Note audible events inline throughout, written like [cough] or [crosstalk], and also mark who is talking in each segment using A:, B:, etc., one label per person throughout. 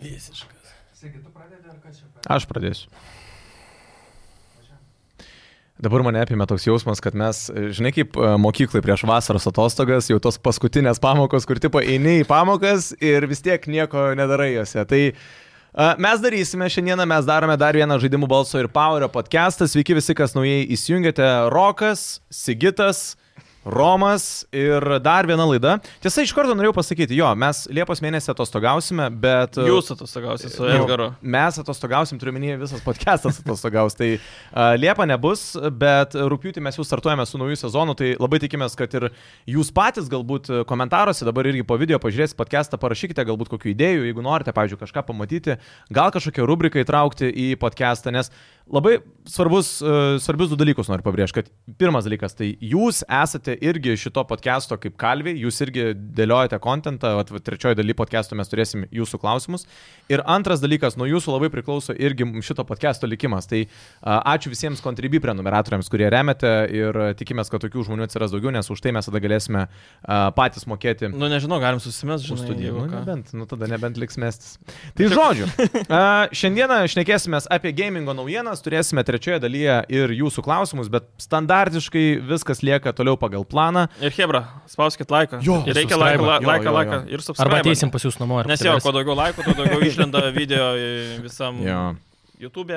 A: Visiškas.
B: Sakyk, tu pradedi ar kas čia pradeda?
C: Aš pradėsiu. Dabar mane apima toks jausmas, kad mes, žinai, kaip e, mokyklai prieš vasaros atostogas, jau tos paskutinės pamokos, kur tipo eini į pamokas ir vis tiek nieko nedarai juose. Tai e, mes darysime, šiandieną mes darome dar vieną žaidimų balso ir powerio podcastą. Sveiki visi, kas naujai įsijungėte. Rokas, Sigitas, Romas ir dar viena laida. Tiesa, iš karto norėjau pasakyti, jo, mes Liepos mėnesį atostogausime, bet... e,
A: Jūs atostogausi su
C: Nu,
A: Edgaru.
C: Mes atostogausim, turiu minėti, visas podcastas atostogaus. Tai uh, Liepa nebus, bet rūpjūtį mes jau startuojame su nauju sezonu, tai labai tikimės, kad ir jūs patys galbūt komentaruose dabar irgi po video pažiūrėsit podcastą, parašykite galbūt kokių idėjų, jeigu norite, pavyzdžiui, kažką pamatyti, gal kažkokią rubriką įtraukti į podcastą, nes labai svarbus, uh, svarbius du dalykus noriu pabrėžti. Kad pirmas dalykas, tai jūs esate irgi šito podcast'o kaip kalviai, jūs irgi dėliojate kontentą, o trečioji daly podcast'o mes turėsim jūsų klausimus. Ir antras dalykas, nuo jūsų labai priklauso irgi šito podcast'o likimas. Tai a, ačiū visiems kontribį prenumeratoriams, kurie remiate ir a, tikimės, kad tokių žmonių atsiras daugiau, nes už tai mes tada galėsime a, patys mokėti.
A: Nu, nežinau, galim susimest,
C: Už
A: žinai,
C: studijų.
A: jeigu
C: Nu,
A: ką.
C: nebent, nu tada nebent liks mestis. Tai žodžiu, a, šiandieną šnekėsime apie gamingo naujienas, turėsime trečioje dalyje ir jūsų klausimus, bet standartiškai viskas lieka toliau pagal planą.
A: Ir Hebra, spauskit laiką.
C: Jo,
A: Ir reikia laiką,
C: subscribe.
A: la-
C: Jo,
A: laiką,
C: jo, jo.
A: laiką. Ir subscribe.
D: Arba ateisim pas jūs namo ir
A: Nes jo,
D: apsiversim.
A: kuo daugiau laikų, tuo
C: [laughs]
A: daugiau išlenda video į visam
C: Jo.
A: YouTube,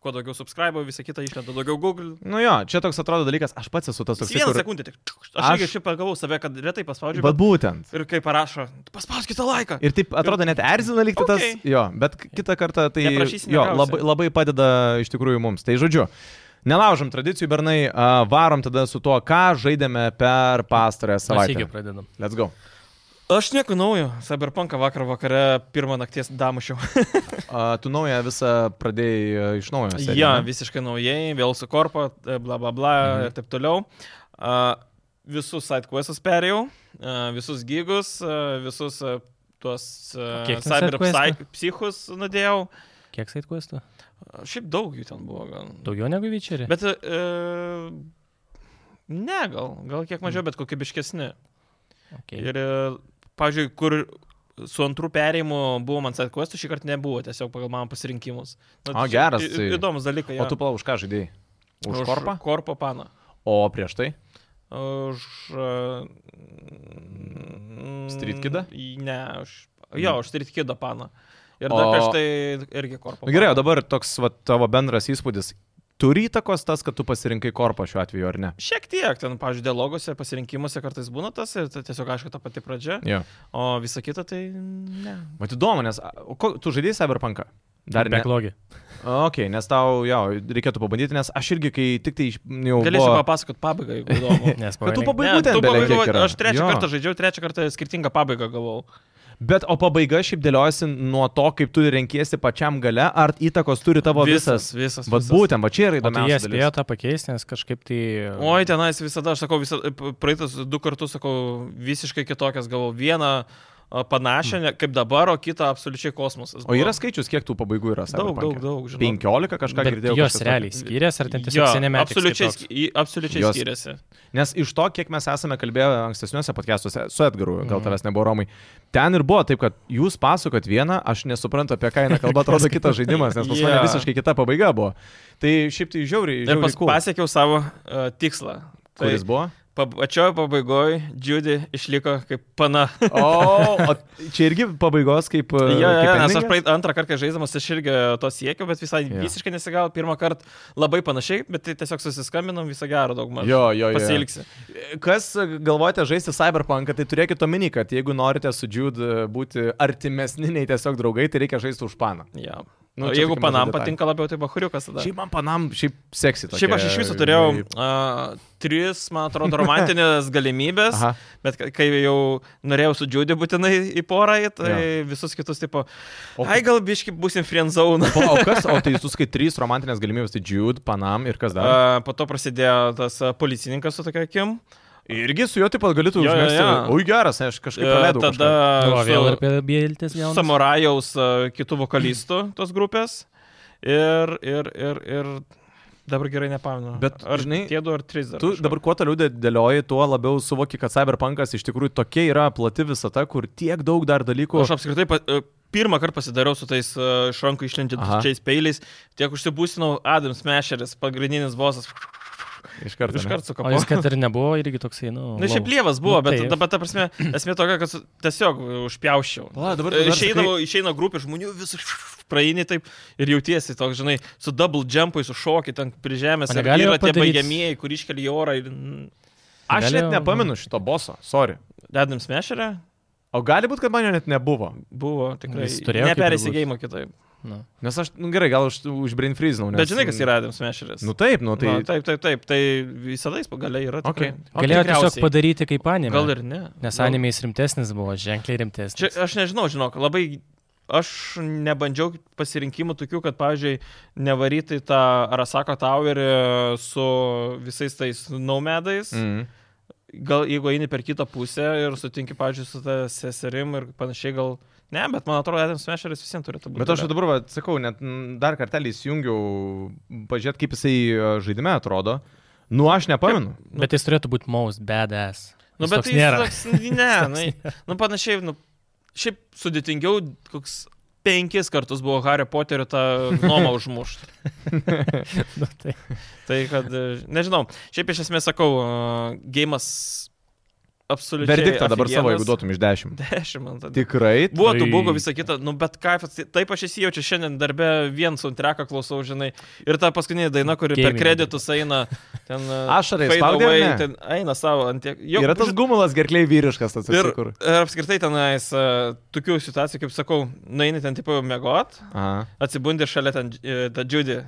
A: kuo daugiau subscribe, visą kitą išlenda, daugiau Google.
C: Nu jo, čia toks atrodo dalykas, aš pats esu tas
A: Jis
C: toks.
A: vieną sekundę tik. Aš
C: Aš-
A: irgi šiaip pagavau save, kad retai paspaudžiu.
C: Bet
A: Bet...
C: būtent.
A: Ir kai parašo, paspauskite laiką.
C: Ir taip atrodo net erzina likti tas.
A: Okay.
C: Jo, bet k- kitą kartą tai
A: Neprašysi,
C: jo,
A: negausi.
C: labai, labai padeda iš tikrųjų mums. Tai žodžiu, nelaužom tradicijų, bernai, a, varom tada su tuo, ką žaidėme per pastarąją
D: Mes irgi
C: savaitę.
D: pradedam.
C: Let's go.
A: Aš nieko naujo. Cyberpunką vakar vakare pirmą nakties damušiau.
C: A, tu naują visą pradėjai a, iš naujo. seriją,
A: ja,
C: ne?
A: visiškai naujai, vėl su korpo, e, bla bla bla
C: Mhm.
A: mhm. ir taip toliau. A, Visus sidequestus perėjau, a, visus gigus, a, visus a, tuos a,
D: Kiek ten
A: cyber
D: sidequestų?
A: psy- psichus nudėjau.
D: Kiek saitkuestų?
A: A, Šiaip daug jų ten buvo gal.
D: Daugiau negu vyčerį.
A: Bet... E, ne, gal, gal kiek
C: Mhm.
A: mažiau, bet kokybiškesni.
D: okay.
A: Ir, e, pavyzdžiui, kur su antrų perėjimu buvo man sidequestų, šį kartą nebuvo, tiesiog pagal mano pasirinkimus. Nu,
C: A,
A: čia
C: geras
A: į- į-
C: tai.
A: Įdomus dalykas.
C: O tu pala už ką žaidėjai? Už, už korpą?
A: Korpo paną.
C: O prieš tai?
A: Už... e,
C: Street Kidą?
A: į- Ne, už... Jo, už Street Kidą paną. Ir
C: O-
A: dar prieš tai irgi korpo.
C: Nu, gerai, o dabar toks va, tavo bendras įspūdis. Turi įtakos tas, kad tu pasirinkai korpą šiuo atveju, ar ne?
A: Šiek tiek, ten, pavyzdžiui, dialoguose, pasirinkimuose kartais būna tas ir tai tiesiog, aišku, ta pati pradžia,
C: Jo.
A: o visa kita tai ne.
C: Mat įdomu, nes a, o ko, tu žaidėjai Cyberpunką? Dar ne.
D: [laughs] Beklogi.
C: Ok, nes tau, jo, reikėtų pabandyti, nes aš irgi, kai tik tai iš- jau...
A: Galėsiu
C: buvo-
A: papasakot pabaigą, jeigu
C: [laughs]
A: įdomu.
D: Nes
C: Kad tu
D: pabaigai.
C: pabaigai
A: Ne,
C: ten
A: tu
C: beveik
A: pabaigų-
C: kiek yra.
A: Aš trečią
C: Jo.
A: kartą žaidžiau, trečią kartą skirtingą pabaigą gavau.
C: Bet o pabaiga šiaip dėliojasi nuo to, kaip tu renkiesi pačiam gale, ar įtakos turi tavo visas.
A: visas.
C: Vat
A: visas.
C: būtent, va čia yra
D: Bet tai jie
C: įdomiausia.
D: spėjo
C: dalis.
D: tą pakeisti, nes kažkaip tai...
A: Oi, tenais visada, aš sakau, visada, praeitas du kartus, sakau, visiškai kitokias gavau. Vieną a, panašią ne- kaip dabar, o kitą absoliučiai kosmosas.
C: Hmm. O yra skaičius, kiek tų pabaigų yra?
A: daug,
C: Cyberpunk'e?
A: daug, daug, žinau.
C: 15 kažką
D: bet
C: girdėjau.
D: Jos
C: kažkas
D: realiai
C: tokio.
D: skiriasi, ar ten tiesiog senėme?
A: absoliučiai, sk- į- absoliučiai
C: Jos-
A: skiriasi.
C: Nes iš to, kiek mes esame kalbėję ankstesniuose podcastuose su Edgaru,
D: Mhm.
C: gal tavęs nebuvo Romai, ten ir buvo taip, kad jūs pasakot vieną, aš nesuprantu, apie ką eina kalba, atrodo kitas žaidimas, nes
A: [laughs]
C: pas yeah. mane
A: Jo.
C: visiškai kita pabaiga buvo. Tai šiaip tai
A: Ir
C: žiauriai. žiauriai
A: pas,
C: cool.
A: pasiekiau savo uh, tikslą. Tai
C: Kuris
D: [laughs]
C: buvo?
A: pačioje pabaigoje Judy išliko kaip pana.
C: O, o čia irgi pabaigos kaip...
A: Jo, jo, jo, nes aš
C: praeitą.
A: praeit, antrą kartą kai žaidžiamas, aš irgi to siekiau, bet visai
C: Jo.
A: visiškai nesigavo. Pirmą kartą labai panašiai, bet tai tiesiog susiskambinom visą gerą daugumą.
C: Jo, jo, jo.
A: Pasilgsi.
C: Kas galvojate žaisti Cyberpunk, tai turėkite omeny, kad jeigu norite su Jude e, būti artimesni nei tiesiog draugai, tai reikia žaisti už paną.
A: Ja.
C: Nu,
A: Nu,
C: čia
A: jeigu
C: tokia maža
A: panam
C: detalė.
A: patinka labiau, tai bahuriukas tada.
C: Šiaip man panam, šiaip seksy. tokia,
A: Šiaip aš iš viso turėjau uh, tris, man atrodo, romantinės
C: [laughs]
A: galimybės,
C: Aha.
A: bet ka- kai jau norėjau su Džiudiu būtinai į porą, eit, tai ja. visus kitus, tipo,
C: O-
A: o, ai gal biški būsim friendzone.
C: O, o kas, o tai jūs skai trys romantinės galimybės, tai Jude, Panam ir kas dar?
A: Uh, po to prasidėjo tas a, policininkas su tokia akim.
C: Irgi su juo taip pat galėtų
A: jo, jo,
C: užmėgti.
A: jo.
C: Ui, geras, aš kažkaip
A: A,
C: praleidau.
A: Tada
D: Nu, o vėl
A: su-
D: ir apie bėltis jau.
A: samurajaus a, kitų vokalistų tos grupės. Ir, ir, ir, ir Dabar gerai nepamenu.
C: Bet,
A: ar
C: žinai,
A: tie du ar trys dar.
C: Tu
A: kažkokie.
C: dabar kuo toliau dė- dėlioji, tuo labiau suvoki, kad Cyberpunkas iš tikrųjų tokia yra plati visata, kur tiek daug dar dalykų.
A: Aš apskritai pa, e, pirmą kartą pasidariau su tais e, iš rankų
C: Aha.
A: išlinčiais peiliais, tiek užsibūsinau Adams Mešeris, pagrindinis bosas.
C: Iš karto.
A: Iš
C: ne?
A: karto
D: O jis,
A: sukapau.
D: kad ir nebuvo, irgi toksai, nu.
A: Na, šiaip
D: vau.
A: lievas buvo,
D: Nu,
A: bet
D: taip.
A: dabar ta
D: [clears throat]
A: prasme, esmė tokia, kad su- tiesiog užpjaušiau.
D: Nu,
C: Pala, dabar tu
A: E,
C: dar
A: Išeidavo, išeina grupė žmonių, visur praeini taip ir jautiesi toks, žinai, su double jumpai, su šokiai, ten prižemės.
D: O negalėjo
A: Yra tie
D: padaryt-
A: baigiamieji, kur iškeli į orą ir... mm,
C: Aš net
D: Galėjo-
C: nepamenu šito boso, sorry.
A: Adams Mešerė
C: O gali būti, kad man jo net nebuvo.
A: buvo tikrai.
D: Nu, Jis turėjo kaip ir
A: Neperėsi
D: būt.
A: gėjimo kitaip.
D: Nu.
C: Nes aš, nu, gerai, gal už, už brain freezinau.
A: Bet žinai, kas yra Adams Mešeris?
C: Nu taip, nu
A: Tai...
C: tai...
A: Na, taip, taip, taip, tai visada jis pagaliai yra.
C: Okay.
A: tikrai.
C: Okay.
D: Galėjo tiesiog
A: tikriausiai.
D: padaryti kaip anime.
A: Gal ir ne.
D: Nes
A: Gal-
D: anime jis rimtesnis buvo, ženkliai rimtesnis.
A: Čia, aš nežinau, žinok, labai aš nebandžiau pasirinkimų tokių, kad, pavyzdžiui, nevaryti tą Arasako Towerį su visais tais naumedais. Mm.
C: Mm.
A: Gal jeigu eini per kitą pusę ir sutinki, pavyzdžiui, su ta seserim ir panašiai, gal... Ne, bet man atrodo, Adam Smasheris visiems turėtų būti.
C: Bet aš jau dabar, va, sakau, net mm, dar kartelį įsijungiau, pažiūrėt, kaip jisai e, žaidime atrodo. Nu, aš nepamenu.
D: Bet jis turėtų būti most badass.
A: Nu,
D: Jis
A: bet
D: toks
A: tai
D: nėra.
A: nėra. Toks, ne,
D: [laughs]
A: nu, nu panašiai, nu, šiaip sudėtingiau, koks penkis kartus buvo Harry Potterio tą
C: [laughs]
A: nuomą užmušti.
D: Nu, tai.
A: Tai kad, e, nežinau, šiaip iš esmės sakau, e, gėjimas absoliučiai.
C: Verdiktą dabar savo, jeigu
A: aфигенnas.
C: duotum iš dešimt.
A: [laughs] Dešimt, man tada.
C: Tikrai.
A: Buvo tų
D: Tai-
A: bugų, visa kita, nu bet kaip, taip aš įsijaučiu šiandien darbę, vien soundtracką klausau, žinai. Ir ta paskutinė daina, kuri per
D: Gaming.
A: kreditus eina ten... e,
C: Ašarai
A: fade
C: spaudė ar
A: away,
C: ne?
A: ten Eina savo ant tiek.
C: Jau, yra tas gumulas gerkliai vyriškas, tas
A: Ir,
C: ir kur.
A: ir apskritai tenais, e, tokių situacijų, kaip sakau, nueini ten tipo mėgot,
C: Aha. [laughs]
A: atsibundi šalia ten e, tą džiudį.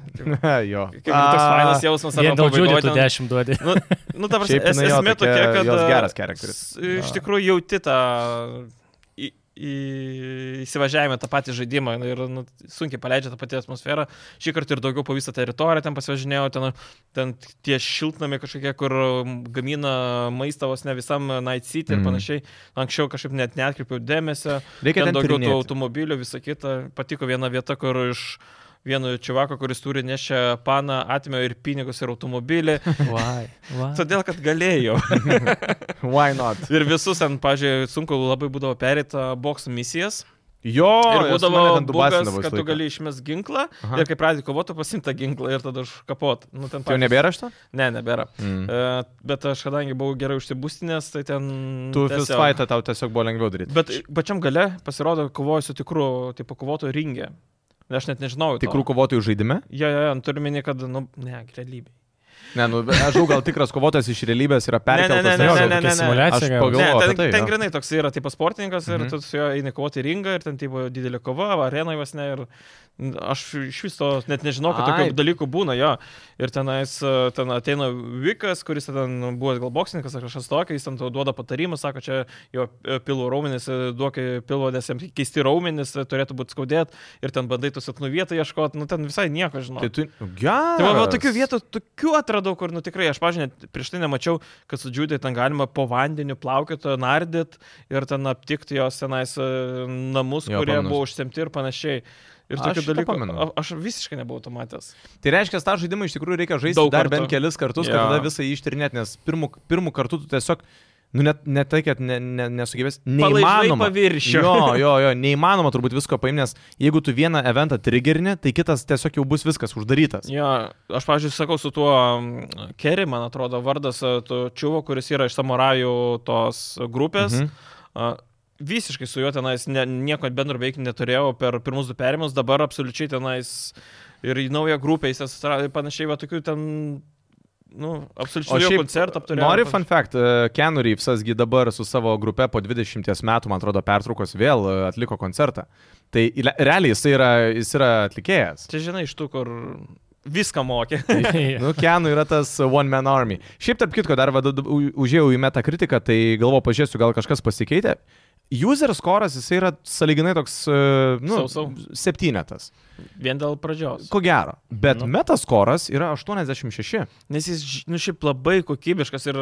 C: jo.
A: Kaip toks fainas jausmas,
D: Vien
A: arba pabaigoj
D: dėl džiūdžių tu
A: ten-
D: 10 duodi.
A: Nu, nu ta prasme,
C: Šiaip
A: es,
C: jinai jo
A: esmė
C: tokia,
A: tokia, kad...
C: jos
A: a,
C: geras charakteris.
A: s- Iš tikrųjų jauti tą... Į, į, įsivažiavimą tą patį žaidimą ir nu, sunkiai paleidžia tą patį atmosferą. Šį kartą ir daugiau po visą teritoriją ten pasivažinėjau, ten, ten tie šiltnami kažkokie, kur um, gamina maistą vos ne visam uh, Night City ir
C: Mm.
A: panašiai. Anksčiau kažkaip net neatkreipiau dėmesio.
C: Reikia
A: Ten
C: ten
A: daugiau tų
C: tyrinėti.
A: automobilių, visa kita. Patiko viena vieta, kur iš vieno čivako, kuris turi nešę paną, atmėjo ir pinigus, ir automobilį.
D: Vai. Vai.
A: [laughs] Todėl, kad galėjau.
C: Why not?
A: Ir visus ten, pažiūrėjau, sunku labai būdavo perėti boks misijas.
C: Jo,
A: ir
C: jos
A: būdavo
C: mane ten
A: bugas,
C: dubasindavo visą
A: kad tu
C: laiką.
A: gali išmest ginklą
C: Aha.
A: Aha. ir kai pradedi kovoti, pasimta ginklą ir tada užkapot. Nu, ten,
C: Tai jau
A: pavyzdžiui-
C: nebėra šito?
A: Ne, nebėra.
C: Mm.
A: E, bet aš kadangi buvau gerai užsibūstinės, tai ten...
C: Tu
A: tiesiog-
C: fist fightą tau tiesiog buvo lengviau daryti.
A: Bet pačiam gale pasirodo, kovoju su tikru, tai pakovotoju ringė. Aš net nežinau.
C: Tikrų kovotojų žaidime?
A: Jo, jo, jo, turiu minį, kad, nu, ne, realybė.
C: Ne, nu, bet aš žinau, gal tikras kovotojas iš realybės yra perkeltas.
D: Tai
A: ne, ne,
C: nežinau,
A: ne, ne,
C: kokia
A: ne, ne.
C: simuliacija
D: Aš
C: gal.
D: [laughs]
A: Ne,
C: Galvoju
A: ten,
C: apie tai,
A: ten
C: jo.
A: grinai toks yra, tipo sportininkas ir
C: Mhm.
A: mm -hmm. tu su juo eini kovoti į ringą ir ten tipo didelė kova, arena jos ne ir aš iš viso net nežinau, kad
C: Ai.
A: tokių dalykų būna jo. Ir tenais e, ten ateina Vikas, kuris ten buvo gal boksininkas ar kažkas tokio, jis ten tau duoda patarimus, sako, čia jo e, pilvo raumenis, e, duok e, pilvo, nes jam keisti raumenis e, turėtų būti skaudėt ir ten bandai tų silpnų vietą ieškoti, nu ten visai nieko žinau.
C: Tai tu... Gerai.
A: Tai va, va, tokių vietų, tokių atradau, kur, nu tikrai, aš, pažiūrėjau, prieš tai nemačiau, kad su džiūdai ten galima po vandeniu plaukioti, nardyt ir ten aptikti jos senais namus,
C: Jo,
A: jo, kurie
C: pamenu.
A: pamenu. buvo užsemti ir panašiai. Ir
C: Aš
A: tokių
C: šitą
A: dalykų.
C: pamenu.
A: a- Aš visiškai nebuvau to matęs.
C: Tai reiškia, tą žaidimą iš tikrųjų reikia žaisti
A: Daug
C: dar
A: kartų.
C: bent kelis kartus,
A: Jo.
C: kad tada visą jį ištyrinėt, nes pirmų, pirmų kartų tu tiesiog, nu net, net tai, kad ne, ne, nesugebės, neįmanoma.
A: paviršių.
C: Jo,
A: [laughs]
C: jo, jo, neįmanoma turbūt visko paimti, nes jeigu tu vieną eventą triggerini, tai kitas tiesiog jau bus viskas uždarytas.
A: Ja, aš, pažiūrėjau, sakau su tuo mm, Kerry, man atrodo, vardas, e, to čiuvo, kuris yra iš samurajų tos grupės.
C: Mhm.
A: A, Visiškai su juo tenais ne, nieko bendro veikti neturėjau per pirmus du perimus, dabar absoliučiai tenais ir į naują grupę jis atsirado ir panašiai, va tokių ten, nu, absoliučiai naujo koncertą apturėjau.
C: Nori fun fact, e, Keanu Reeves'gi dabar su savo grupe po 20 metų, man atrodo, pertraukos vėl e, atliko koncertą. Tai ile- realiai jis yra, jis yra atlikėjas.
A: Čia žinai, iš tų, kur viską mokė.
D: Tai
C: Nu, Keanu yra tas One Man Army. Šiaip tarp kitko, dar vadu, užėjau į metakritiką, tai galvo pažiūrėsiu, gal kažkas pasikeitė. user skoras jisai yra saliginai toks, e, nu,
A: Sau, sau.
C: septynetas.
A: [laughs] Vien dėl pradžios.
C: Ko gero. Bet
A: Nu.
C: nu. metaskoras yra 86.
A: Nes jis, ž- nu, šiaip labai kokybiškas ir,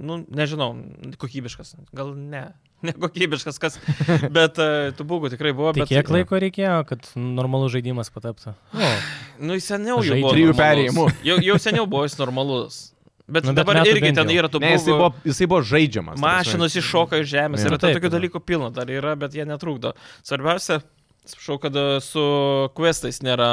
A: nu, nežinau, kokybiškas. Gal ne. [laughs] Nekokybiškas kas. Bet uh, tų būgų tikrai buvo.
D: Tai
A: bet,
D: kiek laiko reikėjo, kad normalus žaidimas pataptų? O,
A: Nu, jis seniau jau
D: Žaidžia.
A: buvo.
C: Trijų
A: normalus.
C: perėjimų.
A: [laughs] Jau, jau seniau buvo jis normalus. Bet
D: Nu,
A: nu,
D: bet
A: dabar
D: metų
A: bet irgi
D: bent
A: ten
D: jau.
A: yra tų
C: Ne, jisai
A: būgų.
C: buvo, jisai buvo žaidžiamas. ta prasme.
A: Mašinos iššoka iš žemės.
C: Jo.
A: Yra to
D: Taip,
A: tokių
D: yra.
A: dalykų pilna dar yra, bet jie netrukdo. Svarbiausia, atsiprašau, kad e, su questais nėra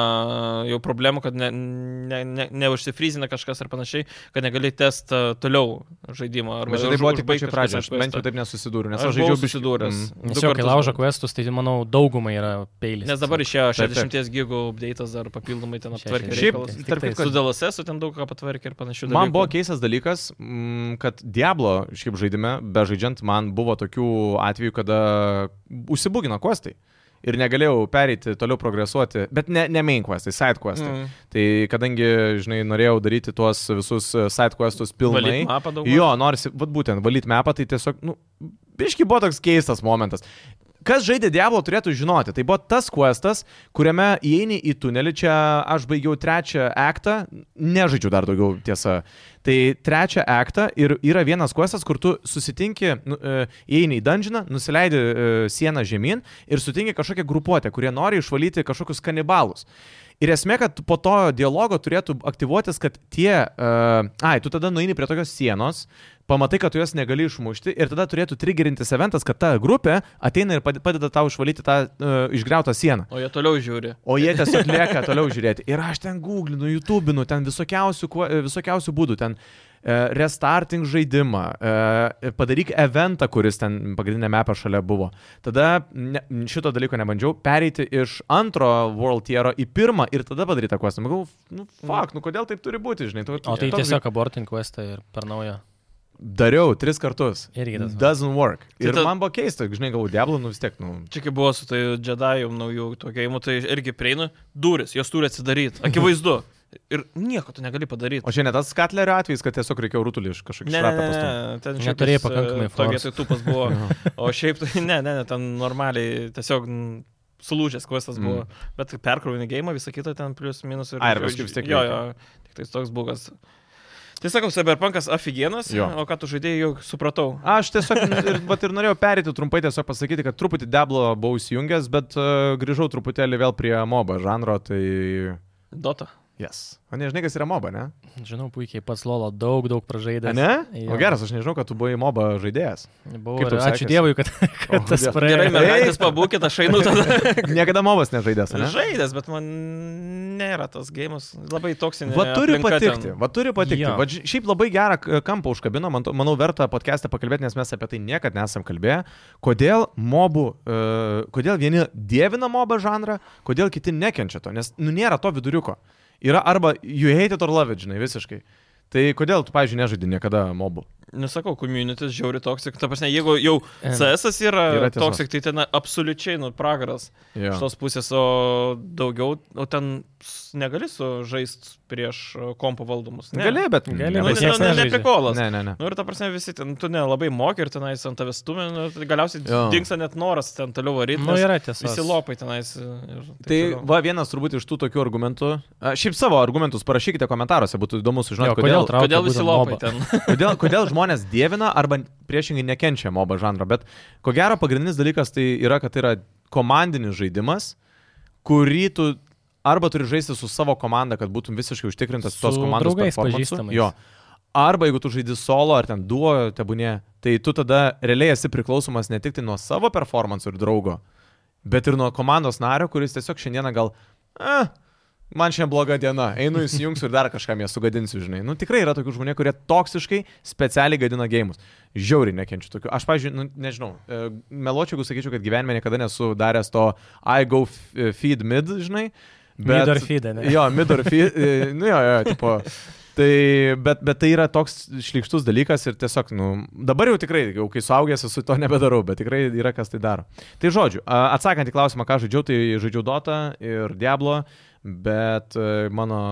A: jau problemų, kad ne, ne, ne, neužsifrizina kažkas ar panašiai, kad negali test e, toliau žaidimo. Arba
C: Bet tai buvo
A: už-
C: tik
A: užbaigt
C: pačioj
A: kažkas
C: pradžioje, aš
A: ar
C: bent jau
A: questą.
C: taip nesusidūriau,
A: Aš
C: nes aš,
A: buvau
C: žaidžiau biškį-
A: susidūręs.
C: Mm.
A: Du
D: Nes jau, kai
A: kartus
D: laužo
A: buvau.
D: questus, tai manau daugumai yra peilis.
A: Nes dabar išėjo
C: Taip, taip.
A: 60 gigų update'as dar papildomai ten aptvarkė.
D: Šešiasdešimt.
C: Šiaip,
A: reikalus.
D: Tik
C: tarp
D: tai
C: kitko,
A: su DLSS ten daug ką patvarkė ir panašių dalykų.
C: Man buvo keistas dalykas, mm, kad Diablo, šiaip žaidime, be žaidžiant, man buvo tokių atvejų, kada užsibūgino questai. Ir negalėjau pereiti, toliau progresuoti, bet ne, ne main questai, side questai. Mm.
A: Mm.
C: Tai kadangi, žinai, norėjau daryti tuos visus e, side questus pilnai.
A: Valyt mapą daug.
C: Jo, norisi, vat būtent, valyti mepą, tai tiesiog, nu, biški buvo toks keistas momentas. Kas žaidė Diablo turėtų žinoti, tai buvo tas questas, kuriame įeini į tunelį, čia aš baigiau trečią aktą, nežaidžiu dar daugiau tiesa, tai trečią aktą ir yra vienas questas, kur tu susitinki, nu, e, įeini į dungeoną, nusileidi e, sieną žemyn ir sutinki kažkokią grupuotę, kurie nori išvalyti kažkokius kanibalus. Ir esmė, kad po to dialogo turėtų aktyvuotis, kad tie... Uh, ai, tu tada nueini prie tokios sienos, pamatai, kad tu jos negali išmušti ir tada turėtų trigerinti eventas, kad ta grupė ateina ir pade- padeda tau išvalyti tą uh, išgriautą sieną.
A: O jie toliau žiūri.
C: O jie tiesiog lieka toliau žiūrėti. Ir aš ten googlinu, youtubinu, ten visokiausių, kuo- e, visokiausių būdų, ten e, restarting žaidimą, e, padaryk eventą, kuris ten pagrindinėme mapą šalia buvo. Tada ne, šito dalyko nebandžiau, pereiti iš antro World Tiero į pirmą ir tada padaryti tą kvestą. Manau, nu, fuck, nu kodėl taip turi būti, žinai, tu
D: O tai
C: toks-
D: tiesiog abortin questą ir per naujo.
C: Dariau tris kartus.
D: Irgi tas pats.
C: Doesn't work.
A: Tai
C: Ir
A: ta-
C: man buvo keista, žinai, galvoju, Diablo, nu vis tiek, nu.
A: Čia kaip buvo su tai Jedi naujų tokiaimų, tai irgi prieinu, duris, jos turi atsidaryti, akivaizdu. Ir nieko tu negali padaryti.
C: O čia ne tas Katlerio atvejis, kad tiesiog reikėjo rutulį iš kažkokio
A: Ne, ne,
C: šrato
A: ne,
C: pastumti.
A: ne, ten šiaip
D: Neturėjai
A: jis, e,
D: pakankamai
A: toj
D: floros.
A: vietoj tupas
C: [laughs]
A: buvo. o šiaip, tai- ne, ne, ne, ten normaliai tiesiog n, sulūžęs kvestas
C: Mm.
A: buvo. Bet perkrovinį gėjimą, visą kitą ten plius, minus ir...
C: Ai, ir paskui vis tiek
A: Jo, jo,
C: reikia.
A: tik tai toks bugas. Tai sakau, Cyberpunkas aфиgenas,
C: Jo.
A: o ką tu žaidėjai, jau supratau.
C: Aš tiesiog ir, vat ir norėjau perėti trumpai, tiesiog pasakyti, kad truputį Deblo buvau įsijungęs, bet uh, grįžau truputėlį vėl prie MOBA žanro, tai...
A: Dota.
C: Yes. O nežinai, kas yra MOBA, ne?
D: Žinau puikiai, pats Lolo daug, daug
C: A,
D: pražaidė.
C: ne?
D: jo.
C: O geras, aš nežinau, kad tu buvai MOBA žaidėjas.
D: Buvo,
C: Kaip tau
D: ir ačiū
C: sekėsi?
D: Dievui, kad, kad tas
C: Dieve.
D: praėjo.
A: Gerai,
C: Eik.
A: mergaitės pabūkite, aš einu
C: [laughs]
A: tada.
C: Niekada MOBAS nežaidęs, ne?
A: Žaidęs, bet man nėra tas gėjimas labai toksinis.
C: Va turi patikti, va turi patikti.
D: Jo.
C: Va šiaip labai gerą k- kampą užkabino, man, to- manau verta podcast'e pakalbėti, nes mes apie tai niekada nesam kalbėję. Kodėl mobų, uh, kodėl vieni dievina mobą žanrą, kodėl kiti nekenčia to, nes nu, nėra to viduriuko. Yra arba you hate it or love it, žinai, visiškai. Tai kodėl tu, pažiūrėjau, nežaidži niekada mobų?
A: Nesakau, community Nu, žiauri toksik. Ta prasme, jeigu jau
D: Em.
A: CS yra
C: Yra tiesos.
A: toksik, tai ten absoliučiai, nu, pragaras. Iš
C: Jo.
A: tos pusės, o daugiau, o ten s- negali su žaisti prieš e, kompo valdomus. Ne.
C: Gali, bet
D: Gali,
A: Nu,
D: bet
A: nes ten
D: nieks
A: ne, ne
D: nežaidžia.
A: prikolas.
C: Ne, ne, ne.
A: Nu ir ta prasme visi ten, tu nelabai moki ir tenais ant tavęs stumė, nu, tai galiausiai
C: Jo.
A: dinksta net noras ten toliau varyti.
D: Nu, yra tiesa.
A: visi lopai tenais. e, ir
D: Nu,
A: taip
C: Tai
A: toliau.
C: va vienas turbūt iš tų tokių argumentų. A, Šiaip savo argumentus parašykite komentaruose, būtų įdomu sužinoti,
D: Jo, kodėl
C: kodėl,
D: traukia
A: Kodėl visi
D: būtent
A: lopai
D: mobą?
A: ten?
C: Kodėl, kodėl žmonės dievina arba priešingai nekenčia MOBA žanro, bet ko gero pagrindinis dalykas tai yra, kad tai yra komandinis žaidimas, kurį tu arba turi žaisti su savo komanda, kad būtum visiškai užtikrintas
D: Su
C: tos komandos
D: draugais,
C: performansu.
D: pažįstamais.
C: Jo. Arba jeigu tu žaidži solo ar ten duo, tebūnie, tai tu tada realiai esi priklausomas ne tik tai nuo savo performance ir draugo, bet ir nuo komandos nario, kuris tiesiog šiandieną gal... Eh, Man šiandien bloga diena, einu įsijungsiu ir dar kažkam ją sugadinsiu, žinai. Nu, tikrai yra tokių žmonių, kurie toksiškai specialiai gadina gėjimus. Žiauriai nekenčiu tokių. Aš, pažiūrėjau, nu, nežinau, e, meločiau, jeigu sakyčiau, kad gyvenime niekada nesu daręs to I go f- e, feed mid, žinai.
D: Mid or feed, ane?
C: Jo, mid or feed, e, nu jo, jo, tipo.
D: [laughs]
C: Tai, bet, bet tai yra toks šlikštus dalykas ir tiesiog, nu, dabar jau tikrai, jau kai suaugęs esu, to nebedarau, bet tikrai yra kas tai daro. Tai žodžiu, a, atsakant į klausimą, ką žaidžiau, tai žaidžiau Dota ir Diablo, bet e, mano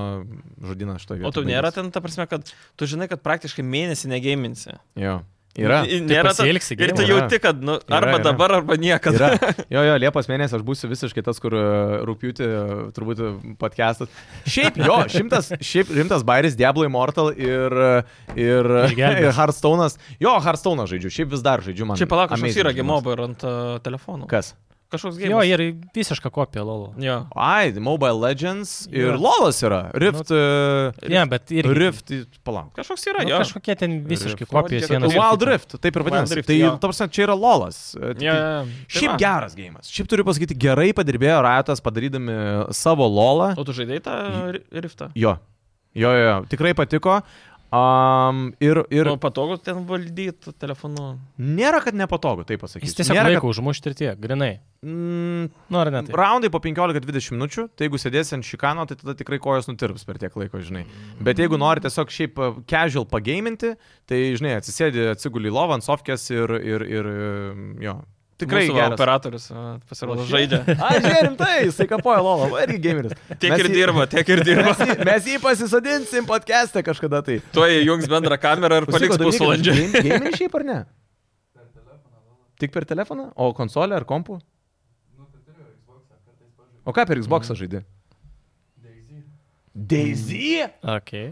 C: žodynas šitoje
A: O
C: vietoje.
A: tu nėra ten, ta prasme, kad tu žinai, kad praktiškai mėnesį negėminsi.
C: Jo. Yra.
A: I-
D: Taip
A: Nėra ta,
D: pasielgsi
A: ir tai tu
C: geriau.
A: jauti, kad nu,
C: Yra,
A: arba
C: yra.
A: dabar, arba niekada. [laughs]
C: Yra. Jo, jo, Liepos mėnesį aš būsiu visiškai tas, kur e, rūpjūti, e, turbūt e, podcastas. Šiaip jo, šimtas, šiaip rimtas bairis Diablo Immortal ir, e, ir,
D: Išgelbės.
C: ir Hearthstone'as. Jo, Hearthstone'ą žaidžiu, šiaip vis dar žaidžiu man.
A: Čia palauk, kažkoks
C: amazing
A: yra
C: žaidimas.
A: gimoba ir ant uh, telefonų.
C: Kas?
A: Kažkoks
D: Jo,
A: gimoba.
D: ir visiška kopija Lolo.
A: Jo.
C: Ai, Mobile Legends ir
D: Jo.
C: LOLas yra.
A: Nu,
C: Rift. e,
D: Ne, bet ir...
C: Rift, i- palauk.
A: Kažkoks yra,
D: Nu,
A: jo.
D: kažkokie ten visiškai
A: Rift.
D: kopijos
A: Kiek-
D: vienas.
A: Rift,
C: Wild
D: kito.
C: Rift, taip ir
A: Wild
C: vadinasi.
A: Rift,
C: tai,
A: jo.
C: ta prasme, čia yra LOLas. e,
A: Jo,
C: tai-
A: jo, jo.
C: Šiaip
A: Tai va.
C: geras gėjimas. Šiaip turiu pasakyti, gerai padirbėjo Ratas padarydami savo LOLą.
A: O tu žaidai tą ri- riftą?
C: Jo, jo, jo, jo. tikrai patiko. Um, ir ir
A: Ir
C: nu,
A: nu, patogu ten valdyti telefonu.
C: nėra, kad nepatogu, taip pasakysiu.
D: Jis tiesiog
C: nėra,
D: laiko užmušti ir tiek, grinai.
C: kad, mm,
D: Nu, ar ne? Tai?
C: raundai po 15-20 minučių, tai jeigu sėdėsi ant šikano, tai tada tikrai kojos nutirps per tiek laiko, žinai. Bet jeigu nori tiesiog šiaip uh, casual pagaiminti, tai, žinai, atsisėdi, atsiguli į lovą ant sofkės ir, ir, ir um, jo. Tikrai
A: Mūsų va
C: geras.
A: operatorius va, pasirodo
C: [laughs]
A: žaidžia.
C: Ai, žiūrim, tai jisai kapoja lovą, va, irgi gameris.
A: Tiek
C: Mes
A: ir
C: jį-
A: dirba, tiek ir dirba.
C: [laughs] Mes jį, mes jį pasisadinsim podcast'e kažkada tai.
A: Tuo įjungs bendrą kamerą ir paliks pusvalandžią.
C: Gaimeriai šiaip ar ne? Tik per telefoną? O konsolę ar kompų? O ką per Xbox žaidži? Daisy?
D: Okay.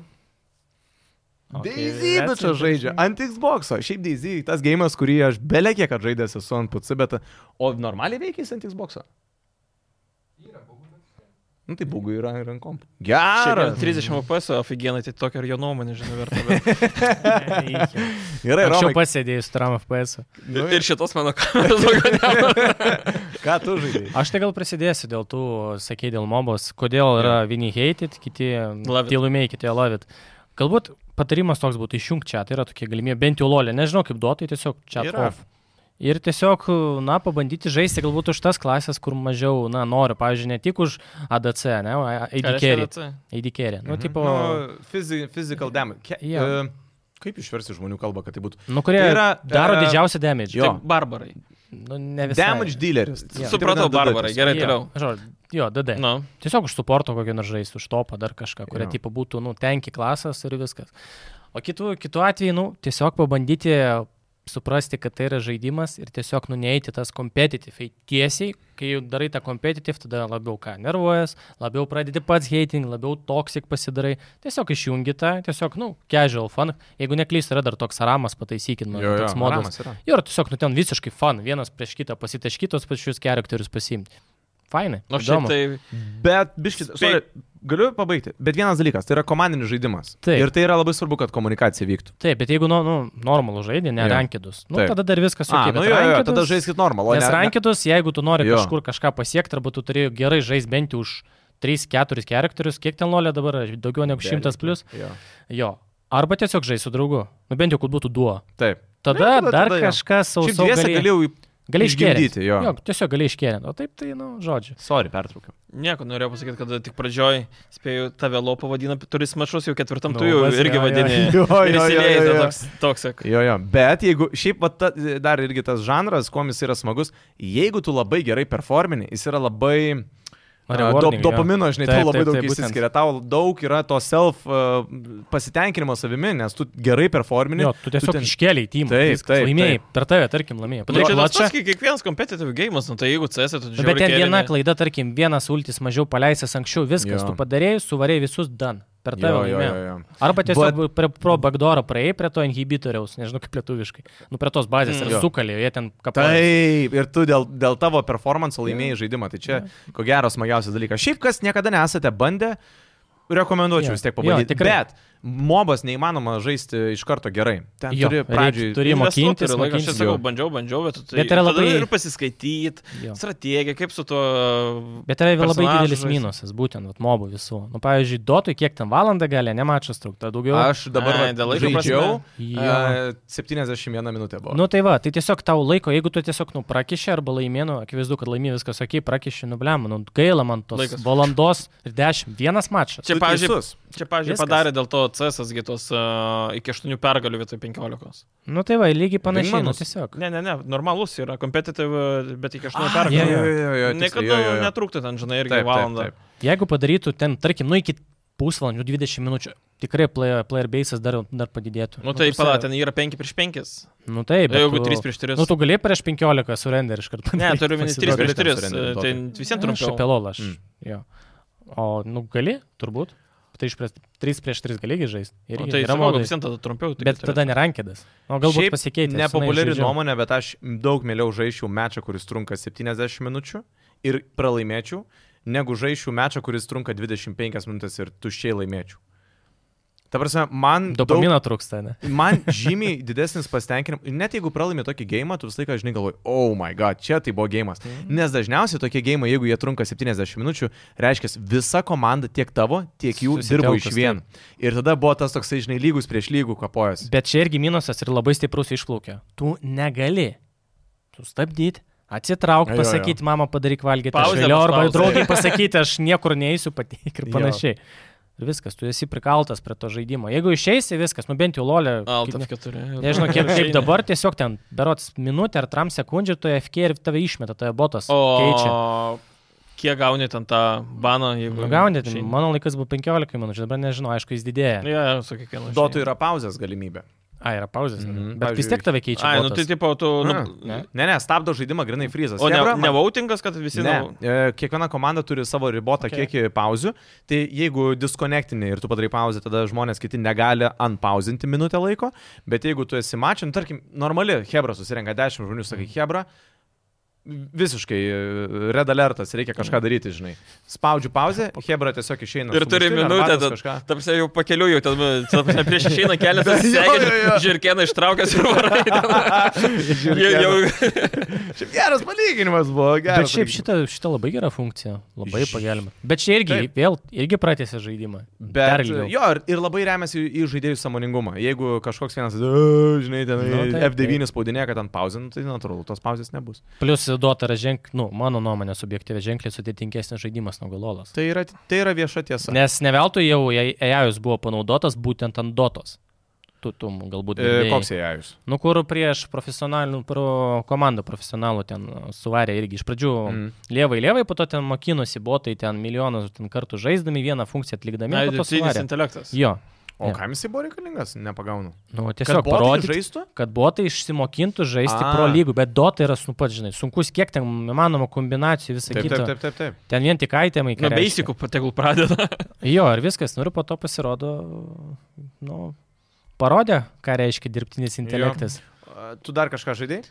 D: Mhm.
C: Daisy, bet čia žaidžia. Ant Xbox. Šiaip Daisy, tas gėjimas, kurį aš belė kiek atžaidęs esu ant PC, bet... O normaliai veikia jis ant Xbox? Nu tai būgų yra ir ant kompų.
A: Šiaip jau
C: Geras.
A: 30 FPS, aфиgenai, tai tokia ir jo nuomonė, žinai, verta. bet-
C: [laughs] Gerai,
D: Anksčiau
C: Romai,
D: pasėdėjau su Tram FPS. u.
C: nu,
A: Ir šitos mano kameros daugiau ne.
C: ką tu žaidži?
D: Aš tai gal prasidėsiu dėl tų, sakė, dėl mobos, kodėl yra vieni hated, kiti
A: Love it.
D: tylumiai, kiti lovit. Galbūt patarimas toks būtų išjungti čia, tai yra tokia galimybė, bent jau lolė, nežinau kaip duotai, tiesiog čia
C: Yra.
D: off. Ir tiesiog, na, pabandyti žaisti galbūt už tas klasės, kur mažiau, na, noriu, pavyzdžiui, ne tik už ADC, ne, ADC. ADC. Nu, tipo,
C: Nu, fizi, physical damage. Ke,
D: Jo.
C: yeah. uh, kaip išversi žmonių kalbą, kad tai būtų?
D: nu, kurie
C: tai
D: tai yra,
C: yra,
D: daro
C: e,
D: didžiausią damage.
C: jo.
A: Jo, barbarai.
D: Nu, ne visai.
C: Damage dealeris.
D: Jo.
C: Taip
A: Supratau,
C: vadina
A: barbarai,
C: DD.
A: gerai,
D: Jo,
A: toliau.
D: žodžiu, Jo, DD.
A: Nu,
D: Tiesiog už suporto kokį nors žaisti, už topą dar kažką, kuria
C: Jo.
D: tipo būtų, nu, tenki klasas ir viskas. O kitų, kitų atveju, nu, tiesiog pabandyti suprasti, kad tai yra žaidimas ir tiesiog nuneiti tas competitive. Eit tiesiai, kai jau darai tą competitive, tada labiau ką nervuojas, labiau pradedi pats hating, labiau toksik pasidarai. Tiesiog išjungi tą, tiesiog, nu, casual fun. Jeigu neklystu, yra dar toks ramas, pataisykit mane,
C: Jo, jo,
D: Nu, toks modulas.
C: Ramas yra.
D: Jo, ir tiesiog, nu, ten visiškai fun, vienas prieš kitą pasitaškytos pačius charakterius pasiimti. Fainai.
A: nu šiaip
D: įdomu.
A: tai
D: Mhm.
C: Bet, biškis,
A: Spei-
C: sorry, galiu pabaigti. Bet vienas dalykas, tai yra komandinis žaidimas.
D: Taip.
C: Ir tai yra labai svarbu, kad komunikacija vyktų.
D: Taip, bet jeigu, nu, nu normalų žaidė, ne
C: Jo.
D: rankidus, nu,
C: Taip.
D: tada dar viskas
C: A,
D: ok.
C: nu jo,
D: bet
C: jo,
D: rankidus-
C: tada žaiskit normalu.
D: Nes rankidus, jeigu tu
C: Jo.
D: nori jo. kažkur kažką pasiekti, arba tu turėjai gerai žaisti bent jau už 3-4 charakterius, kiek ten lolė dabar, yra? daugiau negu 100 plus,
C: Jo.
D: jo. Arba tiesiog žaisti su draugu, nu bent jau, kad būtų duo.
C: Taip. tada-
D: Tada, tada dar
C: tada
D: tada,
C: jo.
D: kažkas
C: Šiaip dviese
D: saugiai.
C: galėjau į...
D: Gali išgėrėti.
C: išgimdyti, jo.
D: jo, tiesiog gali išgėrėti. O taip, tai, nu, žodžiu.
C: Sorry, pertraukiau.
A: nieko norėjau pasakyti, kad tik pradžioj, spėjau, tave lopo vadina, turi smašus, jau ketvirtam tu
D: Nu,
A: jau
D: vas,
A: irgi
D: jo, jo,
A: vadini.
C: jo, jo,
A: Ir
C: jo,
A: įsiliejai
C: jo,
A: tą
C: jo.
A: toks- Toks,
C: Jo, jo. Bet jeigu šiaip va, ta, dar irgi tas žanras, kuo jis yra smagus, jeigu tu labai gerai performini, jis yra labai... A, Do,
D: Rewarding, jo.
C: dopamino, žinai,
D: Taip,
C: tau labai
D: taip,
C: daug
D: taip, būtent.
C: išsiskiria, tau daug yra to self uh, pasitenkinimo savimi, nes tu gerai performini.
D: Jo, tu tiesiog
C: ten-
D: iškėlė į teamą.
C: Taip,
D: viskas,
C: taip,
D: Laimėjai,
C: taip.
D: per tave, tarkim, laimėjai.
A: Na, Nu, tai čia
D: Padarai
A: tas
D: klačą.
A: pats, kaip kiekvienas competitive game'as, nu tai jeigu CS, tu
D: Nu,
A: žiūri.
D: bet ten viena klaida, tarkim, vienas ultis mažiau paleisęs anksčiau, viskas,
C: Jo.
D: tu padarėjai, suvarėjai visus dan. Per
C: Jo, jo,
D: tave
C: jo,
D: laimėjai.
C: jo.
D: Arba tiesiog
C: But-
D: But... prie pro bagdoro praėjai, prie to inhibitoriaus, nežinau kaip lietuviškai, nu prie tos bazės
A: Mm.
D: mm.
C: Jo.
D: ir sukalėjo, jie ten kapoja.
C: Taip, ir tu dėl, dėl tavo performanso laimėjai žaidimą, tai čia ko gero smagiausias dalykas. Šiaip kas niekada nesate bandę, rekomenduočiau
D: Jo,
C: vis tiek
D: jo,
C: pabandyti.
D: tikrai.
C: Bet mobas neįmanoma žaisti iš karto gerai. Ten
D: Jo,
C: turi
D: reik-
C: pradžiui.
D: turi- mokintis,
A: laiko, aš čia
D: mokintis.
A: sakau,
C: Jo.
A: bandžiau, bandžiau, bet tu tai
D: Bet tai yra
A: tada
D: labai-
A: ir pasiskaityti,
D: Jo.
A: strategiją, kaip su tuo...
D: Bet tai labai
A: personažų
D: didelis
A: žaisti.
D: minusas, būtent, vat, mobų visų. Nu, pavyzdžiui, dotui, kiek ten valandą gali, nemačias trukta daugiau.
C: Aš dabar
A: Ai,
C: vat
A: dėl laiko
C: žaidžiau.
D: Jo.
C: a, 71 minutė buvo.
D: Nu tai va, tai tiesiog tau laiko, jeigu tu tiesiog nu prakišė arba laimėnu, akivaizdu, kad laimė viskas, okei, prakišė, nubliam, nu gaila man tos
A: Laikas.
D: Laikas. valandos ir dešimt, vienas mačas.
A: Čia,
C: Tu
A: pavyzdžiui,
C: teisus.
A: čia, pavyzdžiui
D: Viskas.
A: padarė dėl to E CS gėtos uh, iki 8 pergalių vietoj 15.
D: Nu tai va, lygiai panašiai, nu
C: Vingmanus.
D: tiesiog.
A: Ne, ne, ne, normalus yra, competitive, bet iki 8
C: Jo,
A: pergalių.
C: jo, jo, jo, tiksliai,
A: Niekada
C: jo, jo, jo.
A: netrūktų ten, žinai, irgi
C: Nu, Taip, taip,
A: valandą.
C: taip.
D: Jeigu padarytų ten, tarkim, nu iki pusvalandžių 20 minučių tikrai player, player base'as dar, dar padidėtų.
A: Nu tai
D: ta prasme,
A: pala, ten yra 5 prieš 5.
D: Nu taip, bet
A: Jeigu
D: tu-
A: 3 prieš 3.
D: Nu, tu [laughs] galėjai prieš 15 surrender iš karto. [laughs] Tai
A: Ne, turiu minį 3 prieš
C: pasiduodu.
A: 3.
C: Surendu
A: Tai
C: tokį.
A: visiems trumpiau.
D: Šapelolą aš.
C: Mm.
D: Mm. O, nu, gali, turbūt. Tai iš prieš 3 prieš 3 galigi žaisti. Ir
A: O tai
D: tai yra
A: sakau,
D: modai.
A: visiems tada trumpiau. taigi
D: Bet
A: turėtų.
D: tada nerankėdas. O galbūt
C: Šiaip
D: pasikeitė. senai
C: Nepopuliari
D: žaidžiau.
C: nuomonė, bet aš daug mieliau žaisčiau mečą, kuris trunka 70 minučių ir pralaimėčiau, negu žaisčiau mečą, kuris trunka 25 minutės ir tuščiai laimėčiau. Ta prasme, man... daug-
D: Dopamino trūksta, ne?
C: Man žymiai [laughs] didesnis pasitenkinimas, net jeigu pralaimė tokį gėjimą, tu visą laiką, žinai, galvoji, oh my god, čia tai buvo gėjimas.
D: Mhm.
C: Nes dažniausiai tokie gėjimai, jeigu jie trunka 70 minučių, reiškia, visa komanda tiek tavo, tiek jų dirbo
D: Susitelkus,
C: iš vien. Ir tada buvo tas toksai, žinai, lygus prieš lygų kapojas.
D: Bet čia irgi minusas ir labai stiprus išplaukia. Tu negali sustabdyti, atsitraukti,
C: Jo, jo, jo.
D: pasakyti, mama padaryk valgyti, aš
A: Pauzę
D: vėliau, arba
A: paspaust.
D: draugiai pasakyti, aš niekur neįsiu pateik ir
C: Jo.
D: panašiai. Ir viskas, tu esi prikaltas prie to žaidimo. Jeigu išeisi, viskas, nu bent jau lolė.
A: Alt F4.
D: Nežinau,
A: [laughs]
D: kiek, kaip dabar, tiesiog ten berots minutę ar tram sekundžių, tu FK ir tave išmeta, toje botas. Keičia. Nu,
A: O kiek gauni ten tą baną, jeigu...
D: Gaunit,
A: išeini?
D: mano laikas buvo 15 minučių, dabar nežinau, aišku, jis didėja.
A: Jo, jo, su kiekvienu.
C: Dotų yra pauzės galimybė.
D: A, yra pauzės.
C: Mhm.
D: Bet vis
C: Pavyzdžiui,
D: tiek tave keičia.
A: Ai, nu
D: botas.
A: tai tipo, tu... Nu,
C: Na,
A: ne.
C: Mm, Ne, ne, stabdo žaidimą grinai frizas.
A: O ne,
C: Chebra,
A: ne
C: man-
A: vautingas, kad visi...
C: Ne,
A: nau-
C: e, kiekviena komanda turi savo ribotą
D: Okay.
C: okay. kiekį pauzių, tai jeigu diskonektini ir tu padarai pauzę, tada žmonės kiti negali unpauzinti minutę laiko, bet jeigu tu esi mačin, tarkim, normali Hebra susirenka 10 žmonių, sakai
D: Mhm.
C: Hebra, visiškai e, red alertas, reikia
D: Mhm.
C: kažką daryti, žinai. Spaudžiu
D: [laughs]
C: pauzę, Hebra tiesiog išeina.
A: Ir
C: su
A: turi
C: muštiniu,
A: minutę,
C: arbatos
A: tad-
C: kažką.
A: [laughs]
C: [laughs]
A: Taip, jau pakeliu, jau ten, nu, ta prasme, prieš išeina
D: [laughs]
A: kelias, atsisveikina, žirkeną ištraukęs ir varai. ten. Jau, jau,
C: Šiaip Geras palyginimas buvo, geras.
D: Bet šiaip
C: palyginimas.
D: šita, šita labai gera funkcija, labai
C: Ž-
D: pagelbė. Bet čia irgi,
C: Taip.
D: Taip. vėl, irgi pratėsi žaidimą. Dar
C: Bet,
D: ilgiau.
C: jo, ir- ir labai remiasi į žaidėjų samoningumą. Jeigu kažkoks vienas, "E, žinai, ten
D: Nu,
C: nu,
D: taip,
C: F9 spaudinė, kad ten pauzin, tai natūralu, tos pauzės nebus.
D: Plius duota yra ženk, nu, mano nuomonė, subjektyvi ženkliai sudėtingesnis žaidimas negu Lolas.
C: Tai yra, tai yra vieša tiesa.
D: Nes ne veltui jau EAJUS buvo panaudotas būtent ant dotos. Tu, tu galbūt.
C: E,
D: girdėjai.
C: koks jie jūs?
D: Nu, kur prieš profesionalų, pro komandą profesionalų ten suvarė irgi iš pradžių mm.
C: Mm.
D: lievai, lievai, po to ten mokinosi botai ten milijonus ten kartų žaisdami, vieną funkciją atlikdami,
A: Na,
D: po
C: tai
D: to
A: dirbtinis
D: suvarė.
A: intelektas.
D: Jo,
C: O
D: Ne.
C: kam jis buvo reikalingas? Nepagaunu.
D: nu,
C: Kad
D: tiesiog
C: botai
D: parodyti,
C: žaistų?
D: kad botai išsimokintų žaisti
C: A.
D: pro lygų, bet dota yra, nu pat žinai, sunkus, kiek ten įmanoma kombinacijų, visą
C: Taip,
D: kitą.
C: taip, Nu, taip, taip. taip.
D: Ten vien tik aitėmai.
A: Na, beisikų, tegul pradeda.
D: Jo, ir viskas, nu ir po to pasirodo, nu, parodė, ką reiškia dirbtinis intelektas. Jo.
C: A, Tu dar kažką žaidėjai?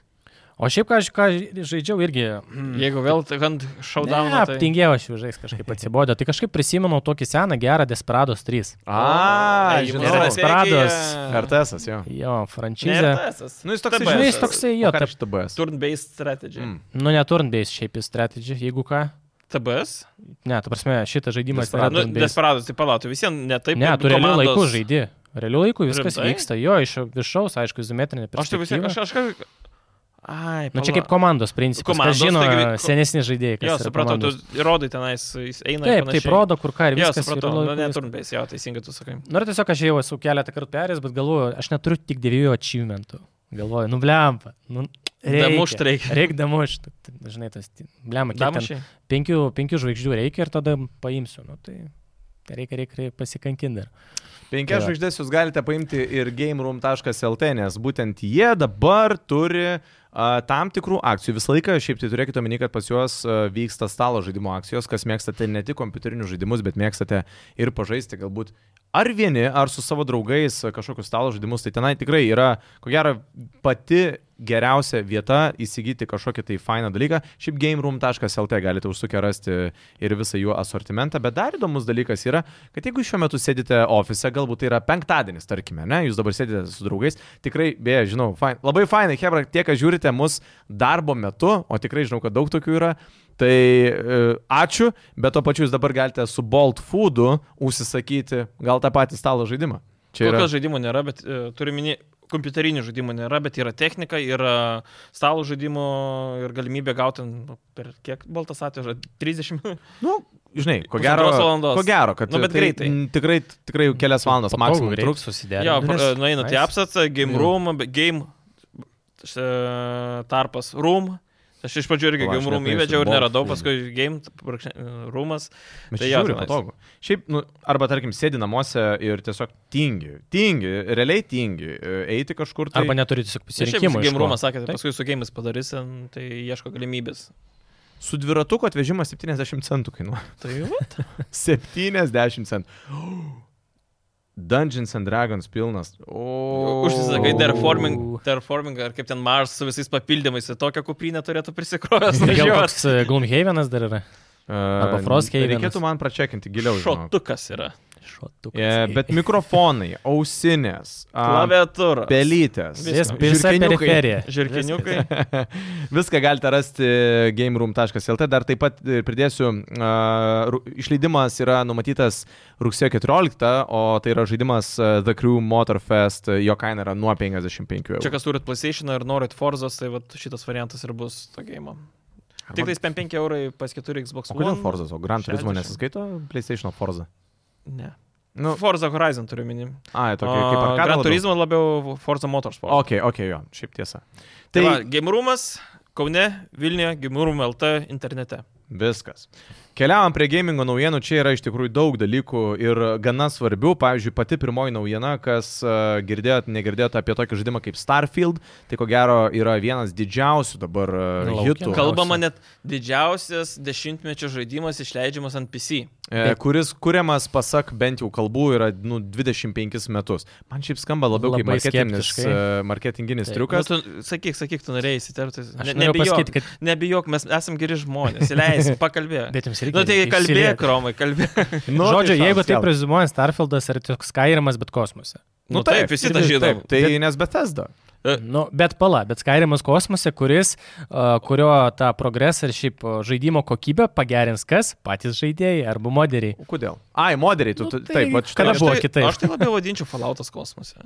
D: O šiaip, ką aš ką žaidžiau irgi.
A: Jeigu vėl, tai ant tai- showdown.
D: Hmm. Ne, aptingėjau aš jau žais kažkaip atsibodė. Tai kažkaip prisimenu tokį seną gerą Desperados 3.
C: A,
A: Ėjimas
D: žinau.
A: strategija.
D: Prados.
C: RTS, jo.
D: Jo,
A: Ne,
D: franšizė.
A: RTS.
C: Nu, jis toks,
A: TBS.
D: Žinai, jis toksai, jo,
C: Taip,
D: tarp,
C: šitą BS.
A: Turn-based strategy.
C: Mm.
D: nu neturnbės šiaip į strategiją, jeigu ką.
A: TBS?
D: Ne, tu prasme, šitas žaidimas
A: Nu,
D: yra turn-based.
A: Desperados, tai palatų, visiems ne taip.
D: Ne,
A: kad
D: tu realiu
A: komandos-
D: laiku žaidži. Realiu laiku viskas
A: Rimtai?
D: Rimtai? vyksta, jo, iš viršaus, aišku, izometrinė
A: Aš tai visiems,
D: perspektyva.
A: aš, aš kažkaip... Ai,
D: Na Nu, čia kaip
A: pala.
D: komandos principas.
A: Komandos,
D: Komandos, žino,
A: taigi- ko-
D: senesni žaidėjai. kas
A: Jo,
D: yra
A: supratau, tu
D: komandos.
A: rodai tenais, jis eina. ir
D: Taip,
A: panašiai.
D: taip, rodo, kur ką ir
A: Jo,
D: viskas.
A: supratau,
D: realiu
A: nu,
D: laiku
A: ne
D: viskas.
A: turn-based, jo, teisingai tu sakai.
D: Nu ir tiesiog aš jau esu keletą kartų perėjęs, bet galvoju, aš neturiu tik devynių achievementų. Galvoju, nu blempa. Nu,
A: Damušt reikia.
D: Reikia damušt. Žinai, tas ti- blemba, kiek ten
A: Damušiai.
D: penkių, penkių žvaigždžių reikia ir tada paimsiu. Nu, tai reikia, reikia, reikia pasikankinti dar.
C: Penkias
D: Tai va.
C: žvaigždės jūs galite paimti ir gameroom.lt, nes būtent jie dabar turi a, tam tikrų akcijų. Visą laiką, šiaip tai turėkite omeny, kad pas juos a, vyksta stalo žaidimo akcijos, kas mėgstate ne tik kompiuterinius žaidimus, bet mėgstate ir pažaisti galbūt ar vieni, ar su savo draugais a, kažkokius stalo žaidimus. Tai tenai tikrai yra, ko gero, pati geriausia vieta įsigyti kažkokį tai fainą dalyką. Šiaip gameroom.lt galite užsukę rasti ir visą jų asortimentą, bet dar įdomus dalykas yra, kad jeigu šiuo metu sėdite ofise, galbūt tai yra penktadienis, tarkime, ne, jūs dabar sėdite su draugais, tikrai, beje, žinau, fain, labai fainai, Hebra, tie, kas žiūrite mus darbo metu, o tikrai žinau, kad daug tokių yra, tai e, ačiū, bet to pačiu jūs dabar galite su Bolt Foodu užsisakyti gal tą patį stalo žaidimą. Čia
A: Kol
C: yra
A: kas žaidimų nėra, bet e, turiu minį, kompiuterinių žaidimų nėra, bet yra technika, yra stalo žaidimų ir galimybė gauti nu, per kiek baltas atveža 30.
C: Nu, žinai, ko
A: Pusantros
C: gero,
A: valandos.
C: ko gero, kad
A: Nu, bet
C: tai
A: greitai.
C: n- Tikrai, tikrai jau kelias valandas maksimum
A: [laughs]
C: truks.
A: jo,
D: susidėti.
A: pra- nueina tai
D: Nu, nice.
A: apsats, game
C: Jo.
A: room, be- game e, tarpas room. Aš iš pradžių irgi
C: Va, aš
A: Game Room
C: neturėsiu
A: įvedžiau ir
C: bolt
A: neradau,
C: feeling.
A: paskui Game brūkšnė- Roomas.
C: Bet
A: Tai
C: tai
A: jo,
C: žiauriai
A: tenais.
C: patogu. Šiaip, nu, arba tarkim, sėdi namuose ir tiesiog tingi. Tingi, realiai tingi e, eiti kažkur. Tai...
D: Arba neturi tiesiog
A: Ir šiaip
D: pasirinkimo. iš
A: Game
D: ko.
A: Roomas sakė,
D: Taip.
A: tai paskui su Game'is padarysi, tai ieško galimybės.
C: Su dviratuku atvežimas 70 centų kainuoja. [laughs]
A: Tai jau.
C: 70 centų. [gasps] Dungeons and Dragons pilnas. O.
A: Užsisakai terforming, terforming, ar kaip ten Mars su visais papildymais, ir tokią kuprinę turėtų prisikrovęs. tai
D: Ir Gal
A: važiuot.
D: koks e, Gloomhavenas dar yra.
C: E,
D: Arba Frosthavenas.
C: Reikėtų man pračekinti giliau. žinok.
A: Šotukas yra.
D: Šotukas.
C: E, bet mikrofonai, ausinės, a,
A: Klaviatūra.
C: pelytės.
D: Vis,
A: viskas.
D: visa
C: Žiurkėniukai.
D: periferija.
A: Žirkiniukai.
C: [laughs] Viską galite rasti gameroom.lt. Dar taip pat e, pridėsiu, a, ru- išleidimas yra numatytas rugsėjo 14, o tai yra žaidimas e, The Crew Motorfest, e, jo kaina yra nuo 55 eurų.
A: Čia kas turit PlayStation ir norit Forzos, tai vat šitas variantas ir bus to game. Tik tais 5 eurai pas 4 Xbox
C: O kodėl
A: One.
C: Forzas, o Gran Turismo
A: 60.
C: nesiskaito PlayStation Forza?
A: Ne.
C: Nu,
A: Forza Horizon turiu minim.
C: ai, tokia kaip
A: O,
C: ar
A: Gran Turismo labiau Forza Motorsport.
C: Ok, ok, jo, šiaip tiesa.
A: Tai
C: Tai
A: va, Game Roomas, Kaune, Vilniuje, Game Room LT internete.
C: viskas. Keliavam prie gamingo naujienų, čia yra iš tikrųjų daug dalykų ir gana svarbių. Pavyzdžiui, pati pirmoji naujiena, kas e, girdėjot, negirdėjot apie tokį žaidimą kaip Starfield, tai ko gero yra vienas didžiausių dabar e,
D: Laukiam.
C: hitų,
D: Kal-
A: Kalbama net didžiausias dešimtmečio žaidimas išleidžiamas ant PC.
C: e, kuris kuriamas, pasak bent jau kalbų, yra nu, 25 metus. Man šiaip skamba labiau kaip
D: Labai
C: marketinginis,
D: skeptiškai.
C: e, marketinginis
D: Taip.
A: Nu,
C: triukas.
A: tu, sakyk, sakyk, tu norėjai įsiterpti.
D: Aš
A: Ne,
D: noriu
A: nebijok,
D: pasakyti, kad...
A: nebijok, mes esame geri žmonės.
D: [laughs]
A: Leisk, pakalbėk.
D: Bet jums reikia.
A: Na tai
D: išsiliet.
A: kalbėk, Romai, kalbėk.
C: Nu, tai
D: Žodžiu, jeigu
C: šansas,
D: taip
C: gal.
D: prezimuoja Starfieldas ir tiesiog Skyrimas, bet kosmose.
A: Nu taip, visi tą žino.
C: Taip, tai bet... nes Bethesda.
D: Nu, bet pala, bet Skyrimas kosmose, kuris, a, kurio tą progresą ir šiaip a, žaidimo kokybę pagerins kas? Patys žaidėjai arba moderiai.
C: O kodėl? Ai, moderiai, tu,
D: Nu,
C: tu
D: tai
C: taip, va štai.
D: kada
A: Aš
D: buvo
A: tai-
D: kitaip?
A: Aš tai labiau vadinčiau Falloutas kosmose.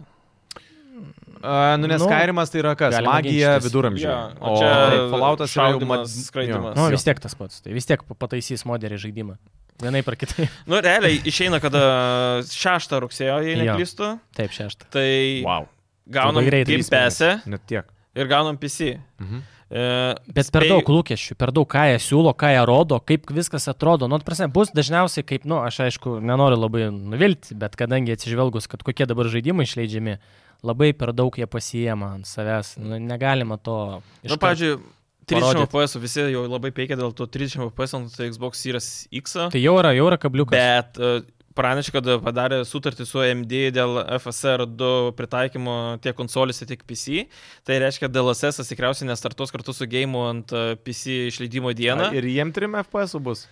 C: A, nu, nes
D: Nu,
C: Skyrimas tai yra kas?
D: galima
C: Magija
D: ginčytis.
C: viduramžiai.
A: Jo, o
C: o
A: čia
C: taip, Falloutas yra jau
A: šaudymas,
C: mat-
A: skraidymas.
D: Nu,
A: Jo.
D: vis tiek tas pats. Tai vis tiek pa- pataisys moderį žaidimą. Vienai par kitai.
A: Nu, realiai išeina, kada 6 rugsėjo, jei
D: Jo.
A: neklystu,
D: Taip, šeštą.
A: tai
C: Jo. Wow.
A: gaunam
D: Labai greitai.
A: Game Pass'e
C: Net tiek.
A: ir gaunam PC.
C: Mhm.
A: E,
D: Bet per
A: spėju-
D: daug lūkesčių, per daug ką jie siūlo, ką jie rodo, kaip viskas atrodo. Nu, prasme, bus dažniausiai kaip, nu, aš aišku, nenoriu labai nuvilti, bet kadangi atsižvelgus, kad kokie dabar žaidimai išleidžiami, labai per daug jie pasijėma ant savęs. Nu, negalima to.
A: Na,
D: iškart-
A: Nu, pavyzdžiui, 30
D: parodyt.
A: FPS, visi jau labai peikia dėl to 30 FPS ant tai Xbox Series X,
D: Tai jau yra, jau yra kabliukas.
A: bet e, pranešė, kad padarė sutartį su AMD dėl FSR 2 pritaikymo tiek konsolėse, tiek PC. Tai reiškia, DLSS tikriausiai nestartuos kartu su gėjimu ant e, PC išleidimo dieną.
C: A, Ir jiem trim FPS bus.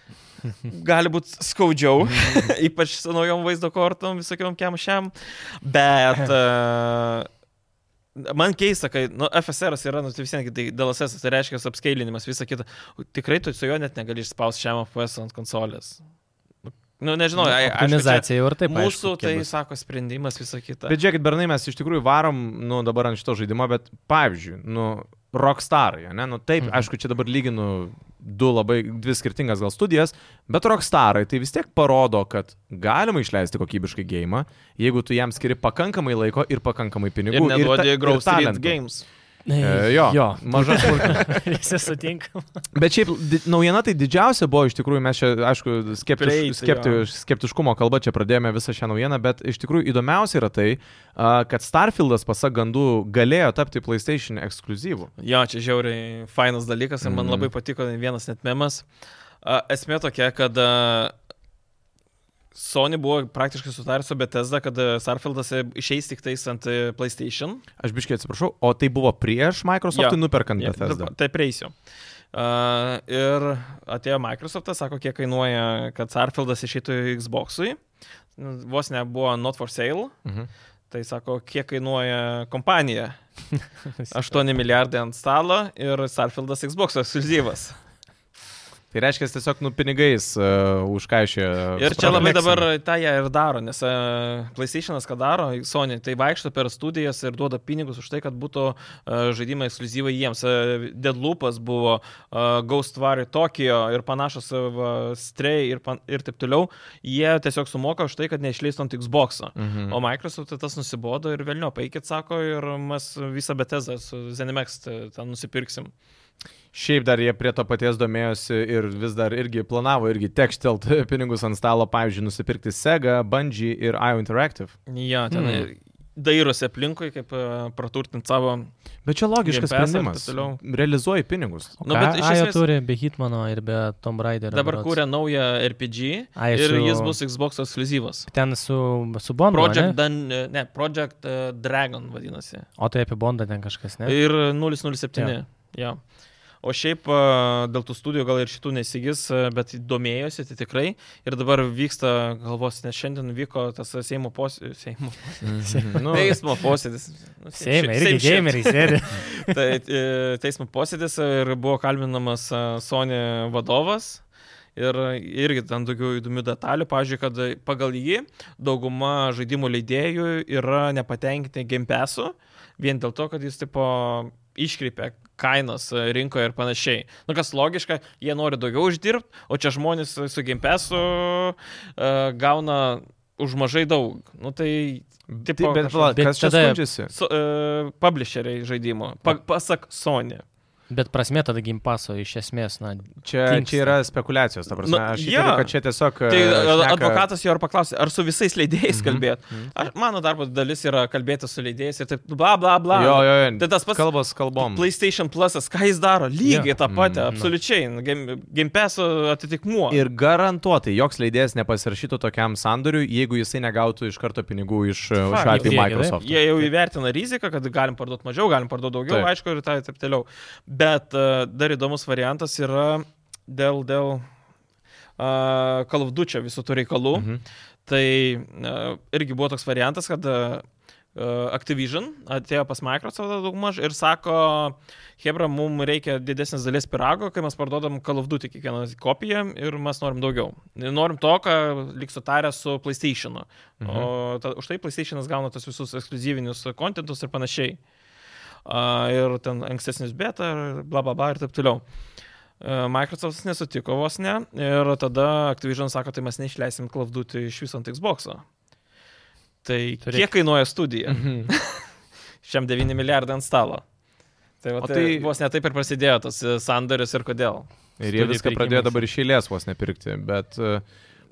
A: gali būti skaudžiau, [laughs] ypač su naujom vaizdo kortom, visokiam kiam šiam. Bet uh, man keista, kai nu, FSR yra, nu, tai vis tiek tai DLSS, tai reiškia tas apskailinimas, visa kita. O Tikrai tu su juo net negali išspausti šiam FPS ant konsolės. Nu, nežinau, ai- aišku, čia
D: Optimizacija jau ir taip.
A: Mūsų
D: aišku,
A: tai,
D: kiek bus.
A: sako, sprendimas, visa kita.
C: Bet žiūrėkit, bernai, mes iš tikrųjų varom, nu, dabar ant šito žaidimo, bet pavyzdžiui, nu, Rockstarai, ne, nu, taip,
D: Mhm.
C: aišku, čia dabar lyginu du labai, dvi skirtingas gal studijas, bet Rockstarai tai vis tiek parodo, kad galima išleisti kokybiškai gėjimą, jeigu tu jam skiri pakankamai laiko ir pakankamai
A: ir
C: pinigų. ta-
A: neduodė Growth Street
C: talentų.
A: Games.
C: E, jo,
A: [laughs]
D: jo.
C: maža smulkmena.
D: [laughs] Visi sutinkam.
C: Bet šiaip di- naujiena tai didžiausia buvo, iš tikrųjų mes čia, aišku, skeptiš,
A: Prieiti,
C: skepti,
A: jo.
C: skeptiškumo kalba čia pradėjome visą šią naujieną, bet iš tikrųjų įdomiausia yra tai, a, kad Starfieldas, pasak gandų, galėjo tapti PlayStation ekskluzyvu.
A: Jo, čia žiauriai fainas dalykas ir man
C: Mhm.
A: labai patiko vienas net memas. A, Esmė tokia, kad a, Sony buvo praktiškai sutarę su Bethesda, kad a, Starfieldas e, išeis tik tais ant e, PlayStation.
C: Aš biškiai atsiprašau, o tai buvo prieš Microsoft'ui
A: Jo.
C: nuperkant
A: Ja,
C: Bethesda.
A: taip, Taip, prieisiu. Uh, ir atėjo Microsoft'as, sako, kiek kainuoja, kad Starfieldas išeitų Xbox'ui. Nu, Vos nebuvo not for sale,
C: Mhm.
A: tai sako, kiek kainuoja kompanija. 8 milijardai ant stalo ir Starfieldas Xbox'as [laughs] ekskluzyvas.
C: Tai reiškia, tiesiog nu pinigais uh, užkaišė.
A: Ir čia labai dabar tą jie ir daro, nes uh, PlayStation'as ką daro, Sony, tai vaikšto per studijas ir duoda pinigus už tai, kad būtų uh, žaidimai ekskluzyvai jiems. Uh, Deadloopas buvo, uh, Ghostwire Tokyo ir panašus uh, Stray ir, pan, ir taip toliau. Jie tiesiog sumoka už tai, kad neišleistų ant Xbox'o.
C: Mhm.
A: O Microsoft tas nusibodo ir vėliau, paikit, sako, ir mes visą Bethesda su ZeniMax ten nusipirksim.
C: Šiaip dar jie prie to paties domėjosi ir vis dar irgi planavo irgi tekštelt [laughs] pinigus ant stalo, pavyzdžiui, nusipirkti Sega, Bungie ir IO Interactive.
A: Jo, ten
C: Hmm.
A: mm. dairosi aplinkui, kaip e, praturtinti savo.
C: Bet čia
A: Game
C: logiškas
A: Pass ir
C: sprendimas.
A: taip toliau.
C: Realizuoji pinigus.
A: Nu, bet iš
D: jie
A: esmės-
D: turi be Hitmano ir be Tomb Raider.
A: Dabar kūrė naują RPG
D: Ai,
A: ir
D: su-
A: jis bus Xbox ekskluzyvas.
D: Ten su, su Bondu.
A: Project,
D: Project...
A: Dan, ne, Project e, Dragon vadinasi.
D: O tai apie Bondą ten kažkas, ne?
A: Ir 007. Ja. O šiaip a, dėl tų studijų gal ir šitų nesigis, a, bet domėjosi, tai tikrai. Ir dabar vyksta, galvos, nes šiandien vyko tas Seimo posėdis. Seimo.
C: Nu,
A: Teismo posėdis. Nu,
D: Seime,
A: shit,
D: irgi
A: shit.
D: gameriai sėdi.
A: Tai e, teismo posėdis ir buvo kalbinamas e, Sony vadovas. Ir irgi ten daugiau įdomių detalių. Pavyzdžiui, kad pagal jį dauguma žaidimų leidėjų yra nepatenkinti gimpesu vien dėl to, kad jis tipo iškreipia kainas e, rinkoje ir panašiai. Nu, kas logiška, jie nori daugiau uždirbti, o čia žmonės su gimpesu uh, gauna už mažai daug. Nu, tai tipo
C: Taip, bet,
A: kažkoks-
C: pala,
D: Bet
C: kas čia
D: tada-
C: skundžiasi?
A: su, uh, publisheriai žaidimo. Pa, pasak Sony.
D: [laughs]
C: E,
D: Bet prasme tada gimpaso iš esmės, na,
C: Čia,
D: Tinksta.
C: čia yra spekulacijos, ta prasme.
A: Nu,
C: Aš
A: jo.
C: įtariu, kad čia tiesiog...
A: Tai
C: e,
A: šneka...
C: šneka-
A: advokatas jo ir paklausė, ar su visais leidėjais mm
C: Mhm.
A: -hmm. kalbėt.
C: Mhm.
A: Aš, mano darbo dalis yra kalbėti su leidėjais ir taip, bla, bla, bla.
C: Jo, jo, jo.
A: Tai tas pats
C: Kalbos kalbom.
A: PlayStation Plusas, ką jis daro? Lygiai
D: Jo.
A: yeah. tą patį,
C: Mhm.
A: mm, absoliučiai. Game, game Pass atitikmuo.
C: Ir garantuotai joks leidėjas nepasirašytų tokiam sandoriui, jeigu jisai negautų iš karto pinigų iš e,
A: Fakt,
C: šiuo atveju
D: jie-
C: Microsoft.
A: Jie jau įvertina riziką, kad galim parduoti mažiau, galim parduoti daugiau,
C: Taip.
A: taip. aišku, ir tai taip toliau. Bet uh, dar įdomus variantas yra dėl, dėl uh, kalvdučio visų tų reikalų. Mhm.
C: Mhm.
A: Tai e, irgi buvo toks variantas, kad e, Activision atėjo pas Microsoft daugmaž ir sako, Hebra, mums reikia didesnės dalies pirago, kai mes parduodam Call of Duty kiekvieną kopiją ir mes norim daugiau. Ir Norim to, ką lyg sutarę su PlayStation. Mhm. O ta, už tai PlayStation'as gauna tos visus ekskluzyvinius kontentus ir panašiai. A, ir ten ankstesnis beta, ir bla bla bla ir taip toliau. E, Microsoftas nesutiko vos ne ir tada Activision sako, tai mes neišleisim klavdutį iš viso ant Xbox'o. Tai
D: Turėk-
A: Turėk. kiek kainuoja studija?
C: Mhm.
A: Šiam 9 milijardai ant stalo. Tai, va,
C: O
A: tai, tai
C: tai-
A: vos netaip ir prasidėjo tas e, sandoris ir kodėl.
C: Ir jie
D: Studijų
C: viską
D: pirkimas.
C: pradėjo dabar iš eilės vos nepirkti, bet... e,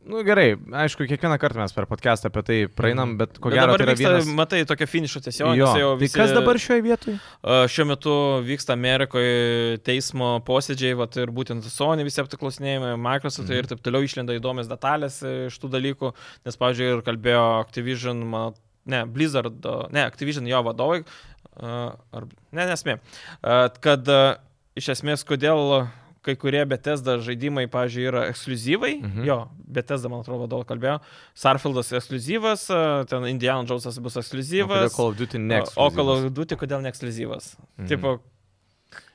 C: Nu gerai, aišku, kiekvieną kartą mes per podcastą apie tai praeinam, bet
A: Mhm.
C: ko
A: Bet
C: gero
A: dabar
C: tai yra
A: vyksta,
C: vienas...
A: matai, tokia finišo tiesiog.
C: Jo.
A: Jau
C: Tai
A: visi,
C: kas dabar šioje vietoje?
A: e, Šiuo metu vyksta Amerikoje teismo posėdžiai, vat, ir būtent Sony visi aptiklosinėjami, Microsoft
C: Mhm.
A: ir taip toliau išlenda įdomias detalės e, iš tų dalykų, nes, pavyzdžiui, ir kalbėjo Activision, man, ne, Blizzard, ne, Activision jo vadovai, e, ar, ne, nesmė, e, kad e, iš esmės, kodėl kai kurie Bethesda žaidimai, pavyzdžiui, yra ekskluzyvai,
C: Mhm.
A: mhm. jo, Bethesda, man atrodo, vadovai kalbėjo, Sarfieldas ekskluzyvas, e, ten Indiana Jonesas bus
C: Kodėl
A: ekskluzyvas.
C: Call of Duty next?
A: O Call of Duty kodėl ne ekskluzyvas?
C: Mhm.
A: Mm. Tipo,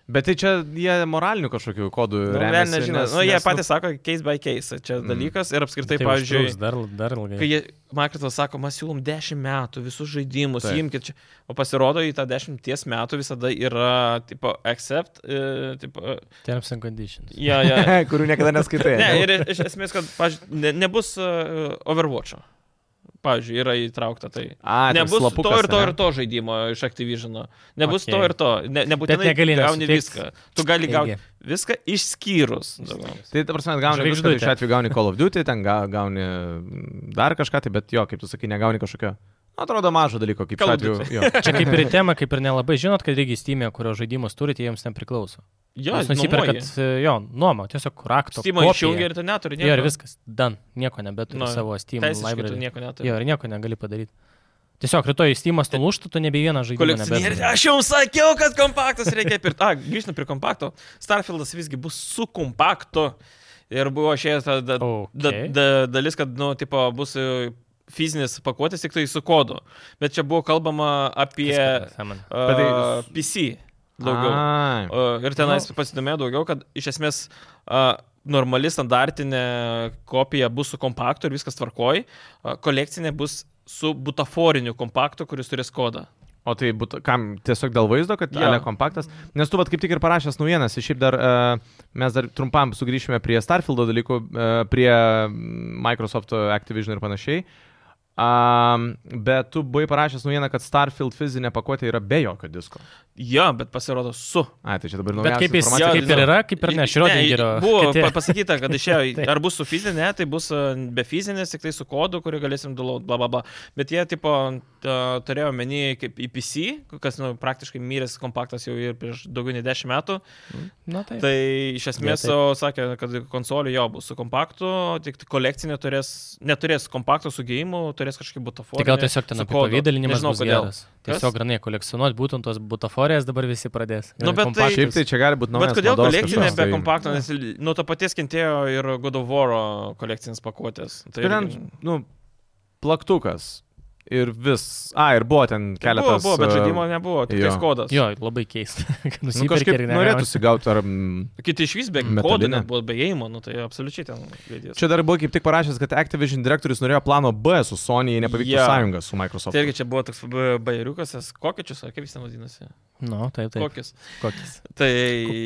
C: Bet tai čia jie moralinių kažkokių kodų
A: nu,
C: remiasi,
A: velnias žino.
C: nes-
A: Nu, jie
C: nes,
A: patys sako, case by case čia mm.
C: Mm.
A: dalykas ir apskritai,
D: tai
A: tai pavyzdžiui,
D: užtruks dar, dar ilgai.
A: kai jie, Microsoft sako, mes siūlom 10 metų visus žaidimus,
C: Taip.
A: Taip. imkit čia, o pasirodo, į tą 10 metų visada yra, tipo, accept, e, tipo,
D: Terms and conditions.
A: ja,
C: [laughs]
A: ja,
C: [laughs] kurių niekada neskaitai.
A: Ne, ir iš esmės, kad, pavyzdžiui, ne, nebus uh, Overwatch'o. Pavyzdžiui, yra įtraukta tai.
C: A, ten
A: nebus
C: slapukas,
A: to ir to
C: ane?
A: ir to žaidimo iš Activision'o. Nebus okay. to
D: Okei.
A: ir to. Ne, nebūtinai
D: negali
A: gauni
D: nesutikt.
A: viską. Tu gali gauti viską išskyrus. dabar.
C: Tai, ta prasme, gauni
D: Žvaigždutė.
C: kažkokį, šiuo atveju gauni Call of Duty, ten ga, gauni dar kažką, tai bet jo, kaip tu sakai, negauni kažkokio, nu, atrodo, mažo dalyko, kaip
A: Call
C: šiuo
A: of
C: atveju.
A: Duty.
C: Jo.
D: Čia kaip ir į temą, kaip ir nelabai žinot, kad reikia įstymė, kurio žaidimus turite, jiems nepriklauso.
A: Jo,
D: Jūs nusiperkat,
A: nuomoji.
D: e, jo, nuomą, tiesiog rakto.
A: Steam'o
D: kopiją.
A: išjungi ir tu neturi nieko.
D: Jo, ir viskas. Dan, nieko nebeturi
A: Nu,
D: no, savo Steam
A: Teisiškai tu
D: library.
A: nieko neturi.
D: Jo, ir nieko negali padaryti. Tiesiog rytoj Steam'as nulūštų, tu nebe vieną žaidimą.
A: Kolekcionierius.
D: nebeturi.
A: Aš jums sakiau, kad kompaktas reikia pirkti. A, grįžtant prie kompakto. Starfieldas visgi bus su kompaktu. Ir buvo išėjęs ta [laughs] da, da,
D: Okei.
A: da, dalis, kad, nu, tipo, bus e, fizinis pakuotis tik tai su kodu. Bet čia buvo kalbama apie
D: Kas
A: uh,
D: per nesąmonė.
C: tai-
A: PC [laughs] daugiau.
C: Ai.
A: O, Ir tenais nu. pasidomėjau daugiau, kad iš esmės a, normali standartinė kopija bus su kompaktu ir viskas tvarkoj, a, kolekcinė bus su butaforiniu kompaktu, kuris turės kodą.
C: O tai būtų, kam tiesiog dėl vaizdo, kad
A: Jo.
C: yra kompaktas. Nes tu, vat, kaip tik ir parašęs naujienas, ir šiaip dar uh, mes dar trumpam e, sugrįšime prie Starfieldo dalykų, uh, prie mm, Microsoft Activision ir e, panašiai. Um, bet tu buvai parašęs naujieną, kad Starfield fizinė pakuotė yra be jokio disko.
A: Jo, bet pasirodo su.
C: A, tai čia dabar
D: Bet
C: naujausia
D: kaip jis,
A: informacija.
D: kaip ir yra, kaip ir ne, Šrodingerio.
A: Buvo
D: katė.
A: pa- pasakyta, kad
D: [laughs]
A: išėjo,
D: Taip.
A: ar bus su fizinė, tai bus e, be fizinės, tik tai su kodu, kurį galėsim dulaut, bla bla bla. Bet jie, tipo, ta- turėjo menį kaip į PC, kas, nu, praktiškai myrės kompaktas jau ir prieš daugiau nei 10 metų.
D: Na taip.
A: Tai iš esmės
D: Jie
A: ja, sakė, kad konsolių jo bus su kompaktu, tik tai kolekcinė turės, neturės kompakto su gėjimu, turės kažkokį butaforą.
D: Tai gal tiesiog ten apie pavydalinimas
A: Nežinau,
D: bus
A: kodėl.
D: geras. Tiesiog granai kolekcionuoti būtent tos butaforijas dabar visi pradės.
A: Nu, bet tai-
D: Kompaktus.
C: Šiaip tai čia gali būti
A: Bet
C: naujas.
A: kodėl
C: mados
A: kolekcinė
C: kažkoks,
A: be
C: tai-
A: kompakto, nes nuo to paties kentėjo ir God of War kolekcinės pakuotės. Tai
C: Tai ten, nu, plaktukas. Ir vis. A, ir buvo ten
A: keletas.
C: keletas.
A: Buvo, buvo, bet
C: uh,
A: žaidimo nebuvo, tik
C: jo.
A: tais kodas.
D: Jo, labai keista. [laughs] kad
C: Nu,
D: nusipirki ir
C: kažkaip
D: negausi.
C: norėtųsi gauti ar... mm,
A: Kiti iš vis be kodo,
C: Metalinė.
A: buvo be įėjimo, nu, tai absoliučiai ten vėdės.
C: Čia dar buvo kaip tik parašęs, kad Activision direktorius norėjo plano B su Sony, jei nepavyktų
A: Jo.
C: yeah. sąjunga su Microsoft.
A: Tai irgi čia buvo toks b- bajeriukas, tas kokiečius, ar kaip jis ten vadinasi?
D: Nu, taip, taip.
A: Kokius.
D: Kokis.
A: Tai...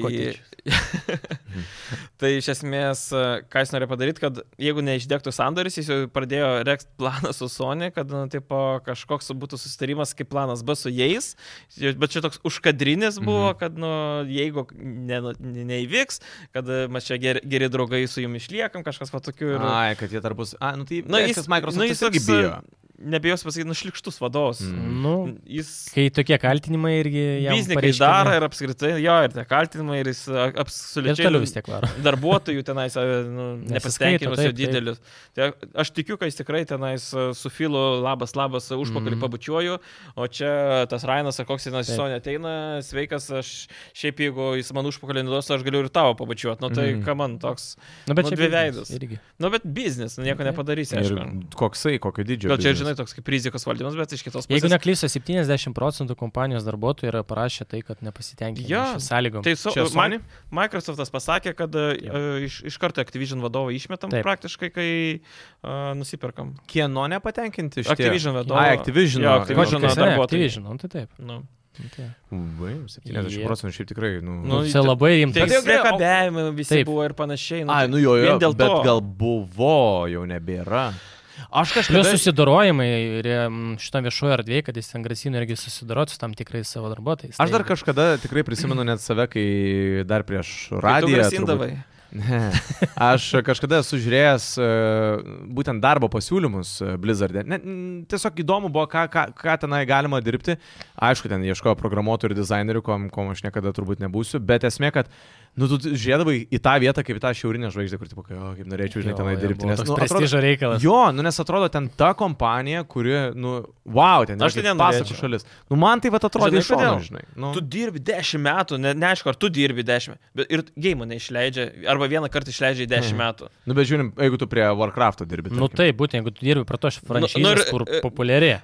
D: Kokiečius.
A: [laughs] tai iš esmės, e, ką jis norėjo padaryti, kad jeigu neišdegtų sandoris, jis jau pradėjo rekt planą su Sony, kad nu, tipo, kažkoks būtų susitarimas kaip planas B su jais, bet čia toks užkadrinis buvo,
C: Mhm.
A: kad nu, jeigu ne, ne, neįvyks, kad e, mes čia geri, geri draugai su jumi išliekam, kažkas patokių ir...
C: Ai, kad jie tarpus. A, nu tai...
A: Nu,
C: Na, jis,
A: jis-
C: Microsoft,
A: nu,
C: nu,
A: jis
C: jis irgi
A: toks,
C: bijo.
A: Nebijos pasakyti, nušlikštus vadovas.
C: Mm.
D: Nu,
A: Jis
D: kai tokie kaltinimai irgi jam.
A: biznikai
D: pareiškiami.
A: daro ir apskritai, jo, ir tie kaltinimai, ir jis a,
D: Ir
A: absoliučiai... nu,
D: toliau vis tiek varo.
A: darbuotojų tenais e, nu, nepasitenkinimas
D: taip,
A: jau
D: taip.
A: didelis. Tai aš tikiu, kad jis tikrai tenais e, su filu labas, labas e, užpakalį
D: Mhm.
A: mm. pabučiuoju, o čia tas Rainas ar koks jis
D: Taip.
A: jo neteina, sveikas, aš šiaip jeigu jis man užpakalį neduos, aš galiu ir tavo pabučiuoti. Nu tai
C: Mhm.
A: mm. ką man toks.
D: Nu, bet
A: Nu,
D: čia
A: dvi
D: biznis
A: veidus.
D: Irgi.
A: Nu bet biznis, nu, nieko
D: Taip.
A: nepadarysi.
C: Ir
A: aišku.
C: koksai, kokio didžio.
A: Gal čia,
C: biznis.
A: žinai, toks kaip rizikos valdymas, bet iš kitos
D: Jeigu
A: pusės.
D: neklysiu, 70 procentų kompanijos darbuotojų yra parašę tai, kad nepasitenkinti
A: Jo,
D: sąlygom.
A: Tai su,
C: Čia
A: man,
C: Sony?
A: Microsoftas pasakė, kad e,
D: Jo.
A: iš, iš karto Activision vadovą išmetam
D: Taip.
A: praktiškai, kai uh, nusiperkam.
C: Kieno nepatenkinti iš
A: Activision vadovą.
C: Ai, Activision.
A: Jo,
C: ar-
A: Activision
C: Koks-
A: žino tai darbuotojai.
D: Activision, nu, tai taip.
A: Nu.
D: nu, tai.
C: Vai, 70
D: Jie-
C: procentų šiaip tikrai, nu.
A: Nu,
C: nu
D: Čia labai
A: Tai
D: rimta.
C: Bet jau
A: jau
C: gerai, o-
A: priekabėjimai visi
D: Taip.
A: taip. buvo ir panašiai.
C: Ai,
A: tai
C: nu jo, jo,
A: vien dėl
C: bet
A: to.
C: gal buvo, jau nebėra. Aš
D: Jo
C: kažkada...
D: susidorojimai ir mm, šitą viešojo erdvėje, kad jis ten grasino irgi susidoroti su tam tikrais savo darbuotojais.
C: Aš dar
D: Tai-
C: kažkada tikrai prisimenu net save, kai dar prieš
A: Kai tu
C: radiją.
A: grasindavai.
C: Ne. Aš kažkada esu žiūrėjęs e, būtent darbo pasiūlymus e, Blizzard'e. Ne, n- tiesiog įdomu buvo, ką, ką, ką tenai galima dirbti. Aišku, ten ieškojo programuotojų ir dizainerių, kom, kom aš niekada turbūt nebūsiu, bet esmė, kad nu, tu žiūrėdavai į tą vietą kaip į tą šiaurinę žvaigždę, kur, tipo, kai, o, kaip norėčiau, žinai,
D: Jo,
C: tenai
D: jo,
C: dirbti.
D: buvo
C: Nes,
D: toks
C: nu, atrodo,
D: prestižo reikalas.
C: jo, nu, nes atrodo ten ta kompanija, kuri, nu, wow, ten
A: Aš tai nenorėčiau.
C: pasakų šalis. Nu, man tai va atrodo
A: Žinai,
C: iš šono,
A: kodėl?
C: žinai. Nu,
A: Tu dirbi 10 metų, ne, neaišku, ar tu dirbi 10, bet ir gėjimą neišleidžia, arba vieną kartą išleidžia 10
C: Mhm.
A: metų. [clears throat]
C: nu, bet žiūrim, jeigu tu prie Warcraft'o dirbi.
D: Nu
C: tarkim.
D: tai, būtent, jeigu tu dirbi prie to
A: nu
D: franšizės,
A: ir-
D: kur
A: e-
D: populiari.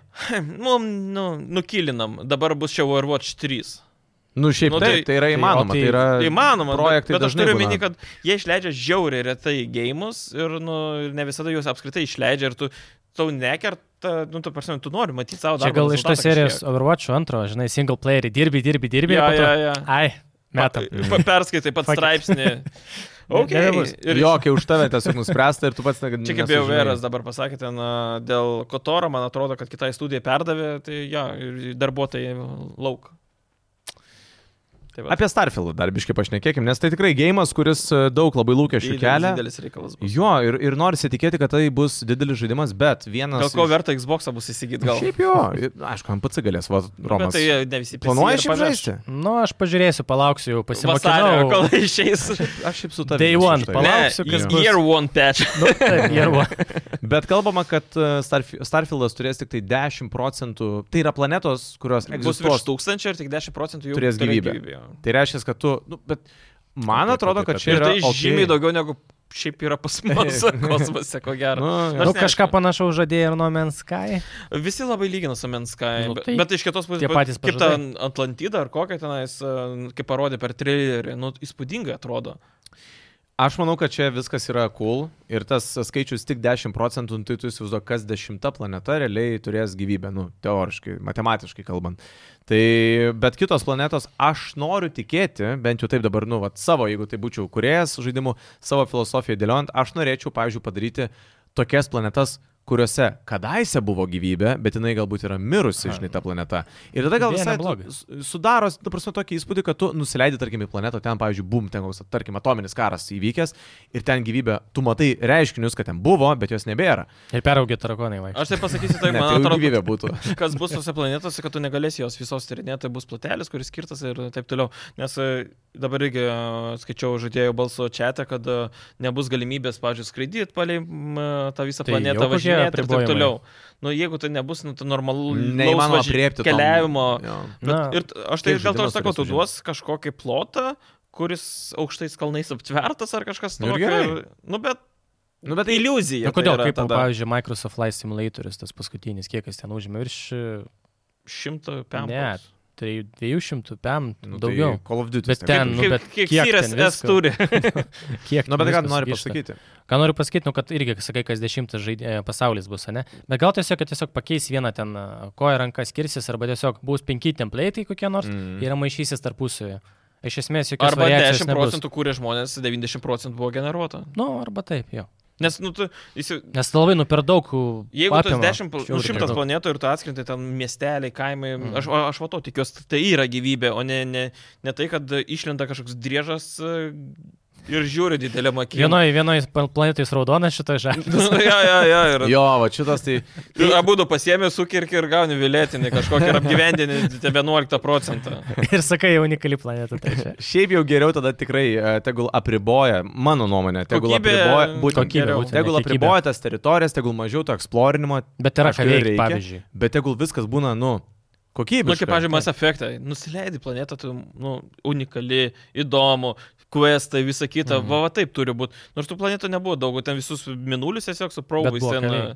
A: Nu, nu, nukilinam, dabar bus čia Overwatch 3.
C: Nu, šiaip nu,
A: Nu,
C: tai,
A: tai-
C: taip, tai yra
D: tai-
C: įmanoma.
D: o
C: Tai,
D: tai-
C: yra
A: Įmanoma, bet,
C: projektai
A: bet aš
C: dažnai
A: turiu
C: būna.
A: minį, kad jie išleidžia žiauriai retai gėjimus ir nu, ir ne visada juos apskritai išleidžia ir tu tau nekerta, nu, tu, prasme, tu nori matyti savo darbą.
D: Čia gal iš tos serijos Overwatch antro, žinai, single playerį dirbi, dirbi, dirbi.
A: Ja,
D: ir po to-
A: ja, ja. tai-
D: Ai, metam.
A: Pa, perskaitai pat
D: Fuck it. [laughs]
A: straipsnį. Okay.
D: Nebebus.
C: Ir jo, kai už tave tiesiog nuspręsta ir tu pats negali.
A: Čia kaip jau Veras dabar pasakė, ten a, dėl Kotoro, man atrodo, kad kitai studijai perdavė, tai jo, ir darbuotojai lauk. Tai va.
C: Apie Starfield dar biškai pašnekėkim, nes tai tikrai gėjimas, kuris e, daug labai lūkesčių
A: tai Didelis-
C: kelia.
A: Didelis reikalas. bus.
C: Jo, ir, ir norisi tikėti, kad tai bus didelis žaidimas, bet vienas...
A: Dėl ko
C: iš-
A: verta Xbox'ą bus įsigyti gal?
C: Šiaip jo, ir, aišku, MPC galės, va, Romas.
A: Bet tai e, ne visi PC ir
C: Planuoji šiaip
A: paveš.
C: žaisti?
D: Nu, aš pažiūrėsiu, palauksiu, jau
A: Vasario,
D: pasimokinau.
A: kol
C: [laughs]
A: išeis.
C: Aš šiaip su tavimi.
D: Day
C: esu
D: one,
C: šitoj.
D: pala- Palauksiu, kas
A: ne,
D: bus.
A: Year one
C: [laughs]
A: patch.
D: Nu, [laughs] taip, geru.
C: Bet kalbama, kad e, Starfi- Starfieldas turės tik tai 10 procentų. Tai yra planetos, kurios
A: Bus virš
C: egzistuoja.
A: tūkstančio ir tik 10 procentų jų
C: Turės gyvybę.
A: jo.
C: Tai reiškia, kad tu... Nu, bet man
E: Taip,
C: atrodo,
E: taip,
C: kad
E: taip,
C: čia
A: Ir
C: yra...
A: tai
C: okei.
A: žymiai daugiau negu šiaip yra pas
C: [laughs]
A: mus [laughs] kosmose, ko gero.
C: Nu,
A: Nors
D: Nu,
A: neaišku.
D: kažką panašaus žadėjo ir No Man's Sky.
A: Visi labai lygina su Menskai,
D: Nu,
A: nu,
D: tai
A: tai bet iš kitos pusės,
D: tie
A: bet
D: patys
A: kaip
D: pažadai.
A: ten Atlantida ar kokia tenais, e, kaip parodė per trailerį, nu, įspūdingai atrodo.
C: Aš manau, kad čia viskas yra cool ir tas skaičius tik 10 procentų, nu, tai tu įsivaizduoji, kas dešimta planeta realiai turės gyvybę, nu, teoriškai, matematiškai kalbant. Tai, bet kitos planetos, aš noriu tikėti, bent jau taip dabar, nu, vat, savo, jeigu tai būčiau kuriejas žaidimų, savo filosofiją dėliojant, aš norėčiau, pavyzdžiui, padaryti tokias planetas, kuriuose kadaise buvo gyvybė, bet jinai galbūt yra mirusi, žinai, ta planeta. Ir tada gal
D: Idėja
C: visai
D: nebloga.
C: tu s- sudaro, ta prasme, tokį įspūdį, kad tu nusileidai, tarkim, į planetą, ten, pavyzdžiui, bum, ten koks, tarkim, atominis karas įvykęs ir ten gyvybė, tu matai reiškinius, kad ten buvo, bet jos nebėra.
D: Ir peraugė tarakonai, va.
A: Aš tai pasakysiu taip,
C: [laughs] Ne,
A: man
C: tai jau
A: atrodo,
C: gyvybė
A: kad- [laughs]
C: būtų.
A: kas bus tose planetose, kad tu negalėsi jos visos tyrinėti, tai bus plotelis, kuris skirtas ir taip toliau. Nes e, dabar irgi e, skaičiau žaidėjų balso čia, kad e, nebus galimybės, pavyzdžiui, skraidyti palei m, e, tą visą
D: Tai
A: planetą,
D: jau kokie
A: važinėti ir taip
D: apribojimai.
A: toliau. Nu, jeigu tai nebus, nu, tai normalu
C: Neįmanoma apriepti
A: keliavimo. Bet,
D: Na,
A: ir t- aš tai dėl
C: kiek
A: to ir
C: žaidimas
A: sakau, tu
C: turės užimt?
A: duos kažkokį plotą, kuris aukštais kalnais aptvertas ar kažkas
C: Nu ir
A: tokio.
C: gerai.
A: ir- Nu, bet
C: Nu, bet tai
A: iliuzija.
D: Na kodėl,
A: tai
D: kaip, pavyzdžiui, Microsoft Flight Simulatoris, tas paskutinis, kiek jis ten užėmė, virš e,
A: šimto pempų.
D: Ne, tai trijų- 200 pem,
C: Nu, tai
A: [laughs]
D: daugiau.
C: Call of Duty.
D: Bet ten, nu,
A: Kaip-
D: bet
A: kiek
D: kiek
A: Sirius
D: ten
A: S
D: visko?
A: turi?
D: Kiek
C: Nu, bet
D: ten
C: ką
D: viskas
C: nori
D: sugrįžta.
C: pasakyti?
D: Ką noriu pasakyti, nu, kad irgi, sakai, kas dešimtas žaid... e, pasaulis bus, ne? Bet gal tiesiog, kad tiesiog pakeis vieną ten e, koją rankas skirsis, arba tiesiog bus penki templėtai kokie nors
C: Mm.
D: mm. ir jie maišysis tarpusioje. Iš esmės, jokios
A: Mhm. Arba
D: variacijos
A: 10
D: nebus.
A: procentų kūrė žmonės, 90 procentų buvo generuota.
D: Nu, arba taip, jo.
A: Nes, nu, tu, jis, jau-
D: Nes labai, nu, per daug.
A: jeigu tas
D: apima.
A: 10, pl- nu,
D: Žiauriai
A: 100
D: daug.
A: planetų ir tu atskrinti ten miesteliai, kaimai, mm. aš, o- aš va to tikiuosi, tai yra gyvybė, o ne, ne, ne tai, kad išlenda kažkoks driežas e, ir žiūri didelę makiną.
D: Vienoje vienoje planetoje jis raudonas, šitoje
A: [laughs]
D: žalias.
A: ja, ja, ja, ir,
C: Jo, va šitas tai...
A: ir abu du pasiemi sukirki ir gauni vilėtinį kažkokį ir apgyvendinį 11 procentą.
D: [laughs] ir sakai, jau unikali planeta. Tai čia.
C: Šiaip jau geriau tada tikrai e, tegul apriboja, mano nuomonė, tegul
A: Kokybė,
C: apriboja, būtent,
D: kokybė,
C: geriau,
D: būtent, ne
C: tegul
D: kiekybė.
C: apriboja tas teritorijas, tegul mažiau to eksplorinimo,
D: Bet yra
C: Aišku,
D: ką
C: jo
D: veikti,
C: reikia.
D: pavyzdžiui.
C: bet tegul viskas būna, nu,
A: Na, Nu, kaip,
C: kokybiškai.
A: pavyzdžiui, Mass Effect, nusileidai planetą, tu nu, unikali, įdomu, questai, visa kita,
D: Mhm.
A: mm. va, va taip turi būti. Nors tų planetų nebuvo daug, ten visus minulius tiesiog su
D: Bet
A: proubais
D: buvo
A: ten.
D: keliai.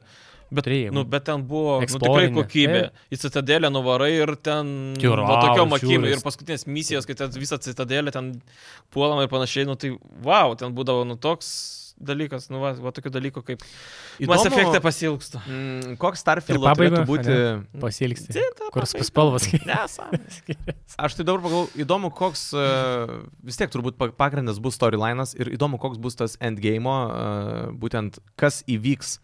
A: Bet,
D: Turėjai.
A: nu, bet ten buvo nu, tikrai
D: Explorinė.
A: kokybė.
D: Taip.
A: Į citadelę nuvarai ir ten... nu,
D: Tiurau,
A: va, tokiom akim.
D: žiūris.
A: Ir paskutinės misijos, kai ten visą citadelę ten puolama ir panašiai, nu tai wow, ten būdavo nu toks dalykas, nu va, va tokių dalykų kaip... Įdomu. Mass tai Effect'e pasilgstu.
C: Mm, Koks
D: Ir
C: Starfield
D: pabaiga,
C: turėtų būti...
D: Pasilgsti.
A: Zita,
D: Kurs
C: [laughs]
D: spalvas.
C: Nu,
A: Nesąmonės.
C: Aš tai dabar pagalvoju, įdomu, koks e, vis tiek turbūt pa- pagrindas bus storylinas ir įdomu, koks bus tas endgame, e, būtent kas įvyks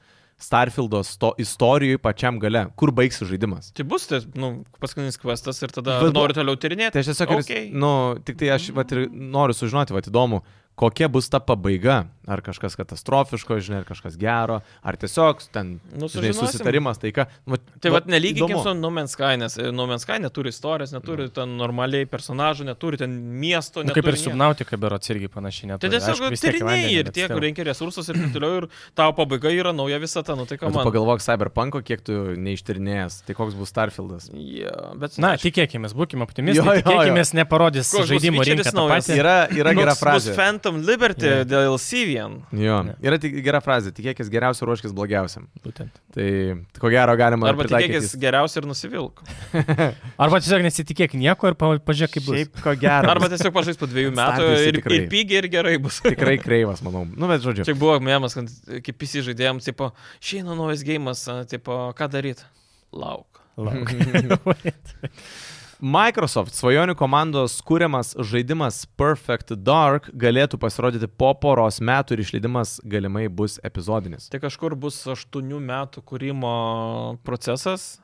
C: Starfieldo sto, istorijoje pačiam gale, kur baigsis žaidimas.
A: Tai bus tas, nu, paskutinis kvestas ir tada
C: Bet
A: Bet,
C: bu-
A: noriu toliau tyrinėti.
C: Tai aš tiesiog, okay.
A: Okei.
C: nu, tik tai aš vat, ir noriu sužinoti, vat, įdomu, kokia bus ta pabaiga. Ar kažkas katastrofiško, žinai, ar kažkas gero, ar tiesiog ten,
A: Nu,
C: nu, žinai,
A: sužinosim.
C: susitarimas, taika. Vat,
A: Tai
D: Nu,
C: vat
A: vad nelyginkim
C: įdomu.
A: su Numenskai, nes e, Numenskai neturi istorijos, neturi ten normaliai personažų, neturi ten miesto,
D: [laughs] Nu,
A: neturi...
D: kaip ir
A: nieko.
D: subnautika, berots irgi
A: Tai
D: panašiai neturi. Aišku,
A: tiesiog
D: vis tiek į
A: tyrinėjai
D: vandenį,
A: ir
D: bet
A: tie,
D: still.
A: kur renki resursus ir taip toliau, ir tavo pabaiga yra nauja visata, nu tai ką
C: Bet tu
A: man.
C: Pagalvok Cyberpunko, kiek tu neištirnėjęs, tai koks bus Starfieldas.
A: Nu, Yeah, bet,
D: Na, tikėkime, būkime optimistai,
C: Jo, jo, jo.
D: tikėkime, neparodys
A: Koks bus
D: žaidimų
A: feature'is
D: rinką tą
A: naujas?
D: patį.
C: Yra, yra gera
A: Bus
C: frazė.
A: Phantom Liberty
D: Jo.
A: yeah. dėl Sivian.
C: Jo,
D: Ne.
C: yra tik gera frazė, tikėkis geriausio, ruoškis blogiausiam.
D: Būtent.
C: Tai ko gero galima
A: Arba
C: pritaikyti
A: tikėkis
C: jis-
A: geriausiai ir nusivilk.
D: Arba tiesiog nesitikėk nieko ir pa- pažiūrėk, kaip bus.
C: Šiaip ko gero.
A: Arba tiesiog pažais po dviejų metų
C: Stabdžiai
A: ir,
C: tikrai.
A: ir pigiai ir gerai bus.
C: tikrai kreivas, manau. Nu, bet žodžiu.
A: Čia buvo mėmas, kad kaip visi žaidėjams, tipo, šeina naujas gėjimas, tipo, ką daryti? Lauk.
C: [laughs]
D: Lauk. [laughs]
C: Microsoft svajonių komandos kūriamas žaidimas Perfect Dark galėtų pasirodyti po poros metų ir išleidimas galimai bus epizodinis.
A: Tai kažkur bus aštuonių metų kūrimo procesas.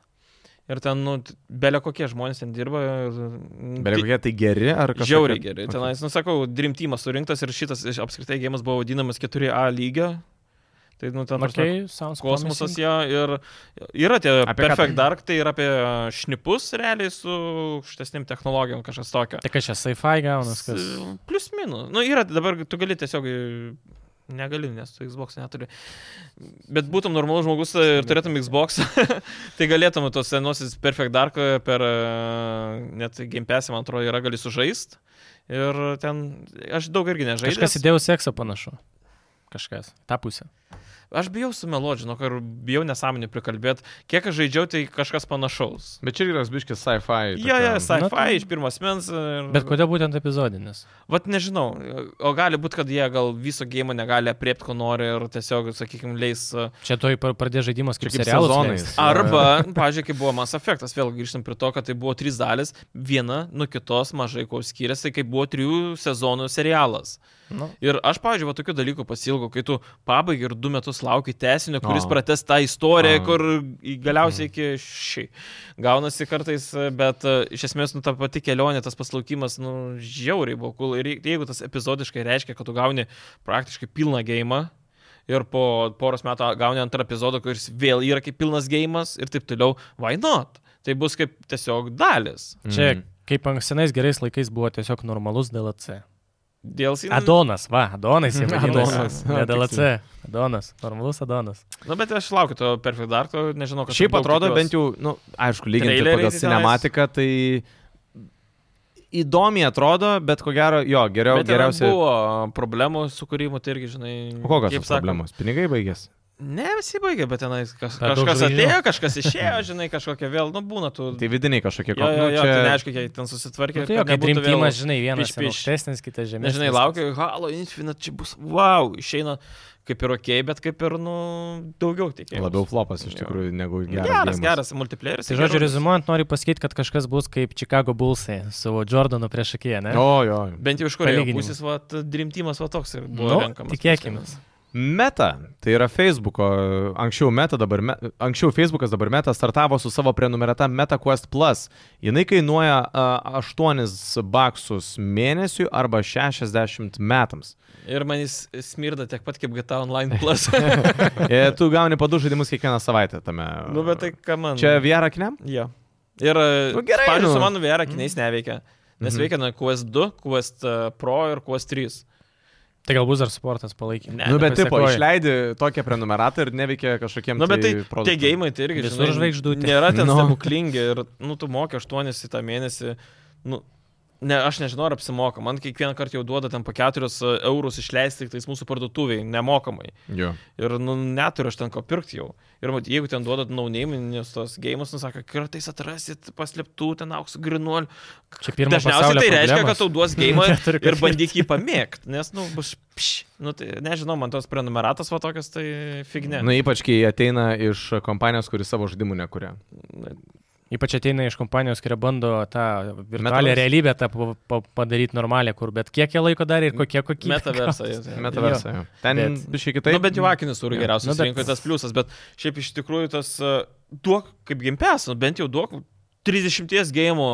A: Ir ten, nu, t- bele kokie žmonės ten dirba. ir-
C: Bet
A: Ti-
C: kokie tai geri ar kažkas?
A: Žiauriai gerai. Tenais, nu, sakau, drimtymas surinktas ir šitas iš- apskritai gėjimas buvo vadinamas 4A lygio. Tai, nu, ten ta prasme,
D: Okay, sounds
A: kosmosas
D: promising.
A: jo ir yra tie
C: Apie
A: apie
C: ką
A: Perfect
C: tai?
A: Dark, tai yra apie šnipus realiai su aukštesnėm technologijom kažkas tokio.
D: Tai kas čia, sci-fi gaunas, kas.
A: S- Plius minus. Nu, yra dabar, tu gali tiesiog... e, Negali, nes tu Xbox neturi. Bet būtum normalus žmogus e, ir turėtum Xbox, [laughs] tai galėtum tos senosios Perfect Dark e, per e, net gimpesį, man atrodo, yra gali sužaist. Ir ten aš daug irgi
D: Kažkas
A: nežaidžiu.
D: įdėjau seksą panašu. Kažkas. Ta pusė.
A: Aš bijau sumelodžino, ir bijau nesąmonį prikalbėti. Kiek aš žaidžiau, tai kažkas panašaus.
C: Bet čia yra biškis sci-fi.
A: Jo, jo,
D: Na, tai-
A: sci-fi iš pirmos mens.
D: Bet kodėl būtent epizodinis?
A: Vat nežinau, o gali būti, kad jie gal viso gėjimo negali apriepti, ko nori ir tiesiog, sakykime, leis. uh,
D: Čia toj pra- pradės žaidimas kaip,
C: Čia kaip
D: kaip serialas.
C: sezonais.
D: leist.
A: Arba, pažiūrėk, kaip buvo Mass Effectas, vėl grįžtam prie to, kad tai buvo trys dalis, viena nuo kitos mažai kuo skiriasi, kaip buvo trijų sezonų serialas.
D: Nu,
A: Ir aš, pavyzdžiui, va, tokių dalykų pasilgau, kai tu pabaigai ir du metus metus lauki tesinio, kuris
C: O.
A: prates tą istoriją,
C: O. Mhm.
A: kur į- galiausiai iki šiai. Gaunasi kartais, bet e, iš esmės, nu, ta pati kelionė, tas paslaukimas, nu, žiauriai buvo cool. Ir jei- jeigu tas epizodiškai reiškia, kad tu gauni praktiškai pilną gėjimą, ir po poros metų gauni antrą epizodą, kuris vėl yra kaip pilnas gėjimas ir taip toliau, why not? Tai bus kaip tiesiog dalis.
D: Čia
C: Mm.
D: kaip ank- senais gerais laikais buvo tiesiog normalus DLC.
A: Dėl sinų.
D: Adonas, va, Adonas
A: [laughs]
D: jie
C: Adonas,
D: vadinasi.
C: jo,
D: Ne DLC, Adonas, normalus Adonas.
A: Na, nu, bet aš laukiu to Perfect Dark, nežinau, kas
C: Šiaip atrodo bent jau, na, nu, aišku, lyginti
A: Traileriai
C: pagal
A: tai tenais-
C: cinematiką, tai įdomiai atrodo, bet ko gero, jo, geriau,
A: Bet geriausiai.
C: geriausia.
A: Buvo problemų su kūrimu, tai irgi, žinai.
C: O Kokios
A: kaip
C: tos
A: sako,
C: problemos? Pinigai baigės.
A: Ne, visi baigė, bet tenai kas,
D: Per daug
A: kažkas
D: žvaigždžių.
A: atėjo, kažkas išėjo, žinai, kažkokia vėl, nu, būna tų.
C: Tai vidiniai kažkokie
A: jo, jo,
C: nu,
A: jo,
C: čia-
A: tai neaišku, kiek ten susitvarkė.
D: Nu, tai jo,
A: kad
D: kad
A: nebūtų vėl-
D: rimtimas, žinai,
A: piš,
D: vienas
A: piš.
D: aukštesnis, kitas žemesnis.
A: Nežinai, laukiu, Halo Infinite čia bus, wow, išeina kaip ir ok, bet kaip ir, nu, daugiau tikėjau.
C: Labiau flopas iš
A: Jo. Nu,
C: tikrųjų negu geras.
A: Geras,
C: gėjimas.
A: geras, multiplayeris.
D: Tai žodžiu,
A: geras.
D: rezumuojant, noriu pasakyti, kad kažkas bus kaip Chicago Bullsai su Jordanu prieš akiją, ne?
C: O, jo.
A: Bent jau iš kurio
D: Palyginimui.
A: pusės, va, drimtimas, va toks ir buvo.
D: nu,
A: renkamas.
D: tikėkime.
C: Meta, tai yra Facebook'o, anksčiau Meta dabar, me, anksčiau Facebook'as dabar Meta startavo su savo prenumerata MetaQuest Plus. Jis kainuoja a, 8 baksus mėnesiui arba
A: [laughs]
C: 60 metams.
A: Ir man jis smirda tiek pat kaip GTA
C: [laughs]
A: Online Plus. [laughs]
C: E, tu gauni po du žaidimus kiekvieną savaitę tame.
A: nu, bet tai ką man.
C: Čia VR akiniam?
A: Ja. Ir, e,
C: Nu, gerai,
A: pavyzdžiui, su
C: nu.
A: mano VR akiniais neveikia. Nes
C: Mhm.
A: veikia na QS2, QS e, Pro ir QS3.
D: Tai gal bus dar sportas palaikė.
A: Ne,
C: Nu, bet tipo,
D: nepasiekoj.
C: išleidi tokią prenumeratą ir neveikia kažkokiem...
A: Na, bet tai tie
C: produktam.
A: gėjimai tai irgi
D: Visur žvaigždutė.
A: Nėra ten
C: [laughs] Nu.
A: no. stebuklingi ir, nu, tu moki 8 į tą mėnesį. Nu, ne, aš nežinau, ar apsimoka. Man kiekvieną kartą jau duoda ten po 4 eurus išleisti tik tais mūsų parduotuviai, nemokamai.
C: Jo.
A: Ir, nu, neturiu aš ten ko pirkti jau. Ir mat, jeigu ten duodat naunėminės tos gėjimus, nu, sako, kartais atrasit paslėptų ten aukso grinuolių.
D: Čia pirmas
A: Dažniausiai tai reiškia, kad tau duos
D: [laughs]
A: gėjimą
C: [laughs]
D: Neturiu ką
A: ir bandyk jį pamėgti, nes, nu, bus, pš, nu, tai nežinau, man tos prenumeratos va tokios, tai figne.
C: Na, Nu, ypač kai ateina iš kompanijos, kuri savo žaidimų nekuria.
D: Ypač ateina iš kompanijos, kurie bando tą virtualią
C: Metaverse.
D: realybę tą pa, pa, padaryti normalią, kur bet kiek jie laiko darė ir kokie kokie.
A: Metaversai.
C: Metaversą. jo. Ten
D: Bet-
C: biškai
A: Tai
C: kitaip.
A: nu, bent jau akinis turi
C: Jo.
A: geriausias
D: Nu, bet-
A: bet... rinkoje tas pliusas, bet šiaip iš tikrųjų tas e, duok kaip gimpes, nu, bent jau duok 30 gėjimų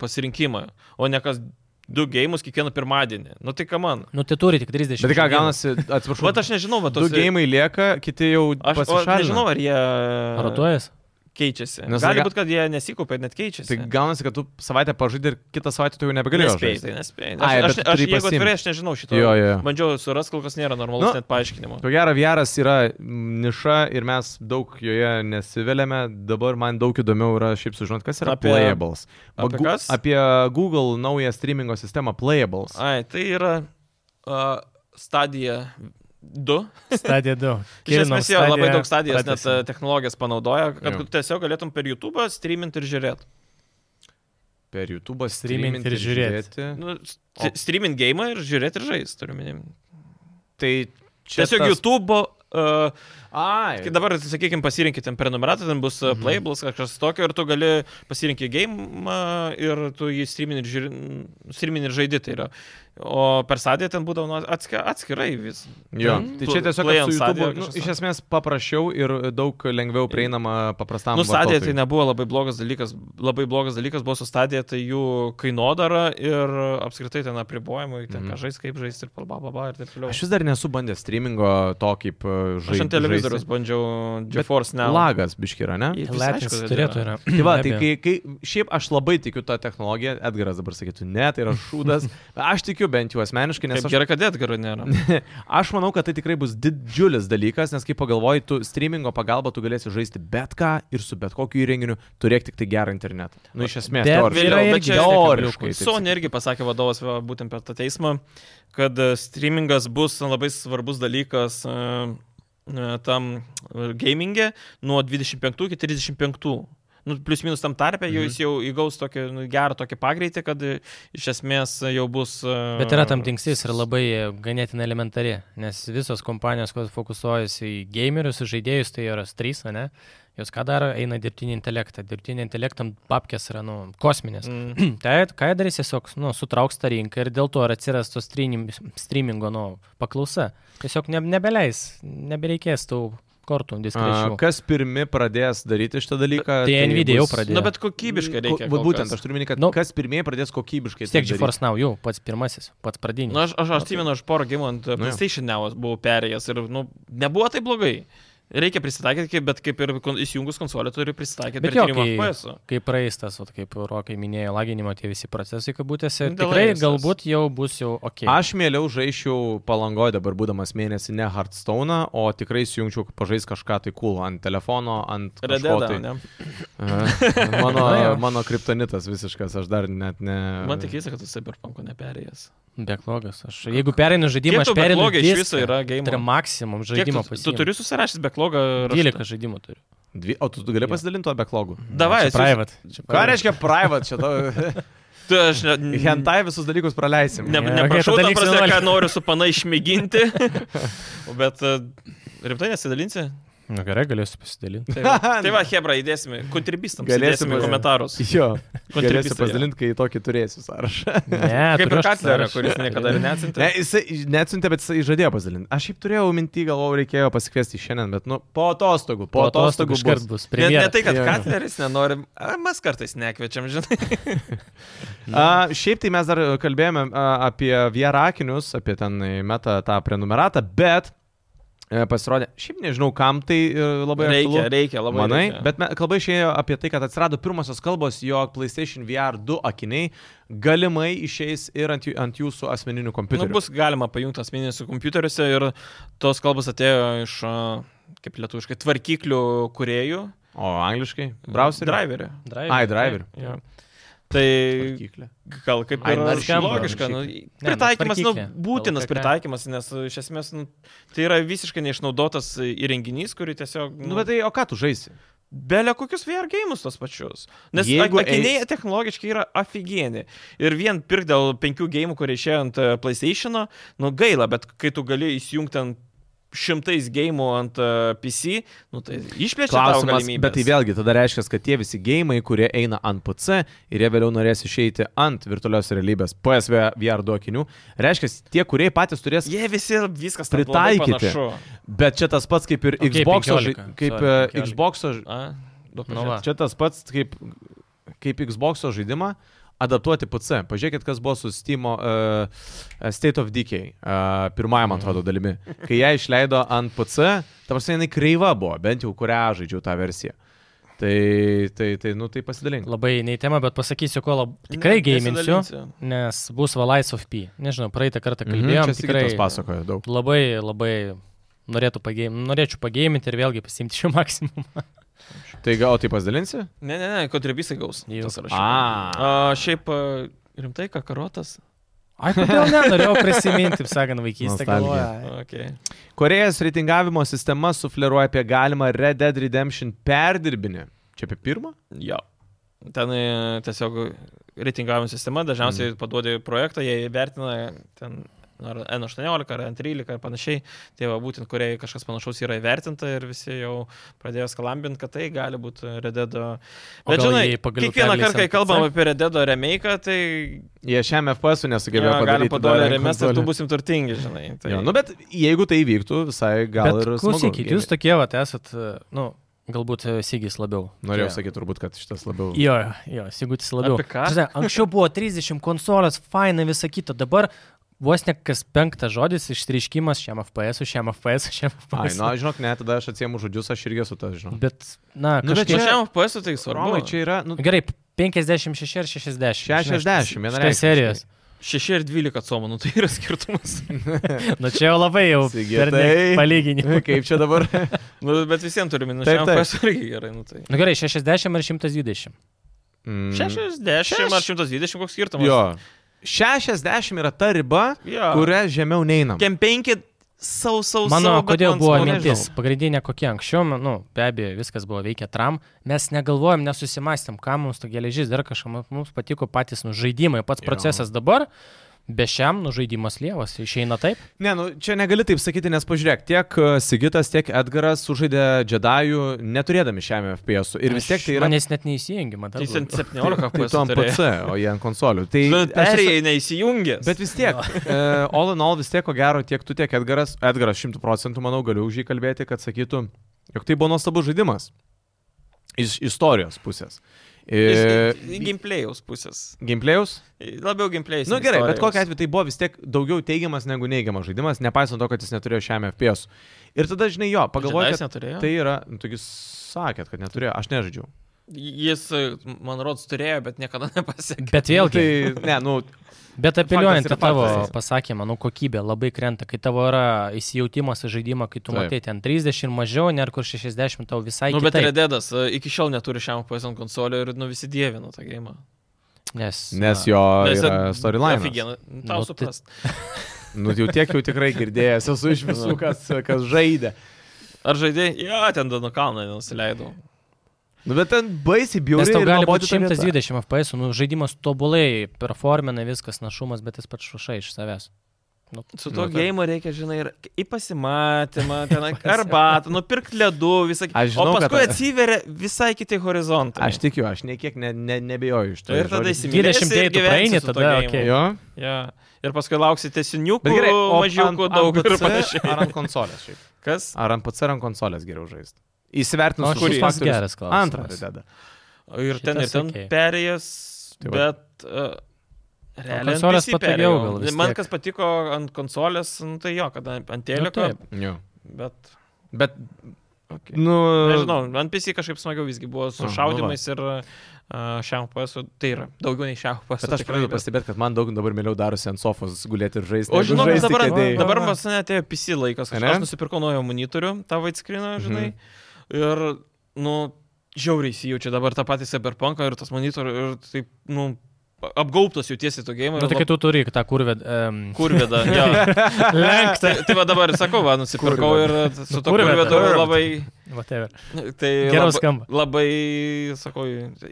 A: pasirinkimą, o ne kas 2 gėjimus kiekvieną pirmadienį. Nu tai ką man?
D: Nu, tai turi tik
C: Bet
D: 30.
C: tai ką
D: žaidimų.
C: gaunasi, atsiprašau.
A: Vat aš nežinau, va
C: Du
A: tos
C: gėjimai lieka, kiti jau
A: Aš o,
C: pasišalina.
A: nežinau, ar jie
D: Rotuojas?
A: keičiasi.
C: Nes
A: Nes Gali
C: ga-
A: būti, kad jie nesikaupia, net keičiasi.
C: Tai gaunasi, kad tu savaitę pažaidai ir kitą savaitę tu jau nebegali
A: Nespėjai, tai
C: žaisti.
A: nespėjai.
C: Ai,
A: Aš,
C: bet
A: aš,
C: tu
A: aš
C: turi
A: jeigu
C: pasiimt.
A: atvirai, aš nežinau šito.
C: Jo, jo, jo.
A: Bandžiau surasti, kol kas nėra normalaus
C: Nu.
A: net paaiškinimo.
C: Ko gero, Vieras yra mm, niša ir mes daug joje nesiveliame. Dabar man daug įdomiau yra šiaip sužinoti, kas yra
A: Apie-
C: apie, Playables. Va,
A: apie kas?
C: apie Google naują streamingo sistemą Playables.
A: Ai, tai yra uh, stadija 2.
D: Stadija 2.
A: Iš esmės jie labai daug stadijos net
D: pratęsė.
A: e, technologijas panaudoja, kad
C: Jo.
A: tu tiesiog galėtum per YouTube streaminti ir žiūrėti.
C: Per YouTube
D: Streamint
C: streaminti
D: ir
C: ir
D: žiūrėt.
C: žiūrėti.
A: Nu,
C: O-
A: streaminti gėjimą ir žiūrėti ir žaisti, turiu minėti.
C: Tai čia
A: Tiesiog
C: tas...
A: YouTube, uh,
C: Ai,
A: kai dabar, sakykime, pasirinkit ten prenumeratą, ten bus mhm. playables, kažkas tokio, ir tu gali pasirinkti gėjimą ir tu jį streaminti ir, žiūri... streamin ir žaidi. Tai yra. o per stadiją ten būdavo nu, atski... atskirai vis.
C: Jo,
A: Ten
C: tai
A: pl-
C: čia tiesiog
A: play
C: kad
A: on
C: su
A: Stadia
C: YouTube,
A: ar
C: nu,
A: kažkas
C: iš esmės paprasčiau ir daug lengviau prieinama paprastam
A: Nu, stadija tai
C: vartotojui.
A: nebuvo labai blogas dalykas. Labai blogas dalykas buvo su stadija, tai jų kainodara ir apskritai ten apribojimai, ten
C: Mhm.
A: mm. ką žais, kaip žais ir palba, baba ir taip toliau.
C: Aš vis dar nesu bandęs streamingo to kaip žaidimas.
A: Aš ant televizorius bandžiau GeForce Now.
C: Lagas biškira, ne?
A: Jis visai
D: Latvijas
A: aišku, kad
D: turėtų yra.
C: Tai va, tai
D: Be abejo.
C: kai, kai šiaip aš labai tikiu tą technologiją, Edgaras dabar sakytų, ne, tai yra
A: [laughs]
C: šūdas, bet aš tikiu bent jau asmeniškai, nes
A: Kaip
C: aš,
A: gerai, kad Edgaro nėra.
C: aš manau, kad tai tikrai bus didžiulis dalykas, nes kaip pagalvoji, tu streamingo pagalba tu galėsi žaisti bet ką ir su bet kokiu įrenginiu, turėk tik tai gerą internetą. Nu, iš esmės,
D: Bet
C: teoriškai.
D: yra
A: Vėliau, bet
D: irgi
A: čia
C: teoriškai. tai taip
A: Sony irgi pasakė vadovas va, būtent per tą teismą, kad e, streamingas bus labai svarbus dalykas e, e, tam e, gaminge nuo 25 iki 35. nu, plius minus tam tarpe, jau
D: Mhm.
A: jis jau įgaus tokį nu, gerą tokį pagreitį, kad e, iš esmės e, jau bus... e,
D: Bet yra tam tinksis ir labai e, ganėtinai elementari, nes visos kompanijos, kurios fokusuojasi į gamerius, į žaidėjus, tai yra trys, ne? Jos ką daro, eina dirbtinį intelektą. Dirbtinį intelektą papkės yra, nu, kosminės.
A: Mm.
D: Tai ką jie darys, tiesiog, nu, sutrauks tą rinką ir dėl to ir atsiras to streaming, streamingo, nu, paklausa. Tiesiog ne, nebeleis, nebereikės tų kortų
C: A,
D: diskrečių.
C: kas pirmi pradės daryti šitą dalyką?
D: Tai Nvidia jau pradėjo.
A: Na, Nu, bet kokybiškai reikia.
C: Ko,
A: kol
C: būtent,
A: kas.
C: aš turiu minėti, kad
D: Nu,
C: nu, kas pirmieji pradės kokybiškai.
D: Vis tiek
C: tai daryt.
D: GeForce Now jau pats pirmasis, pats pradinis.
A: Na, Nu, aš, aš, aš
D: tai-
A: atsimenu, aš porą gimų ant uh,
D: Nu,
C: jo.
A: PlayStation Now buvau perėjęs ir, nu, nebuvo tai blogai. Reikia prisitaikyti, kaip- bet kaip ir kon- įsijungus konsolę turi prisitaikyti
D: Bet
A: prie
D: jo,
A: tyrimo FPS.
D: kai, kai praeis tas, vat, kaip Rokai minėjo, laginimo tie visi procesai, kaip būtėsi,
A: Nu,
D: tikrai
A: delays tas.
D: galbūt jau bus jau ok.
C: Aš mieliau žaisčiau palangoje dabar būdamas mėnesį ne Hearthstone, o tikrai įjungčiau pažais kažką tai cool ant telefono, ant kažko
A: Rededa,
C: tai.
A: ne?
C: E,
D: [laughs]
C: Mano,
D: Na jo.
C: mano kriptonitas visiškas, aš dar net ne.
A: Man tik keista, kad tu Cyberpunk neperėjęs.
D: Beklogas. Aš, jeigu perinu žaidimą,
A: Kiek
D: aš
A: tau
D: perinu
A: backlogo iš viso yra
D: Tai yra
A: game.
D: maksimum
A: Kiek
D: žaidimo
A: tu, tu turi susirašęs backlogą? raštu?
D: 12 žaidimų turiu.
C: Dvi... O tu, tu gali
D: Jo.
C: pasidalinti tuo backlogu?
A: Davai,
D: Čia
A: atsiųsk- [laughs]
D: private. Čia
C: Ką
D: private.
C: reiškia private čia? To...
A: tu, aš ne,
D: [laughs]
C: Hentai visus dalykus praleisim.
A: ne,
D: Jo, okei,
A: neprašau,
D: tada
A: okay,
D: liks
A: prasme, ką
D: 11.
A: noriu su pana
D: [laughs]
A: išmėginti, bet e, rimtai nesidalinsi?
D: Nu, gerai, galėsiu
A: [laughs]
D: pasidalinti.
A: Tai
D: [laughs]
A: va, tai va Hebra, įdėsime, kontribistams,
C: Galėsim
A: įdėsime
C: pasi-
A: komentarus.
C: Jo,
A: Kontribistai,
C: galėsiu pasidalinti, kai tokį turėsiu sąrašą.
D: Ne,
A: Kaip
D: turiu
A: ir
D: aš
A: Katlerą,
D: sąrašą.
A: kuris niekada ir neatsintė.
C: Ne, jisai neatsiuntė, bet jisai žadėjo pasidalinti. Aš šiaip turėjau mintį, galvojau, reikėjo pasikviesti šiandien, bet, nu, po atostogų, po,
D: Po
C: atostogų,
D: atostogų iškart
C: atostogų bus.
D: bus.
A: Ne, ne tai, kad
C: Jo, jo.
A: Katleris nenori, a, mes kartais nekviečiam, žinai.
C: A, šiaip tai mes dar kalbėjome a, apie VR akinius, apie ten e, meta tą prenumeratą, bet e, pasirodė, šiaip nežinau, kam tai e, labai
A: Reikia,
C: aktualu.
A: reikia labai.
C: Manai,
A: reikia.
C: bet me- kalba išėjo apie tai, kad atsirado pirmosios kalbos, jog PlayStation VR 2 akiniai galimai išeis ir ant, jų- ant jūsų asmeninių
A: Nu,
C: kompiuterių.
A: bus galima pajungti asmeniniuose kompiuteriuose ir tos kalbos atėjo iš, a, kaip lietuviškai, tvarkyklių kuriejų.
C: O angliškai? Browserį?
A: Driverį.
C: Ai, driverį.
A: Jo. Tai
C: Tvarkyklė.
A: gal kaip
D: Ai,
A: ir
D: man skamba.
A: logiška. Nu,
D: nu,
A: pritaikymas, nu,
D: tvarkyklė.
A: būtinas
D: LKK.
A: pritaikymas, nes uh, iš esmės nu, tai yra visiškai neišnaudotas įrenginys, kurį tiesiog...
C: Nu, bet tai o ką tu žaisi?
A: Belia kokius VR gėjimus tos pačius. Nes
C: Jeigu
A: Jeigu akiniai eis... technologiškai yra aфиgieni. Ir vien pirk dėl penkių gėjimų, kurie išėjo ant e, PlayStation, nu gaila, bet kai tu gali įsijungti ant šimtais gėjimų ant e, PC, nu tai išplečia tavo
C: Klausimas,
A: galimybę.
C: bet tai vėlgi tada reiškia, kad tie visi gėjimai, kurie eina ant PC ir jie vėliau norės išeiti ant virtualios realybės PSV VR duokinių, reiškia, tie, kurie patys turės,
A: Jie visi viskas tapo labai
C: Pritaikyti.
A: panašu.
C: bet čia tas pats kaip ir
D: Ok,
C: Xbox,
D: 15,
C: kaip
D: sorry,
C: e,
D: 15.
C: Xbox,
A: A, duok
D: Nu
A: pažiūrėt.
D: va.
C: čia tas pats kaip, kaip Xbox žaidimą adaptuoti PC. Pažiūrėkit, kas buvo su Steam uh, State of Decay uh, pirmąją, man atrodo, dalimi. Kai ją išleido ant PC, ta prasme, jinai kreiva buvo, bent jau kurią aš žaidžiau tą versiją. Tai, tai, tai, nu, tai pasidalink.
D: Labai nei tema, bet pasakysiu, ko lab... tikrai
A: Ne,
D: gėminsiu,
A: nesidalinsiu.
D: nes bus Valais of P. Nežinau, praeitą kartą
C: Mhm,
D: kalbėjom,
C: čia
D: tikrai
C: Sigitas pasakojo daug.
D: labai, labai norėtų pagėm... norėčiau pagėminti ir vėlgi pasimti šio maksimumą.
C: Tai gal o tai pasidalinsi?
A: Ne, ne, ne, kontribisai gaus.
D: Jau.
A: Tas rašau.
C: A.
A: A, šiaip a, rimtai, ką karotas?
D: [laughs] Ai, kodėl ne, norėjau prisiminti, taip sakant, vaikystę.
C: Nostalgija.
D: galvoju, ai.
A: Okay.
C: Korejos reitingavimo sistema sufleruoja apie galimą Red Dead Redemption perdirbinį. Čia apie pirmą?
A: Jo. Ten e, tiesiog reitingavimo sistema dažniausiai
C: Mhm.
A: mm. paduodi projektą, jie vertina ten ar N18, ar N13 ir panašiai. Tai va būtent, kurie kažkas panašaus yra įvertinta ir visi jau pradėjo skalambinti, kad tai gali būti Rededo.
D: O
A: Bet
D: gal
A: žinai,
D: jie pagaliau
A: kiekvieną
D: perleis
A: kartą, kai
D: ant
A: kalbam
D: PC?
A: apie Rededo remake, tai
C: Jie šiam FPS nesugebėjo
A: jo,
C: padaryti.
A: galim padaryti
C: dar ant
A: remake ir
C: konsolės.
A: tu busim turtingi, žinai.
C: Tai...
A: Tai,
C: Jo, nu, bet jeigu tai vyktų, visai gal
D: Bet
C: ir... smagu.
D: Klausykit, jūs tokie, va, esat, e, nu, galbūt e, Sigis labiau.
C: Norėjau
D: Čia-
C: sakyti turbūt, kad šitas labiau...
D: Jo, jo, Sigutis labiau.
A: Apie ką?
D: Ta prasme, anksčiau buvo 30 konsolės, faina visa kita, dabar vos ne kas penktas žodis ištriškimas šiam FPS, ui, šiam FPS, ui, šiam
C: Ai,
D: FPS.
C: na, žinok, ne, tada aš atsiemu žodžius, aš irgi esu tas, žinau.
D: Bet, na,
C: Nu, bet
A: Čia... Pačiam
D: kažkaip.
A: FPS tai svarbu.
C: [laughs] Romai, čia yra, nu,
D: Gerai, 56 ar 60.
C: 60,
D: Tai
C: vienareikšmiškai.
D: serijos.
A: 6 ir 12 somų, nu tai yra skirtumas.
C: [laughs]
D: Na Nu, čia jau labai jau
C: Sigitai.
D: palyginimas.
C: [laughs] kaip čia [laughs] dabar.
A: nu, bet visiems turime, nu,
C: Taip,
A: šiam
C: taip.
A: FPS irgi gerai, nu tai.
D: Na gerai, 60 ar 120.
C: Mm,
A: 60 ar 120, koks skirtumas.
C: Jo. 60 yra ta riba,
A: jo.
C: kurią žemiau neinam.
A: Kem 5 sausaus.
D: Mano, kodėl buvo mintis, pagrindinė kokia anksčiau, nu, be abejo, viskas buvo veikia tram, mes negalvojom, nesusimastėm, kam mums to geležys, dar kažkam mums patiko patys nu, žaidimai, pats
C: Jo.
D: procesas dabar, be šiam nu, žaidimas lievas, išeina taip.
C: Ne, nu, čia negali taip sakyti, nes pažiūrėk, tiek e, Sigitas, tiek Edgaras sužaidė Jedajų neturėdami šiam FPS. -u. Ir vis tiek tai yra...
D: Manęs net neįsijungima, dar.
A: Tai
D: blogiau.
A: ten 17
C: Tai tu ant
A: pasidarė.
C: PC, o jie ant konsolių. Tai aš esu-
A: Perėjai neįsijungęs.
C: Bet vis tiek, [laughs] uh, all in all vis tiek, ko gero, tiek tu, tiek Edgaras, Edgaras šimtų procentų, manau, galiu už jį kalbėti, kad sakytų, jog tai buvo nuostabus žaidimas. Iš istorijos pusės. E,
A: Iš Gameplay'aus pusės.
C: Gameplay'us?
A: Labiau gameplay'aus.
C: Na nu, gerai, bet kokia atveju tai buvo vis tiek daugiau teigiamas negu neigiamas žaidimas, nepaisant to, kad jis neturėjo šiam FPS. Ir tada, žinai, jo, pagalvojai,
A: Jis
C: kad
A: neturėjo.
C: tai yra, nu, taigi sakėt, kad neturėjo, aš nežaidžiau. Nu,
A: Jis, e, man rodos, turėjo, bet niekada nepasiekė.
D: Bet vėlgi,
C: Nu, tai, ne, nu,
D: Bet apeliuojant į
C: Faktas yra
D: tavo
C: faktas.
D: pasakymą, nu kokybė labai krenta, kai tavo yra įsijautimas į žaidimą, kai tu
C: Taip.
D: matai ten 30 ir mažiau, ne ar kur 60 tau visai
A: Nu, bet
D: kitaip.
A: Rededas iki šiol neturi šiam PS konsolio ir nu visi dievino tą gėjimą.
D: Nes,
C: nes
D: na,
C: jo yra storyline.
A: Aфиген. Tau
D: Nu,
A: nu,
D: tai-
A: suprast.
C: Nu, jau tiek jau tikrai girdėjęs esu iš visų, kas, kas žaidė.
A: Ar žaidėjai? Jo, ten Dano kalną nenusileidau.
C: Nu, bet ten baisiai
D: Nes
C: bjauri.
D: tau
C: ir
D: gali
C: nuobodi
D: būti
C: ta vieta.
D: 120 FPS, nu žaidimas tobulai, performina viskas, našumas, bet jis pats šušai iš savęs. Nu,
A: Su to
C: Nu,
A: nu,
C: tai-
A: gėjimu reikia, žinai, ir į pasimatymą,
C: [laughs]
A: ten arbatą, nupirkti ledų, visą kitą.
C: Aš žinau,
A: O
C: kad-
A: paskui kad... atsiveria visai kiti horizontai.
C: Aš tikiu, aš niekiek ne, ne, nebejoju iš to.
A: Ir tada
C: Žodis-
A: įsimylėsi.
D: 20
A: ir
D: tu
A: gyvensi
D: praeini
A: su tuo
D: tada,
A: gėjimu.
D: okei.
C: Jo.
A: Ja. Ir paskui lauksite siniukų,
C: Bet gerai, o
A: mažiukų,
C: ant-
A: daug
C: ant
A: ir
C: PC
A: panašiai.
C: Ar ant konsolės šiaip.
A: Kas?
C: [laughs] Ar ant PC, ar ant konsolės geriau žaisti. Įsivertinus,
D: nu,
C: visus
D: šis pats
C: faktorius.
D: geras klausimas.
C: Antrą rideda.
A: O Ir ten, ir
D: Šitas
A: ten
D: okei.
A: perėjęs,
C: Tai va.
A: bet... Uh, Realiai, ant
D: konsolės
A: PC
D: patogiau
A: perėjau.
D: gal vis
A: Man
D: tiek.
A: kas patiko ant konsolės, nu, tai jo, kad ant ant
D: Nu,
A: teliko,
D: taip.
C: Jo.
A: bet...
C: Bet,
A: Okay.
C: nu.
A: Nežinau, ant PC kažkaip smagiau visgi buvo su
C: nu va.
A: šaudimais ir uh, šiam PS, tai yra daugiau nei šiam PS.
C: Bet aš pradedu pastebėti, kad man daug dabar mieliau darosi ant sofos gulėti ir žaisti.
A: O
C: negu
A: žinau,
C: žaisti
A: dabar,
C: kėdėj.
A: dabar pas mane atėjo PC laikas, kad
C: Ane? Mhm.
A: aš nusipirkau naują monitorių, tavo atskriną, žinai. Ir, nu, žiauriai įsijaučia dabar tą patį Cyberpunką ir tas monitorių, ir taip, nu, apgaubtas jautiesi to game.
D: Nu, tai kai tu turi tą kurvę. Um,
C: [laughs]
A: Kurvėda,
D: [laughs]
A: jo.
D: Lenktą.
A: Tai, tai va dabar ir sakau, va, nusipirkau ir su to
D: Kurvėda.
A: kurvėdu labai...
D: Whatever.
A: Tai
D: Geriau
A: labai,
D: skamba.
A: labai, sakau,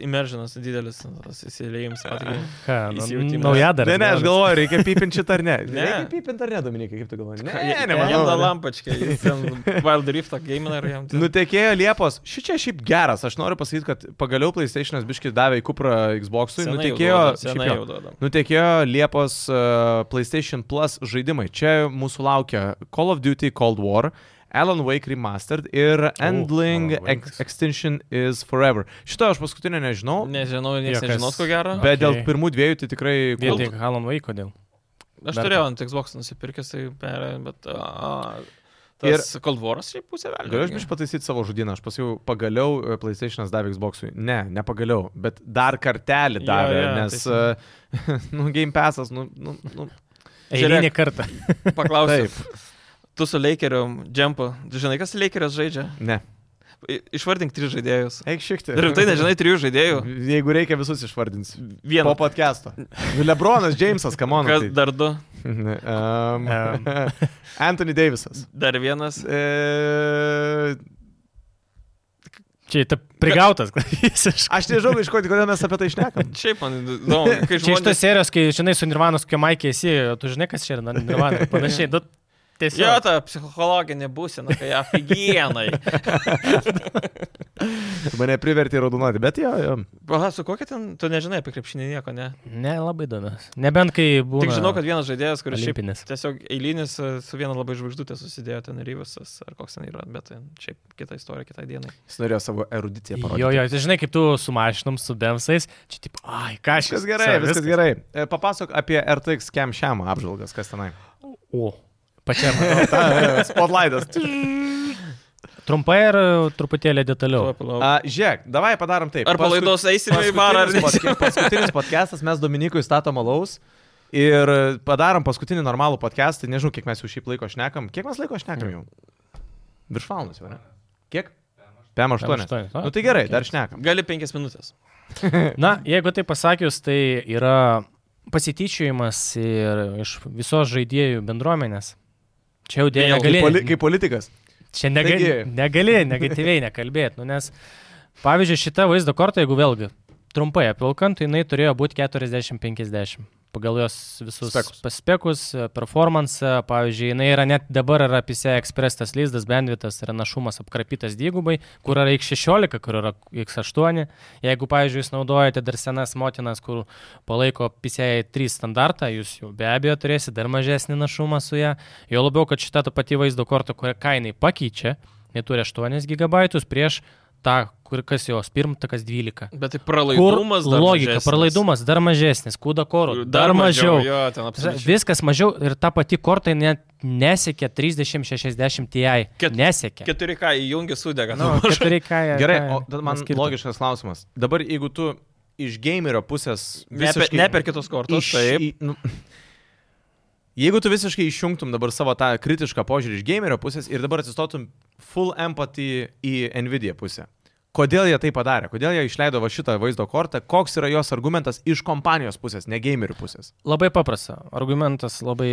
A: immersionas didelis, tas įsiliejimas. patiko.
D: Ką, nu,
A: Įsijautimas.
D: nauja dar.
C: Ne, ne, aš galvoju, reikia pipinti šitą ar ne.
A: Ne.
C: Reikia pipinti ar ne, Dominikai, kaip tu galvoji? Ne,
A: Jie-
C: ne,
A: Jam da
C: manau.
A: lampačkė, jis ten Wild Rift gamina ir jam... ten-
C: Nu, Nutekėjo Liepos. Ši čia šiaip geras. Aš noriu pasakyti, kad pagaliau PlayStation'as biškis davė į kuprą Xbox'ui.
A: Senai jau
C: Nutekėjo,
A: duoda,
C: šiaip
A: senai
C: jo.
A: jau duoda.
C: nutekėjo Liepos uh, PlayStation Plus žaidimai. Čia mūsų laukia Call of Duty Cold War. Alan Wake Remastered
A: Oh,
C: ir Endling
D: Alan Wake's.
C: Ex Extinction is Forever. Šito aš paskutinio nežinau,
A: Nežinau,
D: Jo,
A: niekas
D: kas-
A: nežinos, ko gero.
C: bet okay. dėl
D: okei.
C: pirmų dviejų tai tikrai...
D: Vien
C: Cold-
D: tik Halon Vaiko dėl.
A: Aš
D: Dar
A: turėjau ant Xbox nusipirkęs, tai per, bet... A,
C: Ir-
A: tas Cold Waras šiaip pusė
C: Galiu aš biškai pataisyti savo žodyną, aš pasiau pagaliau e, PlayStation'as davė Xbox'ui. Ne, ne pagaliau, bet dar kartelį
A: Jo,
C: davė,
A: jo, tai
C: nes, uh, [laughs] nu, Game Pass'as, nu, nu, nu.
D: Eilinį kartą.
A: Paklausiu. Tu su Lakeriu, Džempu, žinai, kas Lakeris žaidžia?
C: Ne.
A: I- Išvardink tris žaidėjus.
C: Eik šiek tiek.
A: Rimtai nežinai trijų žaidėjų.
C: Jeigu reikia, visus išvardins.
A: Vieną.
C: Po podcast'o. Lebronas Jamesas, tai. kamon.
A: Kas
C: [laughs]
A: dar du,
C: Um,
D: Em.
C: [laughs] Anthony Davisas.
A: dar vienas.
C: E,
D: Čia ta prigautas visiškai.
C: aš nežinau, iš ko, kodėl mes apie tai išnekam.
A: Šiaip man įdomu, kai
D: [laughs] Čia iš tos
A: žmonės...
D: serijos, kai žinai su Nirvanos, kokia Maikė esi, tu žinai, kas čia yra na, Nirvana ir panašiai. Nu,
A: Jo,
D: tiesiog.
A: ta psichologinė būsena, kai aфиgenai.
D: [laughs]
C: Tu Mane privertė raudonuoti, bet jo, jo.
A: Aha, su kokia ten, tu nežinai apie krepšinį nieko, ne?
D: Ne, labai įdomios. Nebent kai buvo.
A: Tik žinau, kad vienas žaidėjas, kuris šiaip
D: Olimpinis.
A: tiesiog eilinis e, su viena labai žvaigždutė susidėjo ten Ryvisas, ar koks ten yra, bet tai šiaip kita istorija, kitai dienai.
C: Jis norėjo savo erudiciją parodyti.
D: Jo, jo, tai žinai, kaip tu sumažinom su Bemsais, čia taip, ai, ką aš.
C: Viskas gerai, viskas, viskas gerai. E, Papasok apie RTX Cam šiam apžvalgas, kas tenai.
D: O, pačiam.
A: [laughs]
C: Ta, [laughs] Spotlightas.
D: Trumpai ir e, truputėlį detaliau.
A: Ar
C: A, Žiūrėk, davai padarom taip.
A: po laidos eisime į barą, ar ne?
C: ne? Paskutinis podcastas, mes Dominikui statom alaus ir padarom paskutinį normalų podcastą. Nežinau, kiek mes jau šiaip laiko šnekam. Kiek mes laiko šnekam jau? Virš valandos jau, ne? Kiek? PM8.
D: PM8, a,
C: Nu tai gerai,
D: okei.
C: dar šnekam.
A: Gali penkias minutės.
D: Na, jeigu tai pasakius, tai yra pasityčiojimas ir iš visos žaidėjų bendruomenės. Čia jau dėl
A: Vėl
C: Kaip,
D: negali.
C: poli, kaip politikas.
D: Čia negali,
C: Taigi-
D: negali negatyviai nekalbėti, nu, nes, pavyzdžiui, šita vaizdo korta, jeigu vėlgi trumpai apvilkant, tai jinai turėjo būti 40-50. Pagal jos visus
C: Spekus.
D: paspekus, performance, pavyzdžiui, jinai yra net dabar yra PCI Express tas lyzdas, bendvitas, yra našumas apkrapytas dvigubai, kur yra X16, kur yra X8. Jeigu, pavyzdžiui, jūs naudojate dar senas motinas, kur palaiko PCI 3 standartą, jūs jau be abejo turėsite dar mažesnį našumą su ją. Jo labiau, kad šita ta pati vaizdo korta, kurią kainai pakeičia, neturi 8 GB prieš tą, kur kas jos pirmtakas 12.
A: Bet tai
D: Kur
A: pralaidumas dar.
D: logika,
A: mažesnis.
D: pralaidumas dar mažesnis, kūda korų dar, dar mažiau. mažiau.
A: Jo, ten apsimečiau.
D: Viskas mažiau ir ta pati korta net nesiekia 3060 Ti.
A: Ket-
D: Nesiekia.
A: 4K įjungi sudega.
D: Nu,
A: Nu, aš...
D: 4K,
C: Gerai,
D: ką-
C: o tada man
D: skirtum?
C: logiškas klausimas. Dabar jeigu tu iš gamerio pusės... visiškai-
A: Ne per kitos kortos,
C: Iš-
A: taip.
C: į- nu, [laughs] Jeigu tu visiškai išjungtum dabar savo tą kritišką požiūrį iš gamerio pusės ir dabar atsistotum full empathy į Nvidia pusę. Kodėl jie tai padarė? Kodėl jie išleido va šitą vaizdo kortą? Koks yra jos argumentas iš kompanijos pusės, ne gamerių pusės?
D: Labai paprasta. Argumentas labai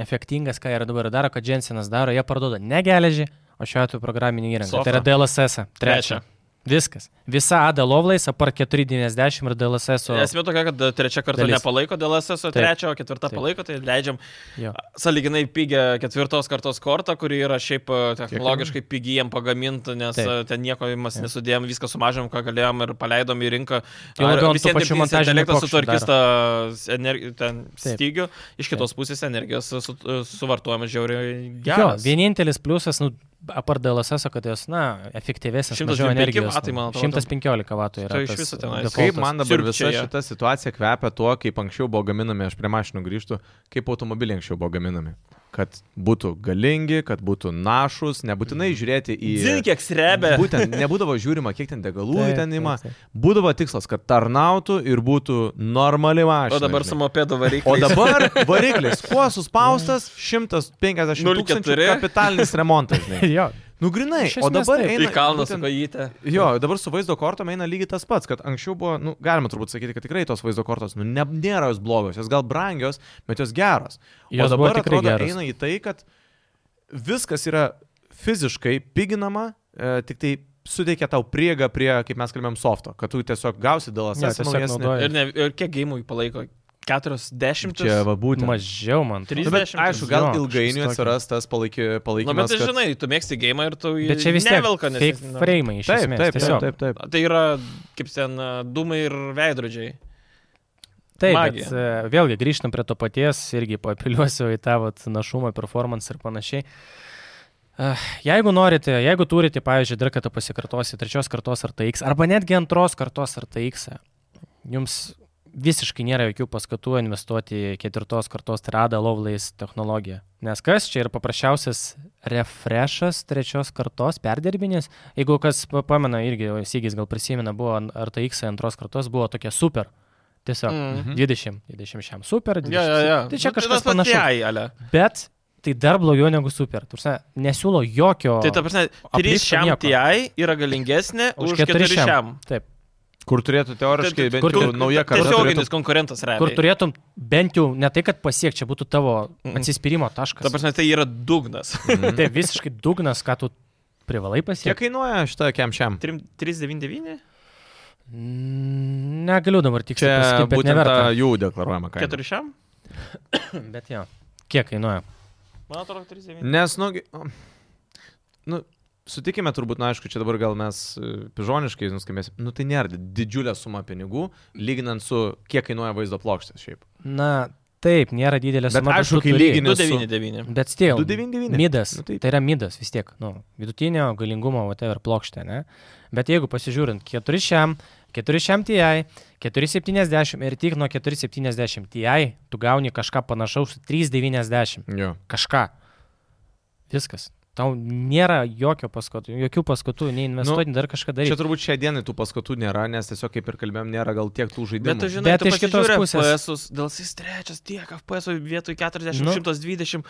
D: efektingas, ką jie dabar daro, kad Jensenas daro, jie parduoda ne geležį, o šiuo atveju programinį įrangą.
A: Softą.
D: Tai yra DLSS.
A: Trečią.
D: Trečia. Viskas. Visa AD Lovlais, apart 490 ir DLSS. o-
A: Esmė tokia, kad e, trečia karta
D: Dalis.
A: nepalaiko dėl SS, o
D: Taip.
A: trečia, o ketvirta
D: Taip.
A: palaiko, tai leidžiam
D: Jo.
A: saliginai pigę ketvirtos kartos kortą, kuri yra šiaip e, technologiškai pigiai jiem pagaminta, nes
D: Taip.
A: Taip. ten nieko mes
D: Taip.
A: nesudėjom, viską sumažėm, ką galėjom ir paleidom į rinką.
D: Jo labiau ant
A: Visiem
D: tų pačių
A: dirbtinis
D: montažinių
A: intelektas
D: plokščių
A: sutvarkys tą ener- ten
D: Taip.
A: stygių, iš kitos pusės energijos su, suvartojimas žiauriai
D: jo,
A: geras.
D: vienintelis pliusas, nu, apart DLSS, kad jos, na, efektyvesnės.
A: 125
D: mažiau energijos,
A: vatai, man atrodo.
D: 115 vatų yra.
A: Tai iš
D: tas
A: viso tenais.
D: defaultas.
C: Kaip man dabar visa
A: siurbčioje.
C: šita situacija kvepia tuo, kaip anksčiau buvo gaminami, aš prie mašinų grįžtų, kaip automobiliai anksčiau buvo gaminami. Kad būtų galingi, kad būtų našus, nebūtinai žiūrėti į...
A: Zin, kiek srebia.
C: Būtent nebūdavo žiūrima, kiek ten degalų
D: Taip,
C: ten ima.
D: taip, taip.
C: Būdavo tikslas, kad tarnautų ir būtų normali mašina.
A: O dabar
C: žinai.
A: su mopedo
C: O
A: varikliu.
C: dabar variklis, kuo suspaustas, 150 tūkstančių
A: 0,4.
C: kapitalinis remontas. žinai.
D: tai. Jo,
C: Nu grinai,
D: Iš
C: o
D: esmės
C: dabar
D: taip.
C: eina...
A: Į kalną su
C: būtent-
A: kojyte.
C: Jo, dabar su vaizdo kortom eina lygiai tas pats, kad anksčiau buvo, nu, galima turbūt sakyti, kad tikrai tos vaizdo kortos, nu, ne, nėra jos blogos, jos gal brangios, bet jos geros.
D: Jos
C: o
D: buvo
C: dabar
D: tikrai
C: atrodo
D: geros.
C: eina į tai, kad viskas yra fiziškai piginama, e, tik tai suteikia tau priega prie, kaip mes kalbėjom, softo, kad tu tiesiog gausi dėl
D: Jo,
C: asesino.
D: tiesiog naudoji.
A: Ir, ne, ir kiek gėjimų jį palaiko? 40.
C: Čia va būtent.
D: mažiau man. atrodo.
C: Nu, bet,
A: 30.
C: aišku, gal
D: Jo,
C: ilgainiui
D: kažkas tokio.
C: atsiras tas palaiky,
A: Na, bet
C: palaikymas.
A: tai
C: kad-
A: žinai, tu mėgsti gėjimą ir tu jį
D: Bet čia vis tiek.
A: nevelka, nes jis-
D: Fake
A: na,
D: frame iš
C: Taip,
D: esmės.
C: taip,
D: tiesiog.
C: taip, taip, taip.
A: Tai yra, kaip ten, a, dūmai ir veidrodžiai.
D: Taip,
A: Magija.
D: bet, e, vėlgi grįžtam prie to paties, irgi papiliuosiu į tą vat, našumą, performance ir panašiai. E, Jeigu norite, jeigu turite, pavyzdžiui, dar kartą pasikartosi, trečios kartos ar TX, arba netgi antros kartos ar TX, jums visiškai nėra jokių paskatų investuoti į ketvirtos kartos Trada Lovelace technologiją. Nes kas čia yra paprasčiausias refreshas trečios kartos perdirbinis, Jeigu kas pa- pamena, irgi Sygis gal prisimena, buvo an- RTX antros kartos, buvo tokia super. Tiesiog
A: Mhm.
D: mm. 20, 20 šiam super, 20.
A: Ja, ja, ja.
D: Tai čia
A: Nu,
D: kažkas
A: tas pats
D: panašaus.
A: AI, ale.
D: Bet tai dar blogiau negu super. Tursa, nesiūlo jokio.
A: Tai ta prasme, 3
D: aplipto
A: šiam
D: nieko.
A: TI yra galingesnė už 4
D: keturi šiam.
A: šiam.
D: Taip.
C: Kur turėtų teoriškai
A: Tai-
C: bent
D: kur-
C: jau nauja karta.
A: Tiesioginis
C: turėtų-
A: konkurentas realiai.
D: Kur turėtum bent jau ne tai, kad pasiekti, čia būtų tavo
A: Mm.
D: atsispyrimo taškas.
A: Ta prasme, tai yra dugnas.
D: Tai visiškai dugnas, ką tu privalai
C: Mhm. Kiek
D: pasiekti.
C: kainuoja šitą kemšiam?
A: Trim- 399?
D: Mm, Negaliu dabar tiksliai
C: Čia
D: pasakyti, bet
C: būtent ta
D: neverta.
C: jų deklaruojama kaina.
A: 4 šiam?
D: Bet jo. Kiek kainuoja?
A: Man atrodo, 399.
C: Nes, nu, gi- nu, sutikime turbūt, na, aišku, čia dabar gal mes e, pižoniškai nuskambėsim, nu, tai nėra didžiulė suma pinigų, lyginant su kiek kainuoja vaizdo plokštės šiaip.
D: Na, taip, nėra didelė
C: Bet
D: suma.
C: aišku,
D: tu
C: kai
D: turi.
C: lygini-
A: 299.
D: Bet still.
C: 299.
D: Midas.
C: Nu,
D: Nu,
C: taip.
D: tai... tai yra midas vis tiek. Nu, vidutinio galingumo, whatever, plokštė, ne? Bet jeigu pasižiūrint 4 šiam, 4 šiam TI, 470 ir tik nuo 470 TI, tu gauni kažką panašaus į 390.
C: Jo.
D: Kažką. Viskas. Tau nėra jokio paskatų, jokių paskatų, nei investuoti, nu, dar kažką
C: Čia
D: daryti.
C: turbūt šią dieną tų paskatų nėra, nes tiesiog, kaip ir kalbėjom, nėra gal tiek tų žaidimų.
A: Bet tu žinai,
D: Bet
A: tu
D: iš kitos
A: pasižiūri
D: pusės-
A: FPS-us, dėl jis trečias tiek FPS vietoj 40,
D: Nu.
A: nu. 120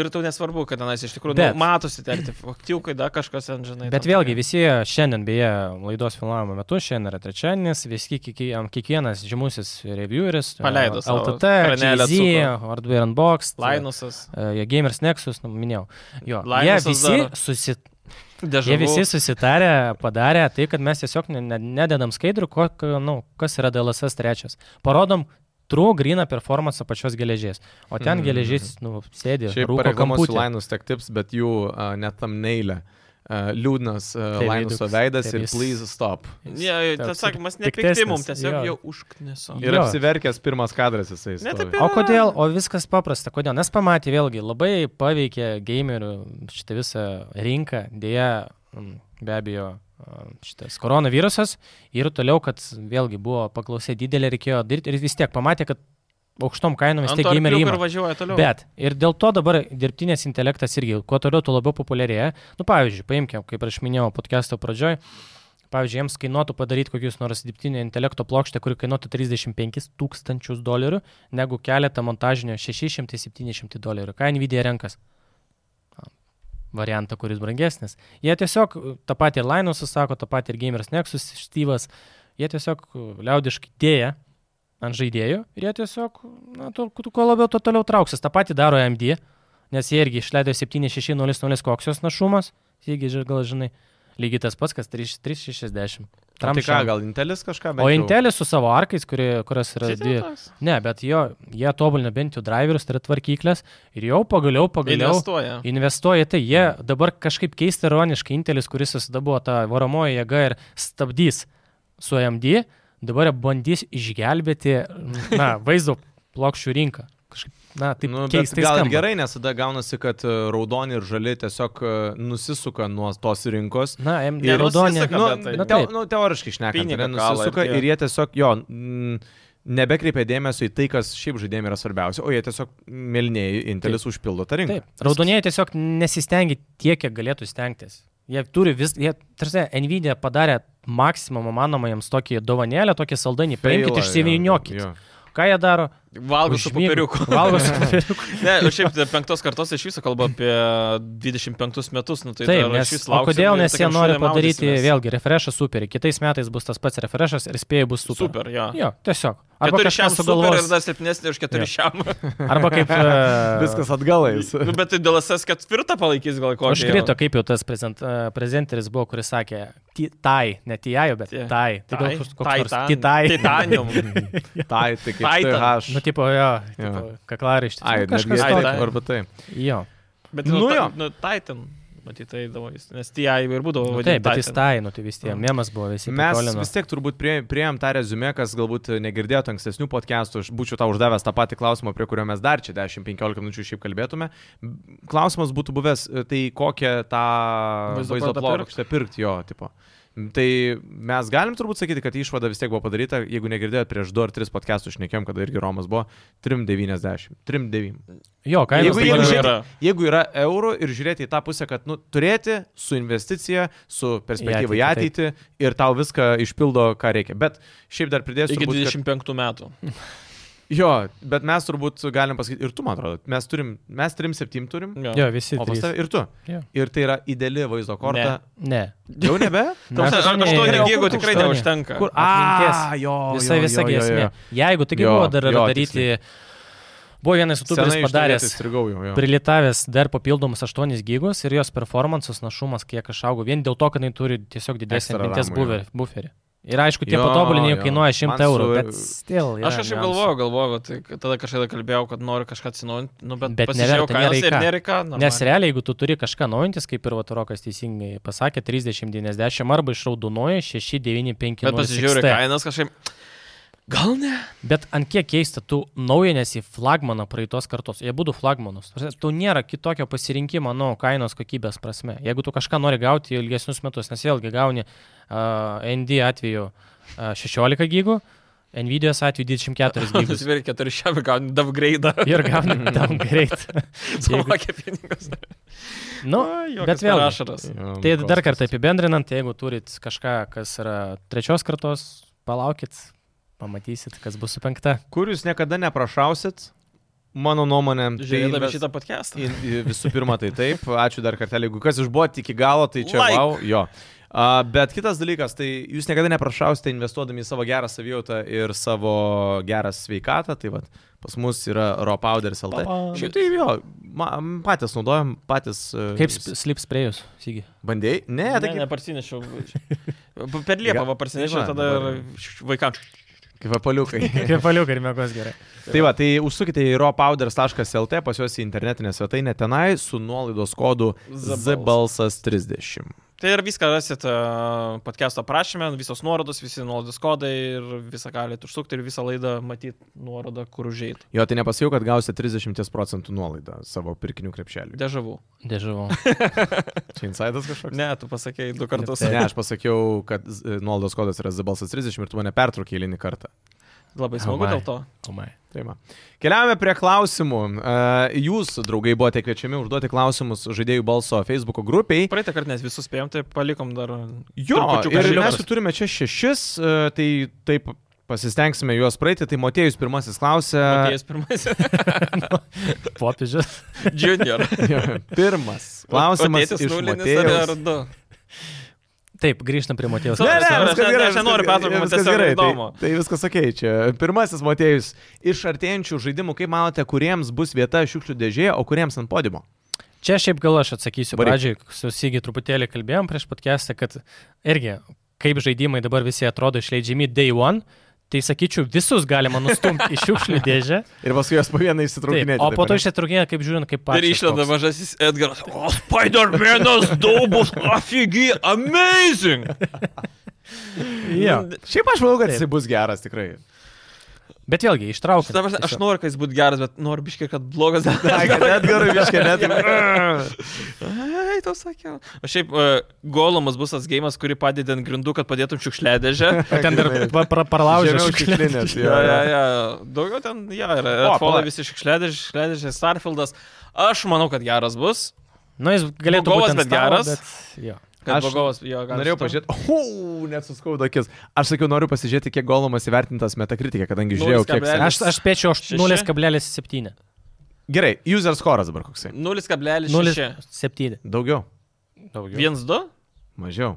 A: ir tau nesvarbu, kad tenais iš tikrųjų
D: Bet-
A: nu, matosi, ten aktyvų, kai dar kažkas ten, žinai.
D: Bet
A: ten
D: vėlgi,
A: tokie.
D: visi šiandien, beje, laidos filmavimo metu, šiandien yra trečiadienis, visi kieki- am- kiekvienas žymusis revieweris, e,
A: Paleido savo
D: LTT,
A: kranelę
D: LTT,
A: atsuko.
D: Hardware Unboxed,
A: Lainusas,
D: e, Gamers Nexus, nu, minėjau. Jo, jie
A: Linusas
D: visi,
A: dar.
D: susi, jie
A: Dežavų.
D: visi susitarė, padarė tai, kad mes tiesiog ne- ne- nededam skaidrų, ko, ko- nu, kas yra DLSS trečias. Parodom true grįną performance pačios geležies. O ten
A: Mhm.
C: Mm.
D: geležys, nu, sėdi,
C: Šiaip
D: rūko
C: pareklamuosiu
D: kamputį.
C: Lainus Tech Tips, bet jų uh, net tam neilė. Uh, liūdnas uh,
D: Tai
C: Lainuso
D: veidukas,
C: veidas
D: tai
C: ir
D: jis-
C: please stop.
A: Ne, tas sakymas, nepikti
D: piktesnis,
A: mum, tiesiog
D: jo.
A: jau užknisom.
C: Ir
D: Jo.
C: apsiverkęs pirmas kadras jisai.
A: Ne,
C: stovi.
A: taip
D: O kodėl? O viskas paprasta. Kodėl? Nes pamatė vėlgi, labai paveikė gamerių šitą visą rinką. Deja, mm, be abejo, mm, šitas koronavirusas. Ir toliau, kad vėlgi buvo paklausė didelė, reikėjo dirbti. Ir vis tiek pamatė, kad aukštom kainom vis
A: Ant
D: tiek
A: to arkliuko
D: gameriai
A: ir
D: įmonė.
A: važiuoja toliau.
D: Bet ir dėl to dabar dirbtinis intelektas irgi, kuo toliau, tuo labiau populiarėja. Nu, pavyzdžiui, paimkime, kaip aš minėjau podcast'o pradžioj, pavyzdžiui, jiems kainuotų padaryti kokius nors dirbtinio intelekto plokštę, kuri kainuotų 35 tūkstančius dolerių, negu keletą montažinio 600-700 dolerių. Ką Nvidia renkas? A, Variantą, kuris brangesnis. Jie tiesiog e, tą patį ir Lainus sako, tą patį ir Gamers Nexus, Styvas, jie tiesiog e, liaudiškai dėja ant žaidėjų ir jie tiesiog, na, tu, tu kuo labiau, tuo toliau trauksis. Ta pati daro AMD, nes jie irgi išleido 7600 koks jos našumas, jeigu ži- gal žinai, lygiai tas pats, kas 3 360.
C: Tam tai ką,
D: Tramšam.
C: gal Intelis kažką bent
D: O
C: jau?
D: Intelis su savo arkais, kuri, kurios yra
A: Šiaip
D: dvi.
A: jau tai toks.
D: Ne, bet jo, jie tobulina bent jau driverius, tai yra tvarkyklės ir jau pagaliau, pagaliau
A: Investuoja.
D: investuoja į tai. Jie dabar kažkaip keista ironiškai Intelis, kuris visada buvo ta varomoji jėga ir stabdys su AMD, dabar jie bandys išgelbėti, na, vaizdo plokščių rinką. Kažkaip, na, taip nu,
C: bet
D: keistai.
C: Gal ir
D: skamba.
C: gerai, nes tada gaunasi, kad e, raudoni ir žali tiesiog e, nusisuka nuo tos rinkos.
D: Na, AMD
A: Nerus
D: raudonė.
A: visą-
C: Nu,
A: bet tai-
C: nu, te,
D: taip.
C: nu, teoriškai išnekant,
A: Pinigą
C: ne,
A: kala ir
C: nusisuka
A: tiek.
C: ir jie tiesiog jo. mm, Nebekreipia dėmesio į tai, kas šiaip žaidėjim yra svarbiausia, o jie tiesiog melnėjai intelis užpildo tą rinką.
D: Taip, raudonieji tiesiog nesistengia tiek, kiek galėtų stengtis. Jie turi vis, jie, tarsi, Nvidia padarė maksimumą manomą jiems tokį dovanėlę, tokį saldainį, paimkite išsiviniokit. Ką jie daro?
A: Valgo su
D: Užmigo.
A: popieriuku.
D: Valgo su popieriuku.
A: [laughs] Ne, o šiaip tai penktos kartos iš viso kalba apie 25 metus, nu tai
D: Taip,
A: dar
D: nes,
A: iš viso
D: o
A: lauksim
D: kodėl,
A: ir
D: nes jie
A: tokiam
D: nori
A: šūdėm
D: padaryti
A: maudysimės.
D: vėlgi refreshą superį. Kitais metais bus tas pats refreshas ir spėjai bus super.
A: Super, jo.
D: Jo, tiesiog. Arba
A: 4 šiam
D: kažkas
A: super ir
D: sugalvos.
A: dar silpnesnė už 4
D: Jo.
A: šiam.
D: Arba
A: [laughs]
D: kaip... e,
C: Viskas atgalais.
A: Nu, bet tai dėl SS ketvirtą palaikys gal kokį.
D: Užkrito, kaip jau tas prezent, a, prezenteris buvo, kuris sakė, "Ti- tai, ne TI, bet
A: Tie-
D: tai. Tai gal koks koks nors
A: tai
D: kitai.
A: Titanium.
C: Tai, tai kaip
A: Titan.
C: aš.
D: [laughs] Nu, tipo, jo,
C: Jo.
D: tipo, kaklaraištis.
C: Ai,
D: nu, kažkas
A: netgi- Ai,
D: tokio.
A: tai-
C: taip, tai. arba taip.
D: Jo.
A: Bet
C: Nu
A: nu,
C: jo.
A: ta, nu, Titan, matyt, tai įdomu, nes TI ir būdavo
D: Nu,
A: vadinami.
D: taip, bet jis
A: Titan.
D: tai, nu tai vis tiek, memas buvo visi.
C: Mes
D: prikolino.
C: vis tiek turbūt prie, prieėm tą rezumę, kas galbūt negirdėjote ankstesnių podcastų, aš būčiau tau uždavęs tą patį klausimą, prie kurio mes dar čia 10-15 minučių šiaip kalbėtume. Klausimas būtų buvęs, e, tai kokią tą
A: Vaizdo
C: vaizdo
A: plotą
C: plokštę pirkti jo tipo. Tai mes galim turbūt sakyti, kad išvada vis tiek buvo padaryta, jeigu negirdėjote prieš 2 ar 3 podcastus, šnekėm, kada irgi Romas buvo 3,90. 3,9.
D: Jo,
C: Jeigu,
D: kainos
A: Jeigu- jeigu žiūrėt-
C: jeigu,
D: dabar yra-
C: žiūrėti, jeigu yra eurų ir žiūrėti į tą pusę, kad nu, turėti su investicija, su perspektyva į
D: Į
C: ateitį
D: ateitį,
C: ir tau viską išpildo, ką reikia. Bet šiaip dar pridėsiu.
A: Iki
C: turbūt, kad-
A: 25 metų.
C: Jo, bet mes turbūt galim pasakyti, ir tu, man atrodo, mes turim, mes trim septym turim.
D: Jo, visi.
C: O pas
D: tai trys.
C: tave ir tu.
D: Jo.
C: Ir tai yra ideali vaizdo korta.
D: [laughs] Ne.
C: Ne. Jau nebe?
A: Tam
D: Mes-
A: aš to
D: ne,
A: negėgu tikrai
D: aštuoni.
A: neužtenka.
C: Kur?
D: Atminties.
C: A, jo,
D: Visa,
C: jo,
D: visa
C: jo, jo,
D: grėsmė.
C: jo.
D: Jeigu taigi
C: Jo,
D: buvo dar
C: jo,
D: daryti, buvo vienas
C: Senai
D: youtuberis padaręs,
C: Strigau, jo, jo.
D: prilitavęs dar papildomus 8 gigus ir jos performances našumas kiek išaugo, vien dėl to, kad jinai turi tiesiog didesnį
C: Ekstra
D: atminties
C: ramų,
D: buver- buferį. Ir aišku, tie
C: Jo,
D: patobulinimai
C: jo.
D: kainuoja 100
C: Man
D: eurų,
C: su-
D: bet still.
A: Aš
D: yra
A: kažkaip
D: niuansų.
A: galvojau, galvojau, vat, kad tada kažkada kalbėjau, kad noriu kažką atsinaujinti, nu, bet,
D: Bet
A: bet pasižiūrėjau
D: neverta,
A: kainas ir
D: nėra į ką.
A: nėra į ką.
D: Nes realiai, jeigu tu turi kažką naujantis, kaip ir Vatarokas teisingai pasakė, 30-90 arba išraudonuoja 6-9-5.
A: Bet pasižiūrėjau ir kainas kažkaip. Gal ne?
D: Bet ant kiek keista, tu naujinėsi flagmaną praeitos kartos, jie būtų flagmanus. Ta prasme, Tu nėra kitokio pasirinkimo, nu, kainos kokybės prasme. Jeigu tu kažką nori gauti ilgesnius metus, nes vėlgi gauni uh, ND atveju uh, 16 gigų, Nvidia's atveju
A: [laughs]
D: 24 gyvus.
A: Nusipirki 4 šiam gauni downgrade.
D: Ir gauni tam greit.
A: Sumokė pinigus.
D: Nu, bet vėl.
A: Ašaras.
D: Tai dar kartą apibendrinant, jeigu turit kažką, kas yra trečios kartos, palaukit, pamatysit, kas bus su penkta.
C: Kur jūs niekada neprašausit, mano nuomonė. tai
A: Žiūrėdami
C: inves-
A: šitą podcastą.
C: In- i- Visų pirma, tai taip. Ačiū dar kartelį. Jeigu kas išbuvo iki galo, tai čia
A: Like.
C: wow. Jo. A, bet kitas dalykas, tai jūs niekada neprašausite investuodami į savo gerą savijautą ir savo gerą sveikatą. Tai vat, pas mus yra raw powderis LT.
D: Powderis.
C: Šiaip tai jo, ma, m, patys naudojam, patys. e,
D: Kaip sp- sleep sprayus, Sygi?
C: Bandėjai? Ne,
A: Ne,
C: tai
A: ne,
C: kaip, [laughs] tai
A: parsinešiau. Per Liepą va, parsinešiau,
C: Ga-
A: tada ir vaikams.
C: kaip apaliukai.
D: [laughs] Kvepaliuk ir mėgos gerai.
C: Tai va, tai užsukite į rawpowders.lt, pas juos į internetinę svetainę tenai su nuolaidos kodu ZBalsas30.
A: Tai ir viską rasit e, podcast'o prašymę, visos nuorodos, visi nuolaidos kodai ir visą galite užsukti ir visą laidą matyti nuorodą, kur užėjai.
C: Jo, tai nepasijau, kad gausite 30 procentų nuolaidą savo pirkinių krepšeliui.
A: Dežavų.
D: [laughs] Dėžavau.
C: Čia insidas kažkoks?
A: Ne, tai- tu pasakėjai du kartus.
C: Ne, aš pasakiau, kad z- e, nuolaidos kodas yra ZBalsas30 ir tu mane pertraukė eilinį kartą.
A: Labai smagu
D: Amai.
A: dėl to.
D: Komai.
C: Tai va. Keliaujame prie klausimų. E, Jūs, draugai, buvote kviečiami užduoti klausimus žaidėjų balso Facebook grupiai.
A: Praeitą kartą nes visus spėjom, tai palikom dar.
C: Jo,
A: trupučiuką
C: ir
A: žalios.
C: mes jų turime čia šešis, e, tai taip pasistengsime juos praeiti. Tai Motėjus pirmasis klausė. [laughs]
A: Atėjęs pirmasis. [laughs]
D: Nu, Popiežius.
A: Junior.
C: Pirmas klausimas.
A: Atėjęs
C: iš
A: nulinis ar,
C: Motiejaus.
A: ar du?
D: Taip, grįžtam prie Matijos.
A: Ne, ne. aš
C: viskas
A: ne- aš
C: viskas
A: nenoriu
C: gerai,
A: pertraukų, man
C: viskas
A: tiesiog
C: gerai,
A: įdomu.
C: Tai, tai viskas ok, čia. Pirmasis motėjus. Iš artėjančių žaidimų, kaip manote, kuriems bus vieta šiukšlių dėžėje, o kuriems ant podimo?
D: Čia šiaip gal aš atsakysiu.
C: Varyk.
D: Pradžiai, su Sygi truputėlį kalbėjom prieš podcastą, kad irgi, kaip žaidimai dabar visi atrodo išleidžiami day one, tai sakyčiau, visus galima nustumti į [laughs] šiukšlių dėžę.
C: Ir paskui jos po vieną
D: Taip,
C: įsitraukinėti.
D: o po
C: taip,
D: to
C: ane?
D: išsitraukinėja, kaip žiūrint,
A: Ir
D: kaip patys.
A: išlenda mažasis Edgaras. O, Spider-Man'as daubus, afigi, amazing!
D: Jo.
C: Šiaip aš manau, kad
D: Taip.
C: jis bus geras tikrai.
D: Bet vėlgi, ištraukti.
A: Šitą prasme, aš nu- noriu, kad jis būtų geras, bet noriu biškai, kad blogas.
C: Ai, kad net gerai, viskai
D: [laughs]
C: net.
A: Ai, to sakiau. O šiaip, uh, golomas bus tas gėjimas, kurį padedi ant grindų, kad padėtum šiukšliadėžę.
D: Ten dar
C: Gerai.
D: pa- pra- pralaužė
C: Žemiau
D: šiukšlinę. [laughs]
C: šiukšlinės, [laughs] jo,
A: ja, ja,
C: jo.
A: ja. Daugiau ten, ja, yra.
C: O,
A: Falai
C: pala-
A: visi šiukšliadėžė, šiukšliadėžė, Starfieldas. Aš manau, kad geras bus.
D: Na, Nu, jis galėtų
A: Blogovas,
D: būti ant
A: bet
D: stalo,
A: geras.
D: bet jo.
A: Kad
C: Aš
A: blogovas jo gali.
C: Norėjau
A: su-
C: pažiūrėti. O, net suskaudo akis. Aš sakiau, noriu pasižiūrėti, kiek golomas įvertintas metakritikė, kadangi
D: Nu,
C: žiūrėjau, kiek.
A: 0,1.
C: sen-
D: Aš, aš spėčiau aš
A: Šeši?
D: 0,7.
C: Gerai, user score'as dabar koksai.
A: 0,6.
D: 0,7.
C: Daugiau,
A: 1,2?
C: mažiau,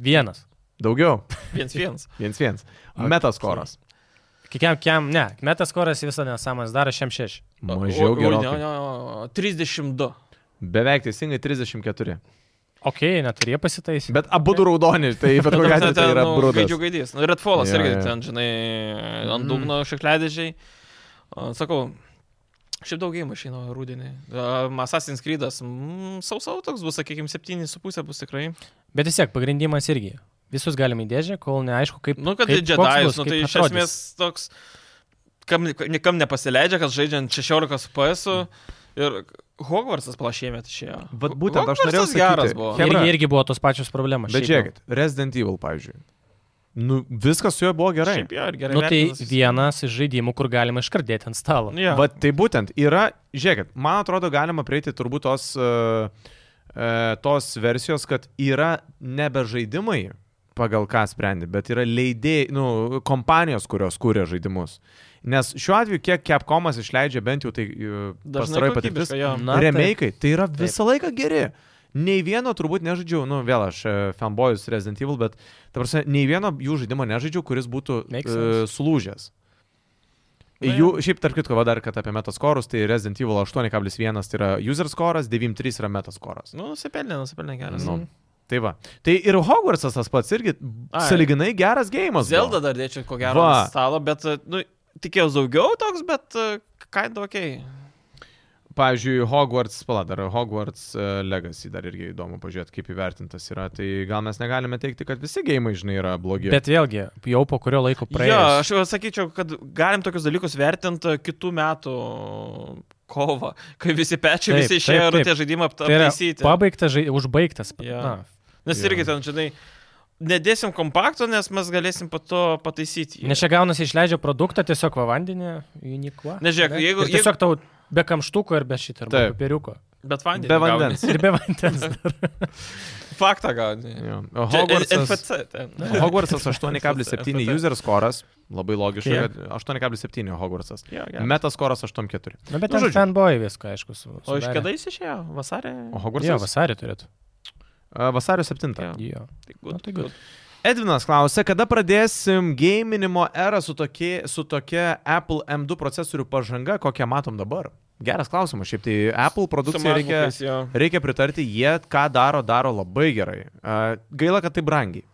D: Vienas.
C: daugiau.
A: 1,1.
C: 1-1. Metaskoras.
D: Kikiam, kiam, ne. Metas koras visą nesąmonę daro, šiam šeši.
A: O-
C: Mažiau
A: oi, ne,
C: gerai.
A: ne, ne, 32.
C: Beveik teisingai 34.
D: Ok, neturėjo pasitaisyti.
C: Bet abu du raudoni,
A: [laughs]
C: tai bet kokia atveju tai yra
A: Gaidžių
C: brudas.
A: gaidys. Nu, Redfallas
C: Jo,
A: irgi
C: jo. Mhm.
A: ten, žinai, ant dugno šiukšliadėžiai. O, Sakau, šiaip daug gėjimų išeina rūdienį. Um, Assassin's Creed'as, mm, sausau toks bus, sakykime, 7,5 bus tikrai.
D: Bet vis tiek, pagrindimas irgi. Visus galim įdėžę, kol neaišku, kaip...
A: Nu, kad tai
D: kaip,
A: Jedi,
D: koks bus,
A: nu,
D: kaip
A: tai iš
D: atrodys.
A: esmės toks, kam, niekam nepasileidžia, kad žaidžiant 16 PS ir Hogwartsas plašėmėt išėjo.
C: Vat būtent aš norėjau
A: Hogwartsas geras
C: sakyti.
A: buvo.
C: Chebra.
D: Irgi, irgi buvo tos pačios problemos.
C: Bet
D: šiaip jau.
C: žiūrėkit, Resident Evil, pavyzdžiui. Nu, viskas su juo buvo gerai.
A: Šiaip jo, ir gerai.
D: Nu, tai
A: vertintas.
D: vienas iš žaidimų, kur galima iškardėti ant stalo.
A: Nu, Jo.
C: Vat tai būtent yra, žiūrėkit, man atrodo, galima prieiti turbūt tos, uh, tos versijos, kad yra nebe žaidimai pagal ką sprendi, bet yra leidėjai, nu, kompanijos, kurios kūrė žaidimus. Nes šiuo atveju, kiek Capcomas išleidžia bent jau tai
A: Dažnai
C: pastaroji patirtis,
A: kokybiška, jo.
D: Na, taip.
C: remake, tai yra visą laiką geri. Nei vieno turbūt nežaidžiau, nu vėl aš e, fanboyus Resident Evil, bet, ta prasme, nei vieno jų žaidimo nežaidžiau, kuris būtų
D: Makes
C: uh,
D: sense.
C: sulūžęs.
A: Na,
C: Jų, šiaip, tarp kitko, va dar, kad apie metaskorus, tai Resident Evil 8,1 tai yra user scoras, 9,3 yra metaskoras.
A: Nu, nusipelnė, nusipelnė geras.
C: Nu, tai va. Tai ir Hogwartsas tas pats irgi
A: Ai.
C: saliginai geras gėjimas.
A: Zelda dar dėčiau, ko gero,
C: Va.
A: ant stalo, bet, nu, tikėjausi daugiau toks, bet, e, kind of, okei.
C: Pavyzdžiui, Hogwarts, pala, dar Hogwarts e, Legacy dar irgi įdomu pažiūrėti, kaip įvertintas yra. Tai gal mes negalime teikti, kad visi gėjimai, žinai, yra blogi.
D: Bet vėlgi, jau po kurio laiko
A: Jo,
D: praėjo.
A: aš jau sakyčiau, kad galim tokius dalykus vertinti kitų metų kovą, kai visi pečiai,
D: Taip,
A: visi išėjo
D: taip,
A: ir
D: taip.
A: tie žaidimai apt-
D: Tai yra
A: aptaisyti.
D: pabaigtas, žai... užbaigtas.
A: Jo.
D: Na,
A: Nes
C: Jo.
A: irgi ten, žinai, nedėsim kompakto, nes mes galėsim po to pataisyti. jį.
D: Nes čia gaunasi išleidžia produktą tiesiog va vandenį, unikva.
A: Nes žiūrėk, jeigu- jeigu-
D: Tiesiog tau be kamštuko ir be šito, ir be
C: Taip.
D: popieriuko.
A: Bet vandenį.
C: Be
A: gauni.
C: vandens.
D: Ir be vandens.
A: [laughs] Faktą gauni.
C: Jo.
A: Čia
C: Hogwartsas,
A: NFC. ten.
C: Hogwartsas 8,7 user scoras, labai logiška,
A: Kiek?
C: kad 8,7 Hogwartsas.
A: Jo, geras.
C: Meta scoras 8,4.
D: Na, bet
C: Nu,
D: ten
C: žodžiu.
D: fanboy viską, aišku, su.
A: O iš
D: sudarė.
A: kada jis išėjo? Vasarė?
C: O
D: Jo,
C: Hogwartsas?
D: vasarį turėtų.
C: A, Vasario 7.
A: Jo.
D: Jo.
A: Tai
D: Na,
A: good,
D: tai
A: good.
C: Edvinas klausia, kada pradėsim gėminimo erą su, tokie, su tokia Apple M2 procesorių pažanga, kokią matom dabar? Geras klausimas, šiaip tai Apple produkcija reikia,
A: MacBook'ais, jo.
C: reikia pritarti, jie ką daro, daro labai gerai. A, Gaila, kad tai brangiai.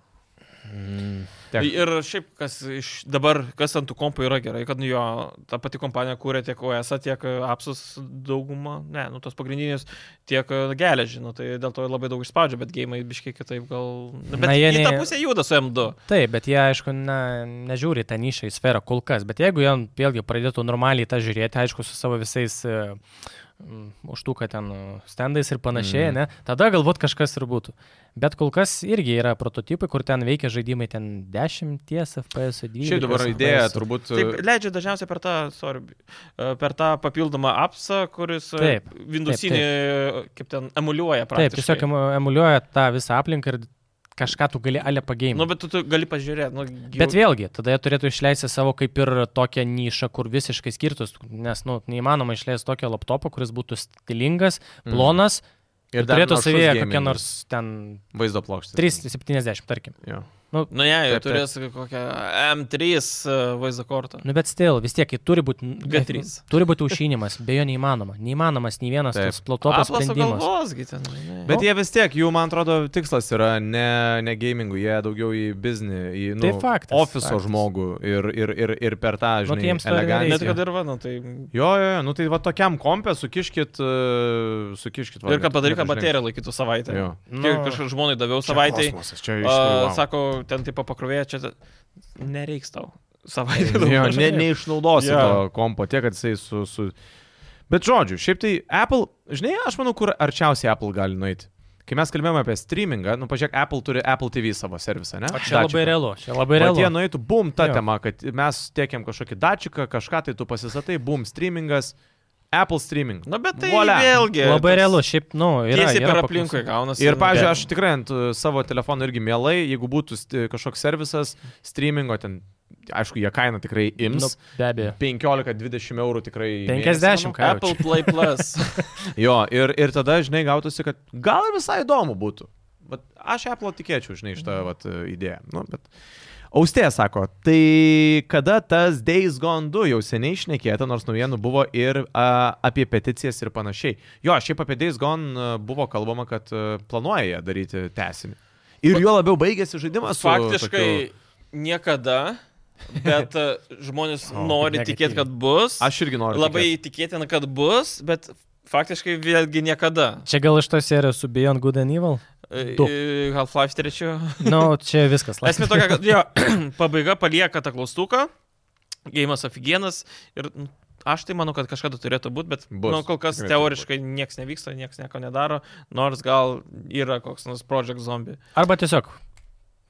C: Tiek.
A: Tai Ir šiaip, kas iš dabar, kas ant tų kompų yra gerai, kad nu jo, ta pati kompanija kūrė tiek OS, tiek e, apsus daugumą, ne, nu tos pagrindinės, tiek e, geležį, nu tai dėl to labai daug išspaudžia, bet gėjimai biškai kitaip gal... Na, Bet
D: Na,
A: Na,
D: jie
A: į tą
D: ne-
A: pusę juda su M2.
D: Taip, bet jie, aišku, ne, nežiūri į tą nišą, į sferą kol kas, bet jeigu jie vėlgi pradėtų normaliai tą žiūrėti, aišku, su savo visais e, m, užtuka ten e, stendais ir panašiai,
C: Mhm.
D: mm. ne, tada galbūt kažkas ir būtų. Bet kol kas irgi yra prototipai, kur ten veikia žaidimai ten 10 FPS, 20.
C: Šiaip dabar idėja turbūt...
A: Taip, leidžia dažniausiai per tą, sorry, e, per tą papildomą apsą, kuris e,
D: Taip,
A: Windowsinį, e, kaip ten, emuliuoja
D: Taip,
A: praktiškai.
D: tiesiog emu- emuliuoja tą visą aplinką ir kažką tu gali ale pagėjimą.
A: Nu, bet tu, tu gali pažiūrėti, nu, gi-
D: Bet vėlgi, tada jie turėtų išleisti savo kaip ir tokią nišą, kur visiškai skirtus, nes nu, neįmanoma išleisti tokio laptopą, kuris būtų stilingas,
A: Mhm.
C: Mm.
D: plonas mm. ir, ir
C: dar
D: turėtų
C: naršus
D: savyje kokią
C: gaming
D: nors ten
C: Vaizdo plokštę.
D: 370, tarkim.
C: Jo.
A: Nu, ne, jau
C: Taip, taip.
A: turės kokią M3 e, vaizdo kortą.
D: Nu, bet stil, vis tiek, jį turi būti...
A: G3.
D: Turi būti aušinimas, be jo neįmanoma. Neįmanomas nei vienas
C: Taip.
D: tas plotopas
A: Apple
D: sprendimas.
A: sugalvosgi ten, žinai. Nu,
C: Bet jie vis tiek, jų, man atrodo, tikslas yra ne, ne gamingų, jie daugiau į biznį, į nu,
D: Tai faktas,
C: ofiso
D: faktas.
C: žmogų ir, ir, ir, ir per tą,
D: Nu, tai
C: žinai,
D: jiems to ir
C: eleganciją.
A: Net
D: reikia.
A: kad ir vadinu, tai...
C: Jo, jo, jo, nu tai va tokiam kompė sukiškit, uh, sukiškit. va,
A: Ir kad
C: net-
A: padaryk,
C: net
A: kad
C: už
A: baterija laikytų savaitę.
C: Jo.
A: Nu, Kažkaip žmonai daviau
C: Čia
A: savaitę.
C: kosmosas, Čia,
A: Wow.
C: iš, wow.
A: Sako, ten tipo pakrovėja, čia ta- nereiks tau. Savaitę.
C: [laughs]
A: [laughs]
C: Jo,
A: daugiau.
C: ne, neišnaudosi
A: Jo.
C: to kompo tiek, kad jisai su, su... Bet žodžiu, šiaip tai Apple, žinai, aš manau, kur arčiausiai Apple gali nueiti. Kai mes kalbėjome apie streamingą, nu pažiūrėk, Apple turi Apple TV savo servisą, ne?
D: O čia labai realu, čia labai
C: Kad
D: realu.
C: jie
A: nu-
C: nueitų, bum, ta
D: Jo.
C: tema, kad mes tiekiam kažkokį dačiką, kažką tai tu pasisatai, bum, streamingas, Apple streaming. Nu,
A: Na, bet tai
C: Voilà.
A: vėlgi.
D: Labai
A: toks
D: realu, šiaip, nu, yra.
A: Tiesiai per
D: yra paklausa.
A: aplinkui gaunasi.
C: Ir, pavyzdžiui,
A: Bet-
C: aš tikrai ant uh, savo telefono irgi mielai, jeigu būtų st- e, kažkoks servisas streamingo, ten, aišku, jie kainą tikrai
D: Nu,
C: ims.
D: be abejo.
C: 15-20 eurų tikrai. į mėnesį,
D: 50 ką jau
A: Apple Play
C: [laughs]
A: Plus.
C: manau. Jo, ir, ir tada, žinai, gautųsi, kad gal ir visai įdomu būtų. Bet aš Apple tikėčiau, žinai, iš tą
A: Mhm.
C: vat, idėją. Nu, bet... Austė sako, tai kada tas Days Gone 2 jau seniai išnekėta, nors naujienų buvo ir a, apie peticijas ir panašiai. Jo, šiaip apie Days Gone a, buvo kalbama, kad a, planuoja jie daryti tęsinį. Ir juo labiau baigėsi žaidimas. su
A: Faktiškai
C: tokiu-
A: niekada, bet e, žmonės
C: [laughs]
D: O,
A: nori
D: negatyviai.
A: tikėti, kad bus.
C: Aš irgi noriu.
A: Labai tikėtina, kad bus, bet faktiškai vėlgi niekada.
D: Čia gal iš tos serijos su Beyond Good and Evil?
A: E,
D: Du.
A: e, Half-Life 3.
D: Nu,
A: [laughs]
D: čia viskas.
A: Esmė tokia, kad jo, [clears throat] pabaiga palieka tą klaustuką, gėjimas afigienas ir nu, aš tai manau, kad kažkada turėtų būti, bet
C: Bus.
A: nu, kol kas
C: Tikrai
A: teoriškai niekas nevyksta, niekas nieko nedaro, nors gal yra koks nors Project Zombie.
D: Arba tiesiog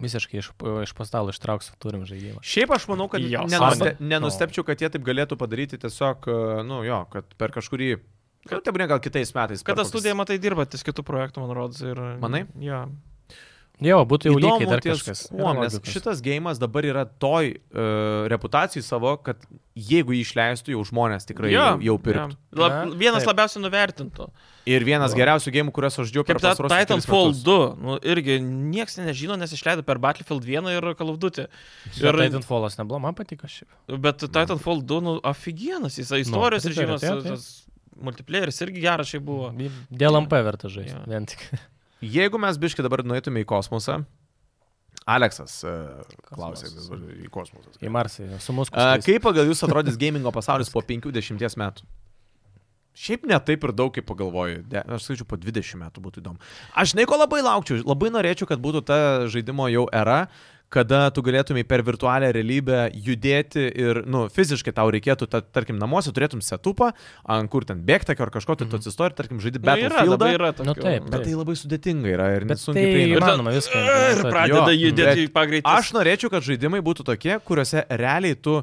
D: visiškai iš, iš postalų ištrauksiu turim žaidimą.
C: Šiaip aš manau, kad
A: Jo,
C: nenuste,
D: sąmonė.
C: nenustepčiau, kad jie taip galėtų padaryti tiesiog, a, nu jo, kad per kažkurį... Kad tai būna gal kitais metais. per
A: Kada
C: kokius-
A: studija, matai, dirba ties kitų projektų, man rodos, ir...
C: Manai?
A: Jo.
D: Jo, būtų jau lygiai
C: Įdomu
D: dar
C: ties
D: kažkas.
C: Kuo, nes šitas gėjimas dabar yra toj uh, reputacijai savo, kad jeigu jį išleistų, jau žmonės tikrai
A: Jo,
C: jau, jau pirktų.
A: jo. Lab,
D: Na,
A: vienas
D: taip.
A: labiausiai nuvertintų.
C: Ir vienas
D: Jo.
C: geriausių gėjimų, kuriuos aš džiaugiu,
A: Kaip ta Titanfall 2, nu, irgi niekas nežino, nes išleido per Battlefield 1 ir Call of Duty.
D: Ir
A: Ir
D: Titanfallas nebuvo, man patiko šiaip.
A: Bet Titanfall 2, nu, aфиgenas, jis istorijos
D: pritariu,
A: režimas,
D: taip, taip.
A: tas multiplayeris irgi geras šiaip buvo. Nu,
D: Dėl MP verta žaisti.
A: Jo.
D: Vien tik.
C: Jeigu mes biški dabar nueitume į kosmosą, Aleksas uh, klausė
D: Kosmosas.
C: dabar į kosmosą.
D: Į Marsą, su mūsų.
C: Uh, kaip pagal jūs atrodys gamingo pasaulis po 50 metų? Šiaip ne taip ir daug, kaip pagalvoju. De, aš sakyčiau, po 20 metų būtų įdomu. Aš žinai, ko labai laukčiau. Labai norėčiau, kad būtų ta žaidimo jau era, kada tu galėtumai per virtualią realybę judėti ir, nu, fiziškai tau reikėtų, ta, tarkim, namuose turėtum setupą, ant kur ten bėgtakio ar kažko, tai tu atsistoji ir, tarkim, žaidi Battlefield.
A: dabar yra
D: Nu, taip.
C: Bet tai labai sudėtinga yra ir
D: Bet
C: nesunkiai
D: tai
C: prieinama.
D: įmanoma viską.
A: Ir
D: implementuoti.
A: pradeda
C: Jo,
A: judėti
C: bet
A: į pagreitį.
C: Aš norėčiau, kad žaidimai būtų tokie, kuriuose realiai tu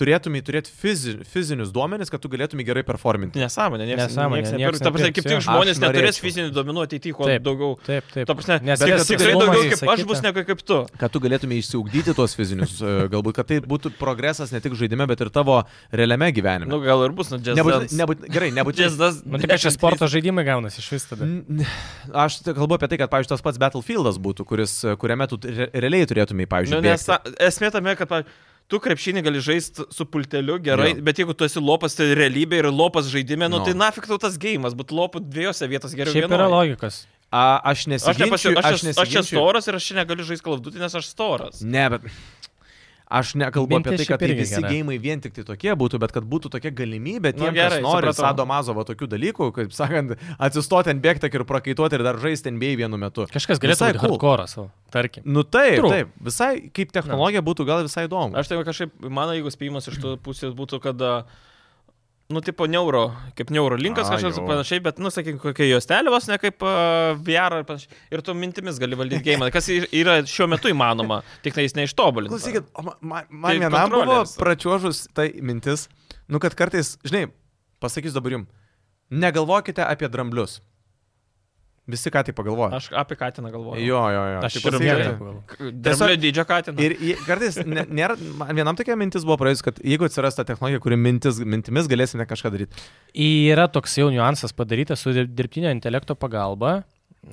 C: turėtumai turėti fizi, fizinius duomenis, kad tu galėtumai gerai performinti.
A: Nesąmonė, niekas,
D: Nesąmonė,
A: niekas
D: nieks
A: nepirks. Ta prasme, kaip
D: nepirks,
A: tik
D: jo.
A: žmonės
C: Aš
A: neturės
C: norėčiau.
A: fizinių duomenų ateityje, kuo
D: Taip.
A: daugiau.
D: Taip, taip.
A: Ta prasme, nes
D: Nes tie
A: tikrai
D: tikslumai
A: daugiau kaip aš
D: sakyta.
A: bus negu kaip tu.
C: Kad tu galėtumai išsiugdyti tuos fizinius, e, [laughs] galbūt, kad tai būtų progresas ne tik žaidime, bet ir tavo realiame gyvenime.
A: Nu, gal ir bus, nu, džiazas.
C: Nebūtinai, nebūtinai, gerai, nebūtinai.
D: Na tai kad čia sporto žaidimai gaunasi iš vis tada.
C: N- Aš tai kalbu apie tai, kad, pavyzdžiui, tas pats Battlefieldas būtų, kuris, kuriame tu re realiai turėtumai,
A: Nu,
C: pavyzdžiui,
A: nes
C: bėgti.
A: ta, esmė tame, kad pavyzdžiui, tu krepšinį gali žaisti su pulteliu gerai,
C: Jo.
A: jo. bet jeigu tu esi lopas tai realybė ir lopas žaidime, nu,
C: No.
A: no. tai nafik tau tas gėjimas, būtų lopų dviejose vietose geriau.
D: Šiaip yra
A: vienoj.
D: logikos.
C: A, aš
A: Aš, nepasi,
C: nesiginčiu.
A: aš, aš, aš čia
C: nesiginčiu.
A: storas ir aš čia negaliu žaisti kalbdutį, nes aš storas.
C: Ne, bet. Aš nekalbu
D: Mintis
C: apie tai,
D: šiaip
C: kad tai
D: irgi
C: visi
D: gera.
C: gėjimai vien tik tai tokie būtų, bet kad būtų tokia galimybė
A: Nu,
C: tiems, kas
A: gerai,
C: nori
A: supratau.
C: Sado Mazovo tokių dalykų, kaip sakant, atsistoti ant bėgtak ir prakaituoti ir dar žaisti NBA vienu metu.
D: Kažkas galėtų
C: Visai
D: būti
C: cool.
D: hardcore, savo, tarkim.
C: Nu taip,
D: True.
C: taip, visai kaip technologija būtų gal visai įdomu.
A: Aš tai va kažkaip, mano jeigu spėjimas iš tų pusės būtų, kad, a, nu, tipo neuro, kaip neuro linkas
C: A,
A: kažkas
C: jo.
A: panašiai, bet, nu, sakykime, kokia juostelė vos ne kaip uh, VR ar panašiai. Ir tu mintimis gali valdyti gėjimą, kas ir- yra šiuo metu įmanoma, tik tai jis neištobulintas.
C: Klausykit, o ma, ma,
A: Tai
C: man vienam buvo
A: kontroleris.
C: pračiožus tai mintis, nu kad kartais, žinai, pasakysiu dabar jums, negalvokite apie dramblius. Visi ką tai pagalvoja.
A: Aš apie katiną galvoju.
C: Jo, jo, jo.
A: Aš
C: Taip
A: ir
C: pasakyk-
A: mielai.
C: Tiesiog-
A: Dramblio dydžio katiną.
C: Ir jie- kartais ne, nėra, man vienam tokia mintis buvo praėjus, kad jeigu atsiras ta technologija, kuri mintis, mintimis galėsime kažką daryti.
D: Yra toks jau niuansas padarytas su dirb- dirbtinio intelekto pagalba.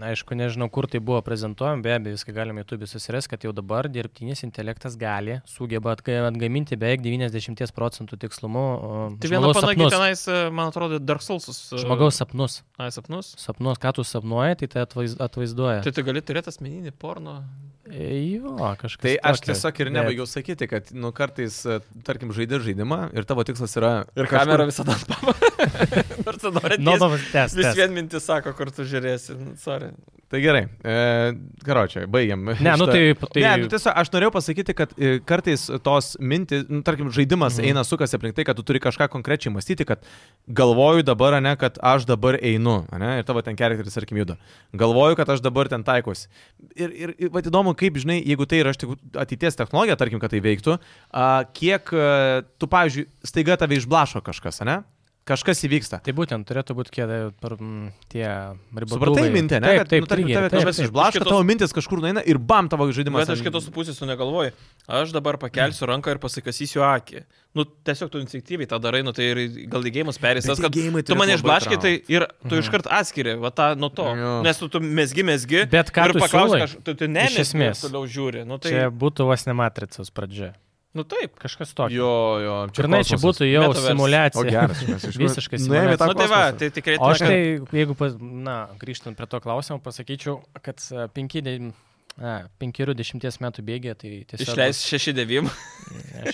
D: Aišku, nežinau, kur tai buvo prezentuojama, be abejo, viską galime YouTube susirasti, kad jau dabar dirbtinis intelektas gali, sugeba atga- atgaminti beveik 90 procentų tikslumu. o,
A: Tai viena
D: žmogaus
A: panagiai
D: sapnus.
A: tenais, e, man atrodo, Dark Soulsus. e,
D: Žmogaus sapnus.
A: ai, sapnus.
D: Sapnus, ką tu sapnuoji, tai tai atvaiz- atvaizduoja.
A: Tai tu gali turėti asmeninį porno.
D: E, Jo, kažkas.
C: Tai aš
D: tokio.
C: tiesiog ir
D: Bet-
C: nebaigiau sakyti, kad, nu, kartais, e, tarkim, žaidži žaidimą ir tavo tikslas yra... kažkur-
A: visada atpama.
C: [laughs]
A: Nors tu nori.
D: Nu,
A: No,
D: nu, tęs.
A: vis
D: tęs.
A: vien mintis sako, kur tu žiūrėsi. Nu, Sorry.
C: Tai gerai, e, karočią, baigiam. [laughs]
D: Ne, nu
C: šitą-
D: tai, tai...
C: Ne, nu, tiesiog aš norėjau pasakyti, kad e, kartais tos mintys, nu, tarkim, žaidimas
D: Mhm.
C: eina sukasi aplink tai, kad tu turi kažką konkrečiai mąstyti, kad galvoju dabar, ne, kad aš dabar einu, ne, ir tavo ten charakteris, tarkim, juda. Galvoju, kad aš dabar ten taikosi. Ir, ir, ir va, įdomu, kaip, žinai, jeigu tai yra aš tik ateities technologija, tarkim, kad tai veiktų, a, kiek a, tu, pavyzdžiui, staiga tave išblašo kažkas, ne? Kažkas įvyksta.
D: Tai būtent turėtų būti kie, per, mm, tie ribotumai.
C: Supratai mintę, ne?
D: Taip, taip,
C: nu, tarkim, tave
D: taip, taip,
C: kažkas
D: taip.
C: išblaško,
A: kitos-
C: tavo mintis kažkur nueina ir bam tavo žaidimas.
A: Bet aš
C: ten-
A: kitos pusės tu negalvoji. Aš dabar pakelsiu ranką ir pasikasysiu akį. Nu, tiesiog tu instinktyviai tą darai, nu tai ir gal įgėjimas perės.
C: Bet
A: Tas,
C: tie
A: kad
C: gėjimai
A: tu
C: turėtų
A: mane
C: labai
A: išblaškai,
C: traukt.
A: tai ir
D: Mhm.
A: tu iškart atskiri, va tą nuo to.
C: Jo.
A: Nes tu, tu mesgi, mesgi.
D: Bet ką
A: ir
D: tu
A: paklausi,
D: siūlai?
A: kaž- tu, tu ne,
D: Iš
A: nes
D: esmės.
A: esmės toliau žiūri. Nu,
D: Tai...
A: tai,
D: Čia būtų vos ne matricos pradžia.
A: nu taip.
D: Kažkas tokio.
C: Jo, jo,
D: Ir na, čia būtų jau
A: Metaverse.
D: simulacija.
C: O geras, mes iš tikrųjų-
D: Visiškai
C: Nuėjome į
D: simulacija.
C: tą
A: Nu, tai va,
C: kosmosą.
A: tai tikrai
D: O aš
A: tokio-
D: tai, jeigu, pas, na, grįžtant prie to klausimo, pasakyčiau, kad e, 5-10 e, metų bėgė, tai tiesiog...
A: Išleis 6-9,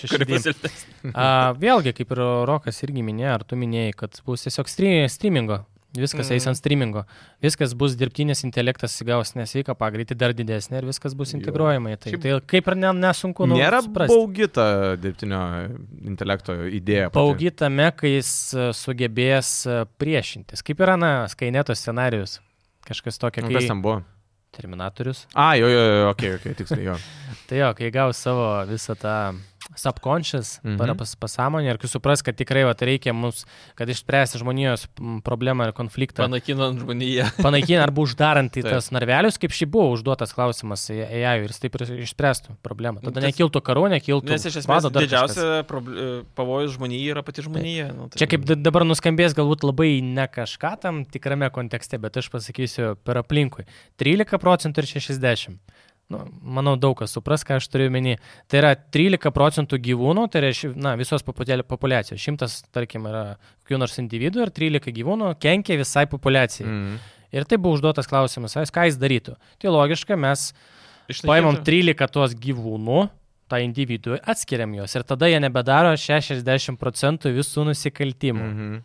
A: kuri
D: šešis.
A: pasiltės.
D: Vėlgi, kaip ir Rokas irgi minėjo, ar tu minėjai, kad bus tiesiog stre- streamingo. Viskas eis
A: Mhm.
D: ant streamingo. Viskas bus dirbtinis intelektas įgaus nesveiką pagreitį dar didesnį ir viskas bus
C: Jo.
D: integruojama į tai.
C: Šiaip-
D: Tai kaip ir ne, nesunku nu,
C: Nėra
D: suprasti.
C: baugita dirbtinio intelekto idėja. pati.
D: Paugi tame, kai jis e, sugebės e, priešintis. Kaip yra, na, skaineto scenarius. Kažkas tokio
C: Nu,
D: kaip
C: Kas ten buvo?
D: Terminatorius.
C: A, jo, jo, jo, ok, ok, tiksliai jo.
D: Tai jo, kai gaus savo visą tą subconscious,
C: Mhm.
D: mm -hmm. pas, pasąmonę ir kai supras, kad tikrai vat, reikia mums, kad išspręsti žmonijos m, problemą ir konfliktą,
A: Panakinant žmoniją.
D: panaikinant arba uždarant į
C: [laughs] Taip.
D: tas narvelius, kaip šį buvo užduotas klausimas į AI ir jis taip ir išspręstų problemą. Tada
A: Tas-
D: nekiltų karų, nekiltų.
A: Nes iš esmės
D: bado, dar kažkas.
A: didžiausia proble- pavojus žmonijai yra pati žmonija. Nu, tai...
D: Čia kaip da- dabar nuskambės galbūt labai ne kažką tam tikrame kontekste, bet aš pasakysiu per aplinkui. 13 procentų ir 60. Nu, manau, daug kas supras, ką aš turiu meni. Tai yra 13 procentų gyvūnų, tai yra ši- na, visos poputėlė- populacijos. Šimtas, tarkim, yra kokių nors individų ir 13 gyvūnų kenkia visai populacijai. Mm.
C: Mm.
D: Ir tai buvo užduotas klausimas, ai, ką jis darytų. Tai logiška, mes
A: Išnaikinti-
D: Paimam 13 tuos gyvūnų, tą individų, atskiriam juos ir tada jie nebedaro 60 procentų visų nusikaltimų. Mm.
C: Mhm.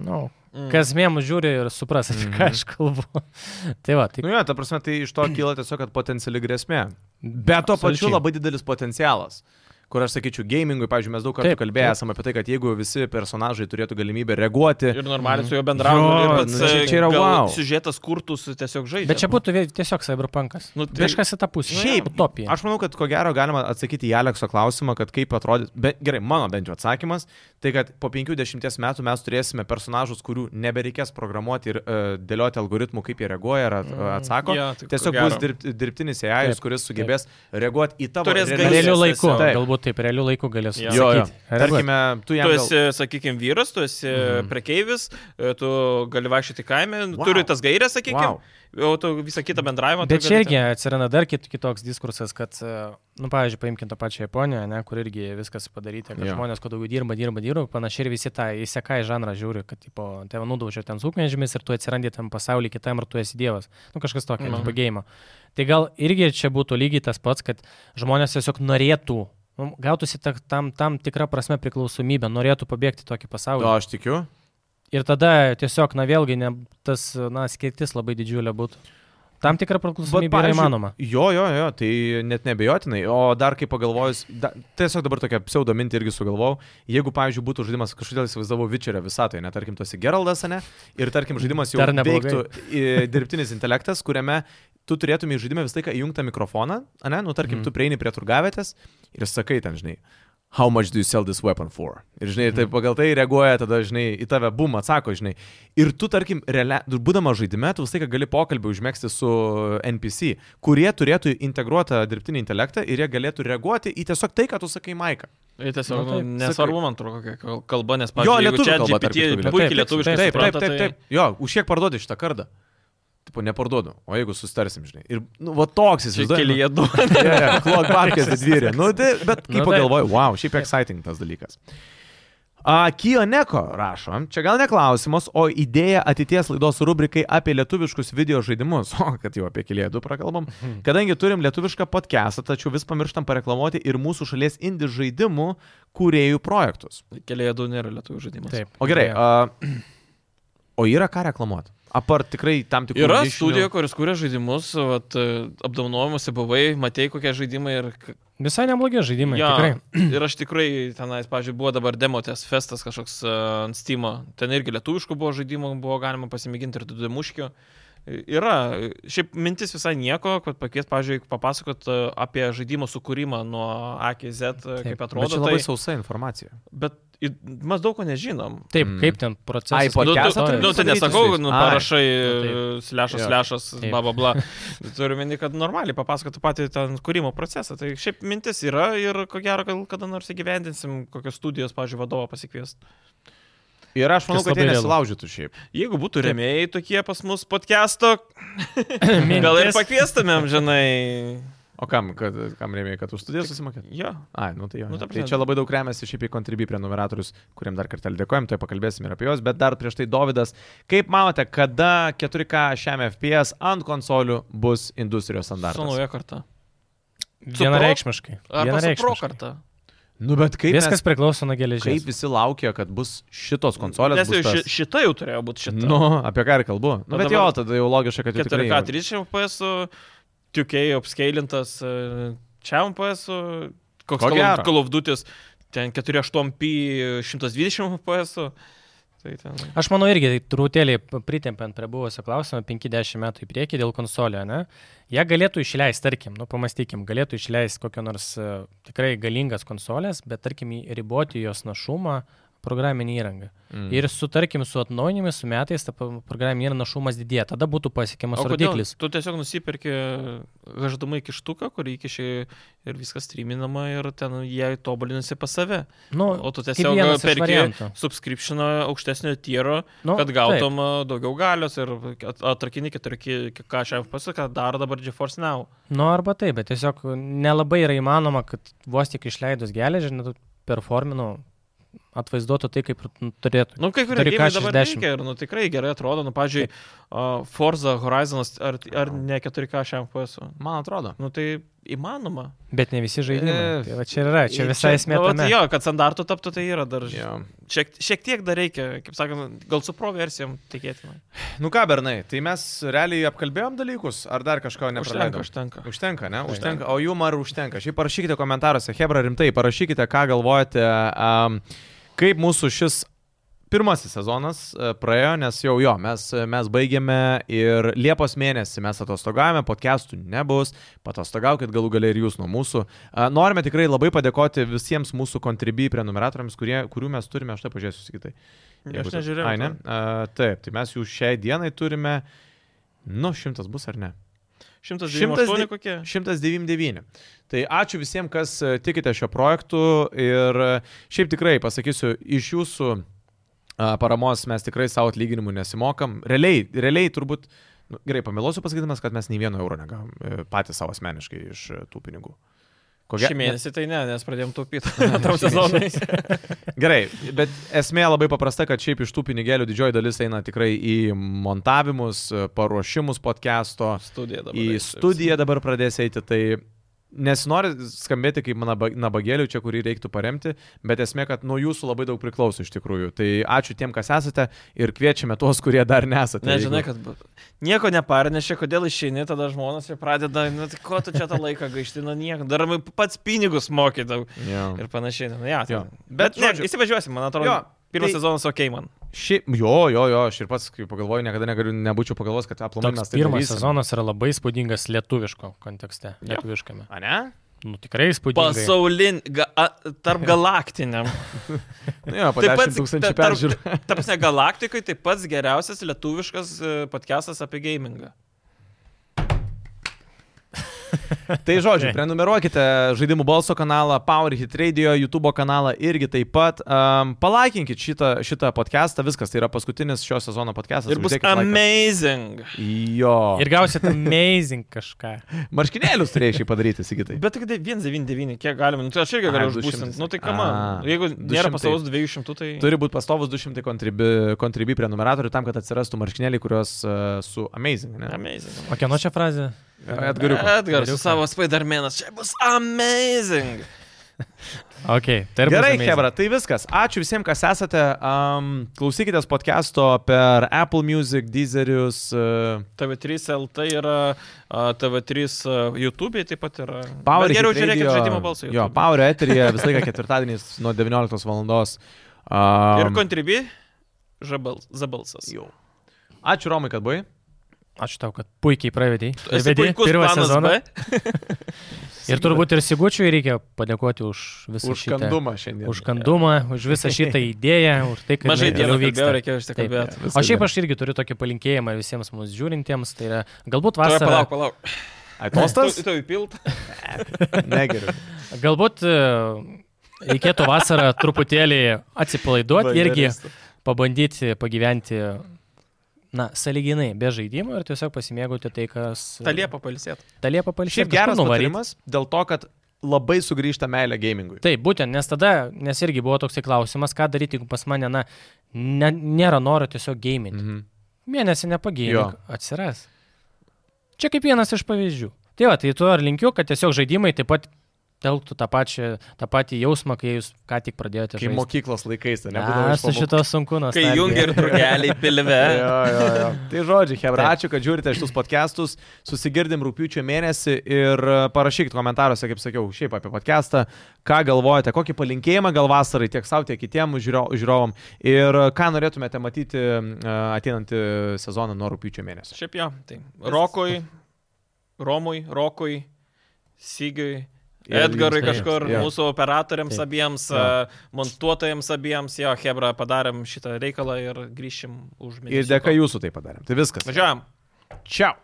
D: Nu,
A: Mm.
D: kas mėmų žiūri ir supras, apie ką aš kalbu. [laughs] tai va, tai
C: Nu jo, ta prasme, tai iš to kyla tiesiog kad potenciali grėsmė. Bet to pačiu
D: Absoliučiai.
C: labai didelis potencialas. Kur aš sakyčiau, gamingui, pavyzdžiui, mes daug kartų
D: Taip,
C: kalbėję esame apie tai, kad jeigu visi personažai turėtų galimybę reaguoti,
A: Ir normaliai su juo bendrauju.
C: Jo,
A: ir pats,
C: nu, čia-
A: e,
C: čia yra
A: gal
C: wow.
A: Siužetas kurtus tiesiog žaidžia.
D: Bet čia būtų vien- tiesiog cyberpunkas.
A: Nu,
D: Nu,
A: tai-
D: tai... Kažkas į tą pusę.
C: Šiaip,
D: utopija.
C: Aš manau, kad ko gero galima atsakyti į Alekso klausimą, kad kaip atrodys, bet gerai, mano bent jau atsakymas, tai kad po 50 metų mes turėsime personažus, kurių nebereikės programuoti ir uh, dėlioti algoritmų, kaip jie reaguoja ar at- atsako.
A: jo, tai ko
C: Tiesiog
A: gero.
C: bus dirb, dirbtinis AI,
D: Mm. Taip,
C: kuris sugebės reaguoti į tavo
A: Turės
C: realias-
D: Realiu
A: galimybes.
D: laiku.
A: tiesiog.
D: Taip.
C: Taip.
D: Galbūt taip, realiu laiku galės.
A: Jo.
C: Jo, jo.
D: atsakyti.
C: Tarkime, tu jam
A: Tu
C: gal-
A: esi, sakykime, vyras, tu esi
D: Mhm.
A: mm. prekeivis, e, tu gali vaikščioti kaime,
C: Wow.
A: wow. turi tas gairias, sakykime,
C: Wow.
A: wow. o tu visą kitą bendravimą. tu
D: Bet
A: gali
D: čia irgi atsiranda dar kit, kitoks diskursas, kad, e, nu, pavyzdžiui, paimkim tą pačią Japoniją, ne, kur irgi viskas padaryta, kad
C: Jo.
D: yeah. žmonės, kuo daugiau dirba, dirba, dirba, panašiai ir visi tą įsekai žanrą žiūri, kad, tipo, tave nudaužia ten sūkmežymis ir tu atsirandi tam pasaulyje kitam ir tu esi dievas. Nu, kažkas tokio,
A: Mhm.
D: mm. pagėjimo. Tai gal irgi čia būtų lygiai tas pats, kad žmonės tiesiog norėtų, nu, gautųsi ta, tam, tam tikrą prasme priklausomybę, norėtų pabėgti į tokį pasaulį.
C: O, aš tikiu.
D: Ir tada tiesiog, na vėlgi, ne, tas, na, skirtis labai didžiulė būtų. Tam tikra priklausomybė yra
C: pavyzdžiui,
D: įmanoma.
C: Jo, jo, jo, tai net nebejotinai. O dar kaip pagalvojus, da, tiesiog dabar tokia pseudo mintį irgi sugalvojau, jeigu, pavyzdžiui, būtų žaidimas, kažkodėl įsivaizdavau Vičerio visatoje, net tarkim, tu esi Geraldas, ne? Ir tarkim, žaidimas jau
D: Mm, Dar neblogai.
C: veiktų į- dirbtinis intelektas, kuriame tu turėtum į žaidimą visą laiką įjungtą mikrofoną, ne? Nu, tarkim, mm. tu prieini prie turgavietės ir sakai ten, žinai. How much do you sell this weapon for? Ir žinai,
D: Mm.
C: tai pagal tai reaguoja, tada, žinai, į tave bum atsako, žinai. Ir tu, tarkim, realia, būdama žaidime, tu visą laiką gali pokalbį užmėgsti su NPC, kurie turėtų integruotą dirbtinį intelektą ir jie galėtų reaguoti į tiesiog tai, ką tu sakai, Maika.
A: Tai tiesiog
D: Nu, taip,
A: nu, nesvarbu,
C: sakai.
A: man atrodo, kokia kal- kalba, nes,
C: Jo,
A: pavyzdžiui,
C: lietuvių
A: čia
C: kalba, tarp
A: GPT
C: kitko, Vilija.
A: puikiai
D: Taip,
A: lietuviškai
C: Taip, taip,
A: supranta,
C: taip, taip. Jo, už kiek parduodi šitą kardą? Tipo, neparduodu, o jeigu sustarsim, žinai. Ir, nu, va toks jis
A: tai Čia
C: [laughs]
A: kelyje du.
C: Klok barkės didvyrė. Nu, tai, bet
D: Nu,
C: kaip
D: taip.
C: pagalvoju, wow, šiaip exciting tas dalykas. A, Kioneko rašo, čia gal ne klausimas, o idėja ateities laidos rubrikai apie lietuviškus video žaidimus, [laughs] o kad jau apie kilėdų prakalbam, kadangi turim lietuvišką podcastą, tačiau vis pamirštam pareklamuoti ir mūsų šalies indie žaidimų kūrėjų projektus.
A: [laughs] Kelyje du nėra lietuvių žaidimas.
D: Taip.
C: O gerai, a, o yra ką reklamuoti? Apart tikrai tam tikrų
A: Yra
C: nišinių-
A: studija, kuris kuria žaidimus, vat, e, apdovanojimuose buvai, matei kokie žaidimai ir... k-
D: Visai neblogi žaidimai,
A: Jo,
D: ja. tikrai.
A: [clears throat] ir aš tikrai tenais, pažiūrėjau, buvo dabar demotės festas kažkoks e, ant Steam'o, ten irgi lietuviškų buvo žaidimų, buvo galima pasimėginti ir dudemuškių. Yra, šiaip mintis visai nieko, kad pakvies, pažiūrėjau, papasakot e, apie žaidimo sukūrimą nuo A iki Z, e,
D: Taip,
A: kaip
C: Bet
A: atrodo.
C: čia labai sausa informacija.
A: Bet į- mes daug ko nežinom.
D: Taip,
C: Mm.
D: mm. kaip ten procesas.
C: Ai,
A: Nu,
C: podcastą
A: tu,
D: istorija.
C: turi
A: nu, tai
C: padaryti su
D: [coughs]
A: nesakau,
C: jais.
A: nu,
C: Ai.
A: parašai,
D: Nu,
A: slešas,
C: Jo.
A: slešas,
D: Taip.
A: bla, bla, [laughs] bla. Turiu meni, kad normaliai papasakotų patį ten kūrimo procesą. Tai šiaip mintis yra ir ko gero, gal kada nors įgyvendinsim kokios studijos, pažiūrėjau, vadovą pasikviest.
C: Ir aš manau,
D: Kas
C: kad jie
D: labai realu.
C: nesilaužytų šiaip.
A: Jeigu būtų
D: Taip.
A: remėjai tokie pas mus podcast'o,
D: Mintis.
A: gal ir pakviestumėm, žinai.
C: O kam, kad, kam rėmėjai, kad už studijas susimokėt?
A: Jo.
C: Ai, nu tai jo.
A: Nu,
C: Nu,
A: ta
C: tai
A: prasme-
C: čia labai daug remiasi šiaip į kontribį prenumeratorius, kuriam dar kartą dėkojom, tai pakalbėsim ir apie juos, bet dar prieš tai Davidas, kaip manote, kada 4K šiam FPS ant konsolių bus industrijos
A: Su
C: standartas?
A: nauja karta. su
D: Vienareikšmiškai.
A: Ar su pro
D: Vienareikšmiškai.
A: karta.
C: Nu bet kaip,
D: Viskas
C: Viskas,
D: priklauso nuo
C: mes, kaip
D: geležies.
C: visi laukia, kad bus šitos konsolės?
A: Nes
C: Bus
A: jau ši,
C: tas...
A: šita jau turėjo būti šita.
C: Nu, apie ką ir kalbu. Nu,
A: Nu,
C: bet jo,
A: dabar-
C: tada jau logiška, kad jau tikrai...
A: 4K 30 PS, 2K apskailintas, čia PS, koks
C: Ko
A: Call of-
C: gero.
A: Call of Duty, ten 4.8p 120 PS. Tai ten.
D: Aš manau irgi tai truputėlį pritempiant prie buvusio klausimo, 50 metų į priekį dėl konsolio, ne? Jie galėtų išleisti, tarkim, nu pamastykim, galėtų išleisti kokią nors e, tikrai galingas konsolės, bet tarkim į- riboti jos našumą programinį įrangą.
C: Mm.
D: Ir su, tarkim, su atnaujinimais, su metais, ta pa- programinė įranga našumas didėja, tada būtų pasiekiamas
A: O kodėl?
D: rodiklis.
A: Tu tiesiog nusipirki gaždamai kištuką, kurį įkiši ir viskas streaminama ir ten jie tobulinasi pas save.
D: Nu,
A: O tu
D: kaip
A: tiesiog
D: vienas iš
A: perki
D: variantų.
A: subscriptioną aukštesnio tyro,
D: nu,
A: kad
D: taip.
A: gautum e, daugiau galios ir at- atrakini 4K, ką aš jam pasakiau, dar dabar GeForce Now.
D: Nu, arba taip, bet tiesiog nelabai yra įmanoma, kad vos tik išleidus geležį, nu, tu performinu atvaizduotų tai, kaip nu, turėtų.
A: Nu, kai kurie
D: Turi
A: gėjimai
D: ką
A: dabar
D: 60.
A: veikia ir nu, tikrai gerai atrodo. Nu, pavyzdžiui, uh, Forza Horizonas ar, ar ne 4K šiam FPS. -u.
C: Man atrodo.
A: Nu, tai įmanoma.
D: Bet ne visi žaidimai.
C: E,
D: Tai va čia ir yra, čia visai esmė.
A: Nu, vat
D: tame.
A: jo, kad standartų taptų, tai yra dar. Yeah.
C: Jo.
A: Šiek, šiek tiek dar reikia, kaip sakant, gal su pro versijom tikėtina.
C: Nu ką, Bernai, tai mes realiai apkalbėjom dalykus, ar dar kažko
A: Užtenka,
C: nepraleidom?
A: užtenka.
C: Užtenka, ne? Užtenka. O jum ar užtenka? Šiaip parašykite komentaruose, Hebra, rimtai, parašykite, ką galvojate, um, kaip mūsų šis pirmasis sezonas e, praėjo, nes jau jo, mes, mes baigėme ir Liepos mėnesį mes atostogavome, podcastų nebus, patostogaukit galų galiai ir jūs nuo mūsų. A, Norime tikrai labai padėkoti visiems mūsų kontribijai prenumeratoriams, kurie, kurių mes turime, aš tai pažiūrėsiu kitai.
A: Aš nežiūrėjau.
C: Ai, ne? A, taip, tai mes jų šiai dienai turime, nu, šimtas bus ar ne?
A: 108 kokie.
C: 199. Tai ačiū visiems, kas e, tikite šio projektu ir e, šiaip tikrai pasakysiu, iš jūsų a, paramos mes tikrai savo atlyginimų nesimokam. Realiai, realiai turbūt, nu, gerai, pamilosiu pasakydamas, kad mes nei vieno euro negavom e, patys savo asmeniškai iš e, tų pinigų. Ko ge-
A: Šį mėnesį tai ne, nes pradėjom
C: [laughs]
A: taupyti tam sezonui.
C: Gerai, bet esmė labai paprasta, kad šiaip iš tų pinigėlių didžioji dalis eina tikrai į montavimus, e, paruošimus podcast'o,
A: Studija dabar.
C: į
A: eisiu.
C: [laughs] studiją dabar pradės eiti, tai nesinori skambėti kaip naba- nabagėlių čia, kurį reiktų paremti, bet esmė, kad nuo jūsų labai daug priklauso iš tikrųjų. Tai ačiū tiem, kas esate ir kviečiame tuos, kurie dar nesate.
A: Nežinai, kad bu- nieko neparnešė, kodėl išeini, tada žmonės jau pradeda, nu, tai ko tu čia tą laiką gaišti, nu nieko, dar pats pinigus mokydavau
C: Yeah.
A: ir panašiai. Nu, ja,
C: Mm. Jo.
A: tai. Bet, bet ne,
C: žodžiu-
A: įsivažiuosim, man atrodo.
C: Jo,
A: Jo. Pirmas
C: tai-
A: tai... sezonas ok man.
C: Ši... Jo, jo, jo, aš ir pats, kai pagalvoju, niekada negaliu, nebūčiau pagalvojęs, kad aplomai mes
D: Toks
C: tai
D: pirmas
C: darysim.
D: sezonas yra labai spūdingas lietuviško kontekste. Lietuviškame.
C: A ne?
D: Nu, tikrai spūdingas.
A: Pasaulin, ga, a, [laughs] tarp galaktiniam.
C: Nu, jo, po 10 tūkstančių peržiūrų.
A: [laughs] Taps ne galaktikai, tai pats geriausias lietuviškas e, podcastas apie gamingą.
C: Tai žodžiu,
D: Okay.
C: prenumeruokite žaidimų balso kanalą, PowerHit Radio, YouTube kanalą irgi taip pat. Um, palaikinkit šitą, šitą podcastą, viskas, tai yra paskutinis šio sezono podcastas.
A: Ir bus
C: uždėkit laiką.
A: amazing.
C: Jo.
D: Ir gausit amazing kažką.
C: Marškinėlius turėjai šiai padaryti,
A: [laughs]
C: sakytai.
A: Bet tik tai 199, kiek galima. Nu, tai aš irgi
C: Ai,
A: galiu
C: 200.
A: užbūsinti. Nu tai ką
C: A,
A: man. Jeigu nėra
C: 200.
A: pasaulos 200, tai...
C: Turi būti pastovus 200 kontribi, kontribi prenumeratorių tam, kad atsirastų marškinėliai, kuriuos uh, su Amazing. Ne?
A: Amazing.
D: O kieno čia frazė?
C: Atgariu.
A: Edgaras su
D: Edgariuko.
A: savo Spider-Man'as. Čia bus amazing.
D: Ok, tai ir bus
C: Gerai,
D: amazing.
C: Hebra, tai viskas. Ačiū visiems, kas esate. Um, klausykitės podcast'o per Apple Music, Deezerius. Uh,
A: TV3 LT yra, a, TV3 a, YouTube taip pat yra.
C: Power
A: Bet Geriau
C: Hit
A: žiūrėkit
C: Radio-
A: žaidimo balsą.
C: Jo, Power Eterija visą laiką ketvirtadieniais [laughs] nuo 19 val. Um,
A: Ir Contribui Zabalsas.
C: Jau. Ačiū Romai, kad buvai.
D: Ačiū tau, kad puikiai pravedėjai. Ir
A: Esi
D: vedei
A: puikus
D: pirmą
A: planas
D: sezoną.
A: B.
D: Ir turbūt ir Sigučiui reikia padėkoti už visą
C: Už
D: šitą.
C: kandumą šiandien.
D: Už kandumą, už visą
C: [laughs]
D: šitą idėją, už tai, kad
A: Mažai
D: jinai
A: dienų
D: toliau
A: vyksta,
D: vyksta.
A: reikėjo išsikalbėti.
C: Viskas
D: O šiaip
C: gerai.
D: aš irgi turiu tokį palinkėjimą visiems mūsų žiūrintiems, tai yra galbūt
A: Tuoj,
D: vasarą,
A: Palauk, palauk.
C: Atostas? [laughs]
A: Tu, tu įpilt.
C: Negeriu.
D: galbūt e, reikėtų vasarą truputėlį atsipalaiduoti irgi pabandyti pagyventi, na, saliginai, be žaidimų ir tiesiog pasimėgauti tai, kas...
A: Ta liepa palsėt.
D: Ta liepa palšė.
C: Šiaip geras nuvarimas dėl to, kad labai sugrįžta meilė gamingui.
D: Taip, būtent, nes tada, nes irgi buvo toksai klausimas, ką daryti, jeigu pas mane, na, ne, nėra noro tiesiog gaiminti.
C: Mhm.
D: Mėnesį
C: Jo.
D: nepagėjau. Atsiras. Čia kaip vienas iš pavyzdžių. Tai va, tai tuo ir linkiu, kad tiesiog žaidimai taip pat telktų tą, pačią, tą patį jausmą, kai jūs ką tik pradėjote
C: Kai
D: žaisti.
C: mokyklos laikais, tai nebūdavo.
D: Aš su šito sunku
A: Kai
D: nustatyti.
A: jungia ir trukeliai [laughs] pilve.
C: Jo, jo, jo. Tai žodžiu, Hebra,
D: Taip.
C: ačiū, kad žiūrite šitus podcastus. Susigirdim rūpiučio mėnesį ir e, parašykit komentaruose, kaip sakiau, šiaip apie podcastą, ką galvojate, kokį palinkėjimą gal vasarai tiek savo, tiek kitiem žiūro- žiūrovam ir e, ką norėtumėte matyti e, ateinantį sezoną nuo rūpiučio mėnesio.
A: Šiaip jo. Tai. Rokui, Romui, Rokui, Sigiui.
C: Ir
A: Edgarui
D: jums, tai-
A: kažkur,
C: jo.
A: mūsų operatoriams
D: Taip.
A: abiems,
C: Jo.
A: a, montuotojams abiems, jo, Hebra, padarėm šitą reikalą ir grįšim už mėnesį.
C: Ir dėka jūsų tai padarėm. Tai viskas.
A: Važiuojam.
C: Čiau.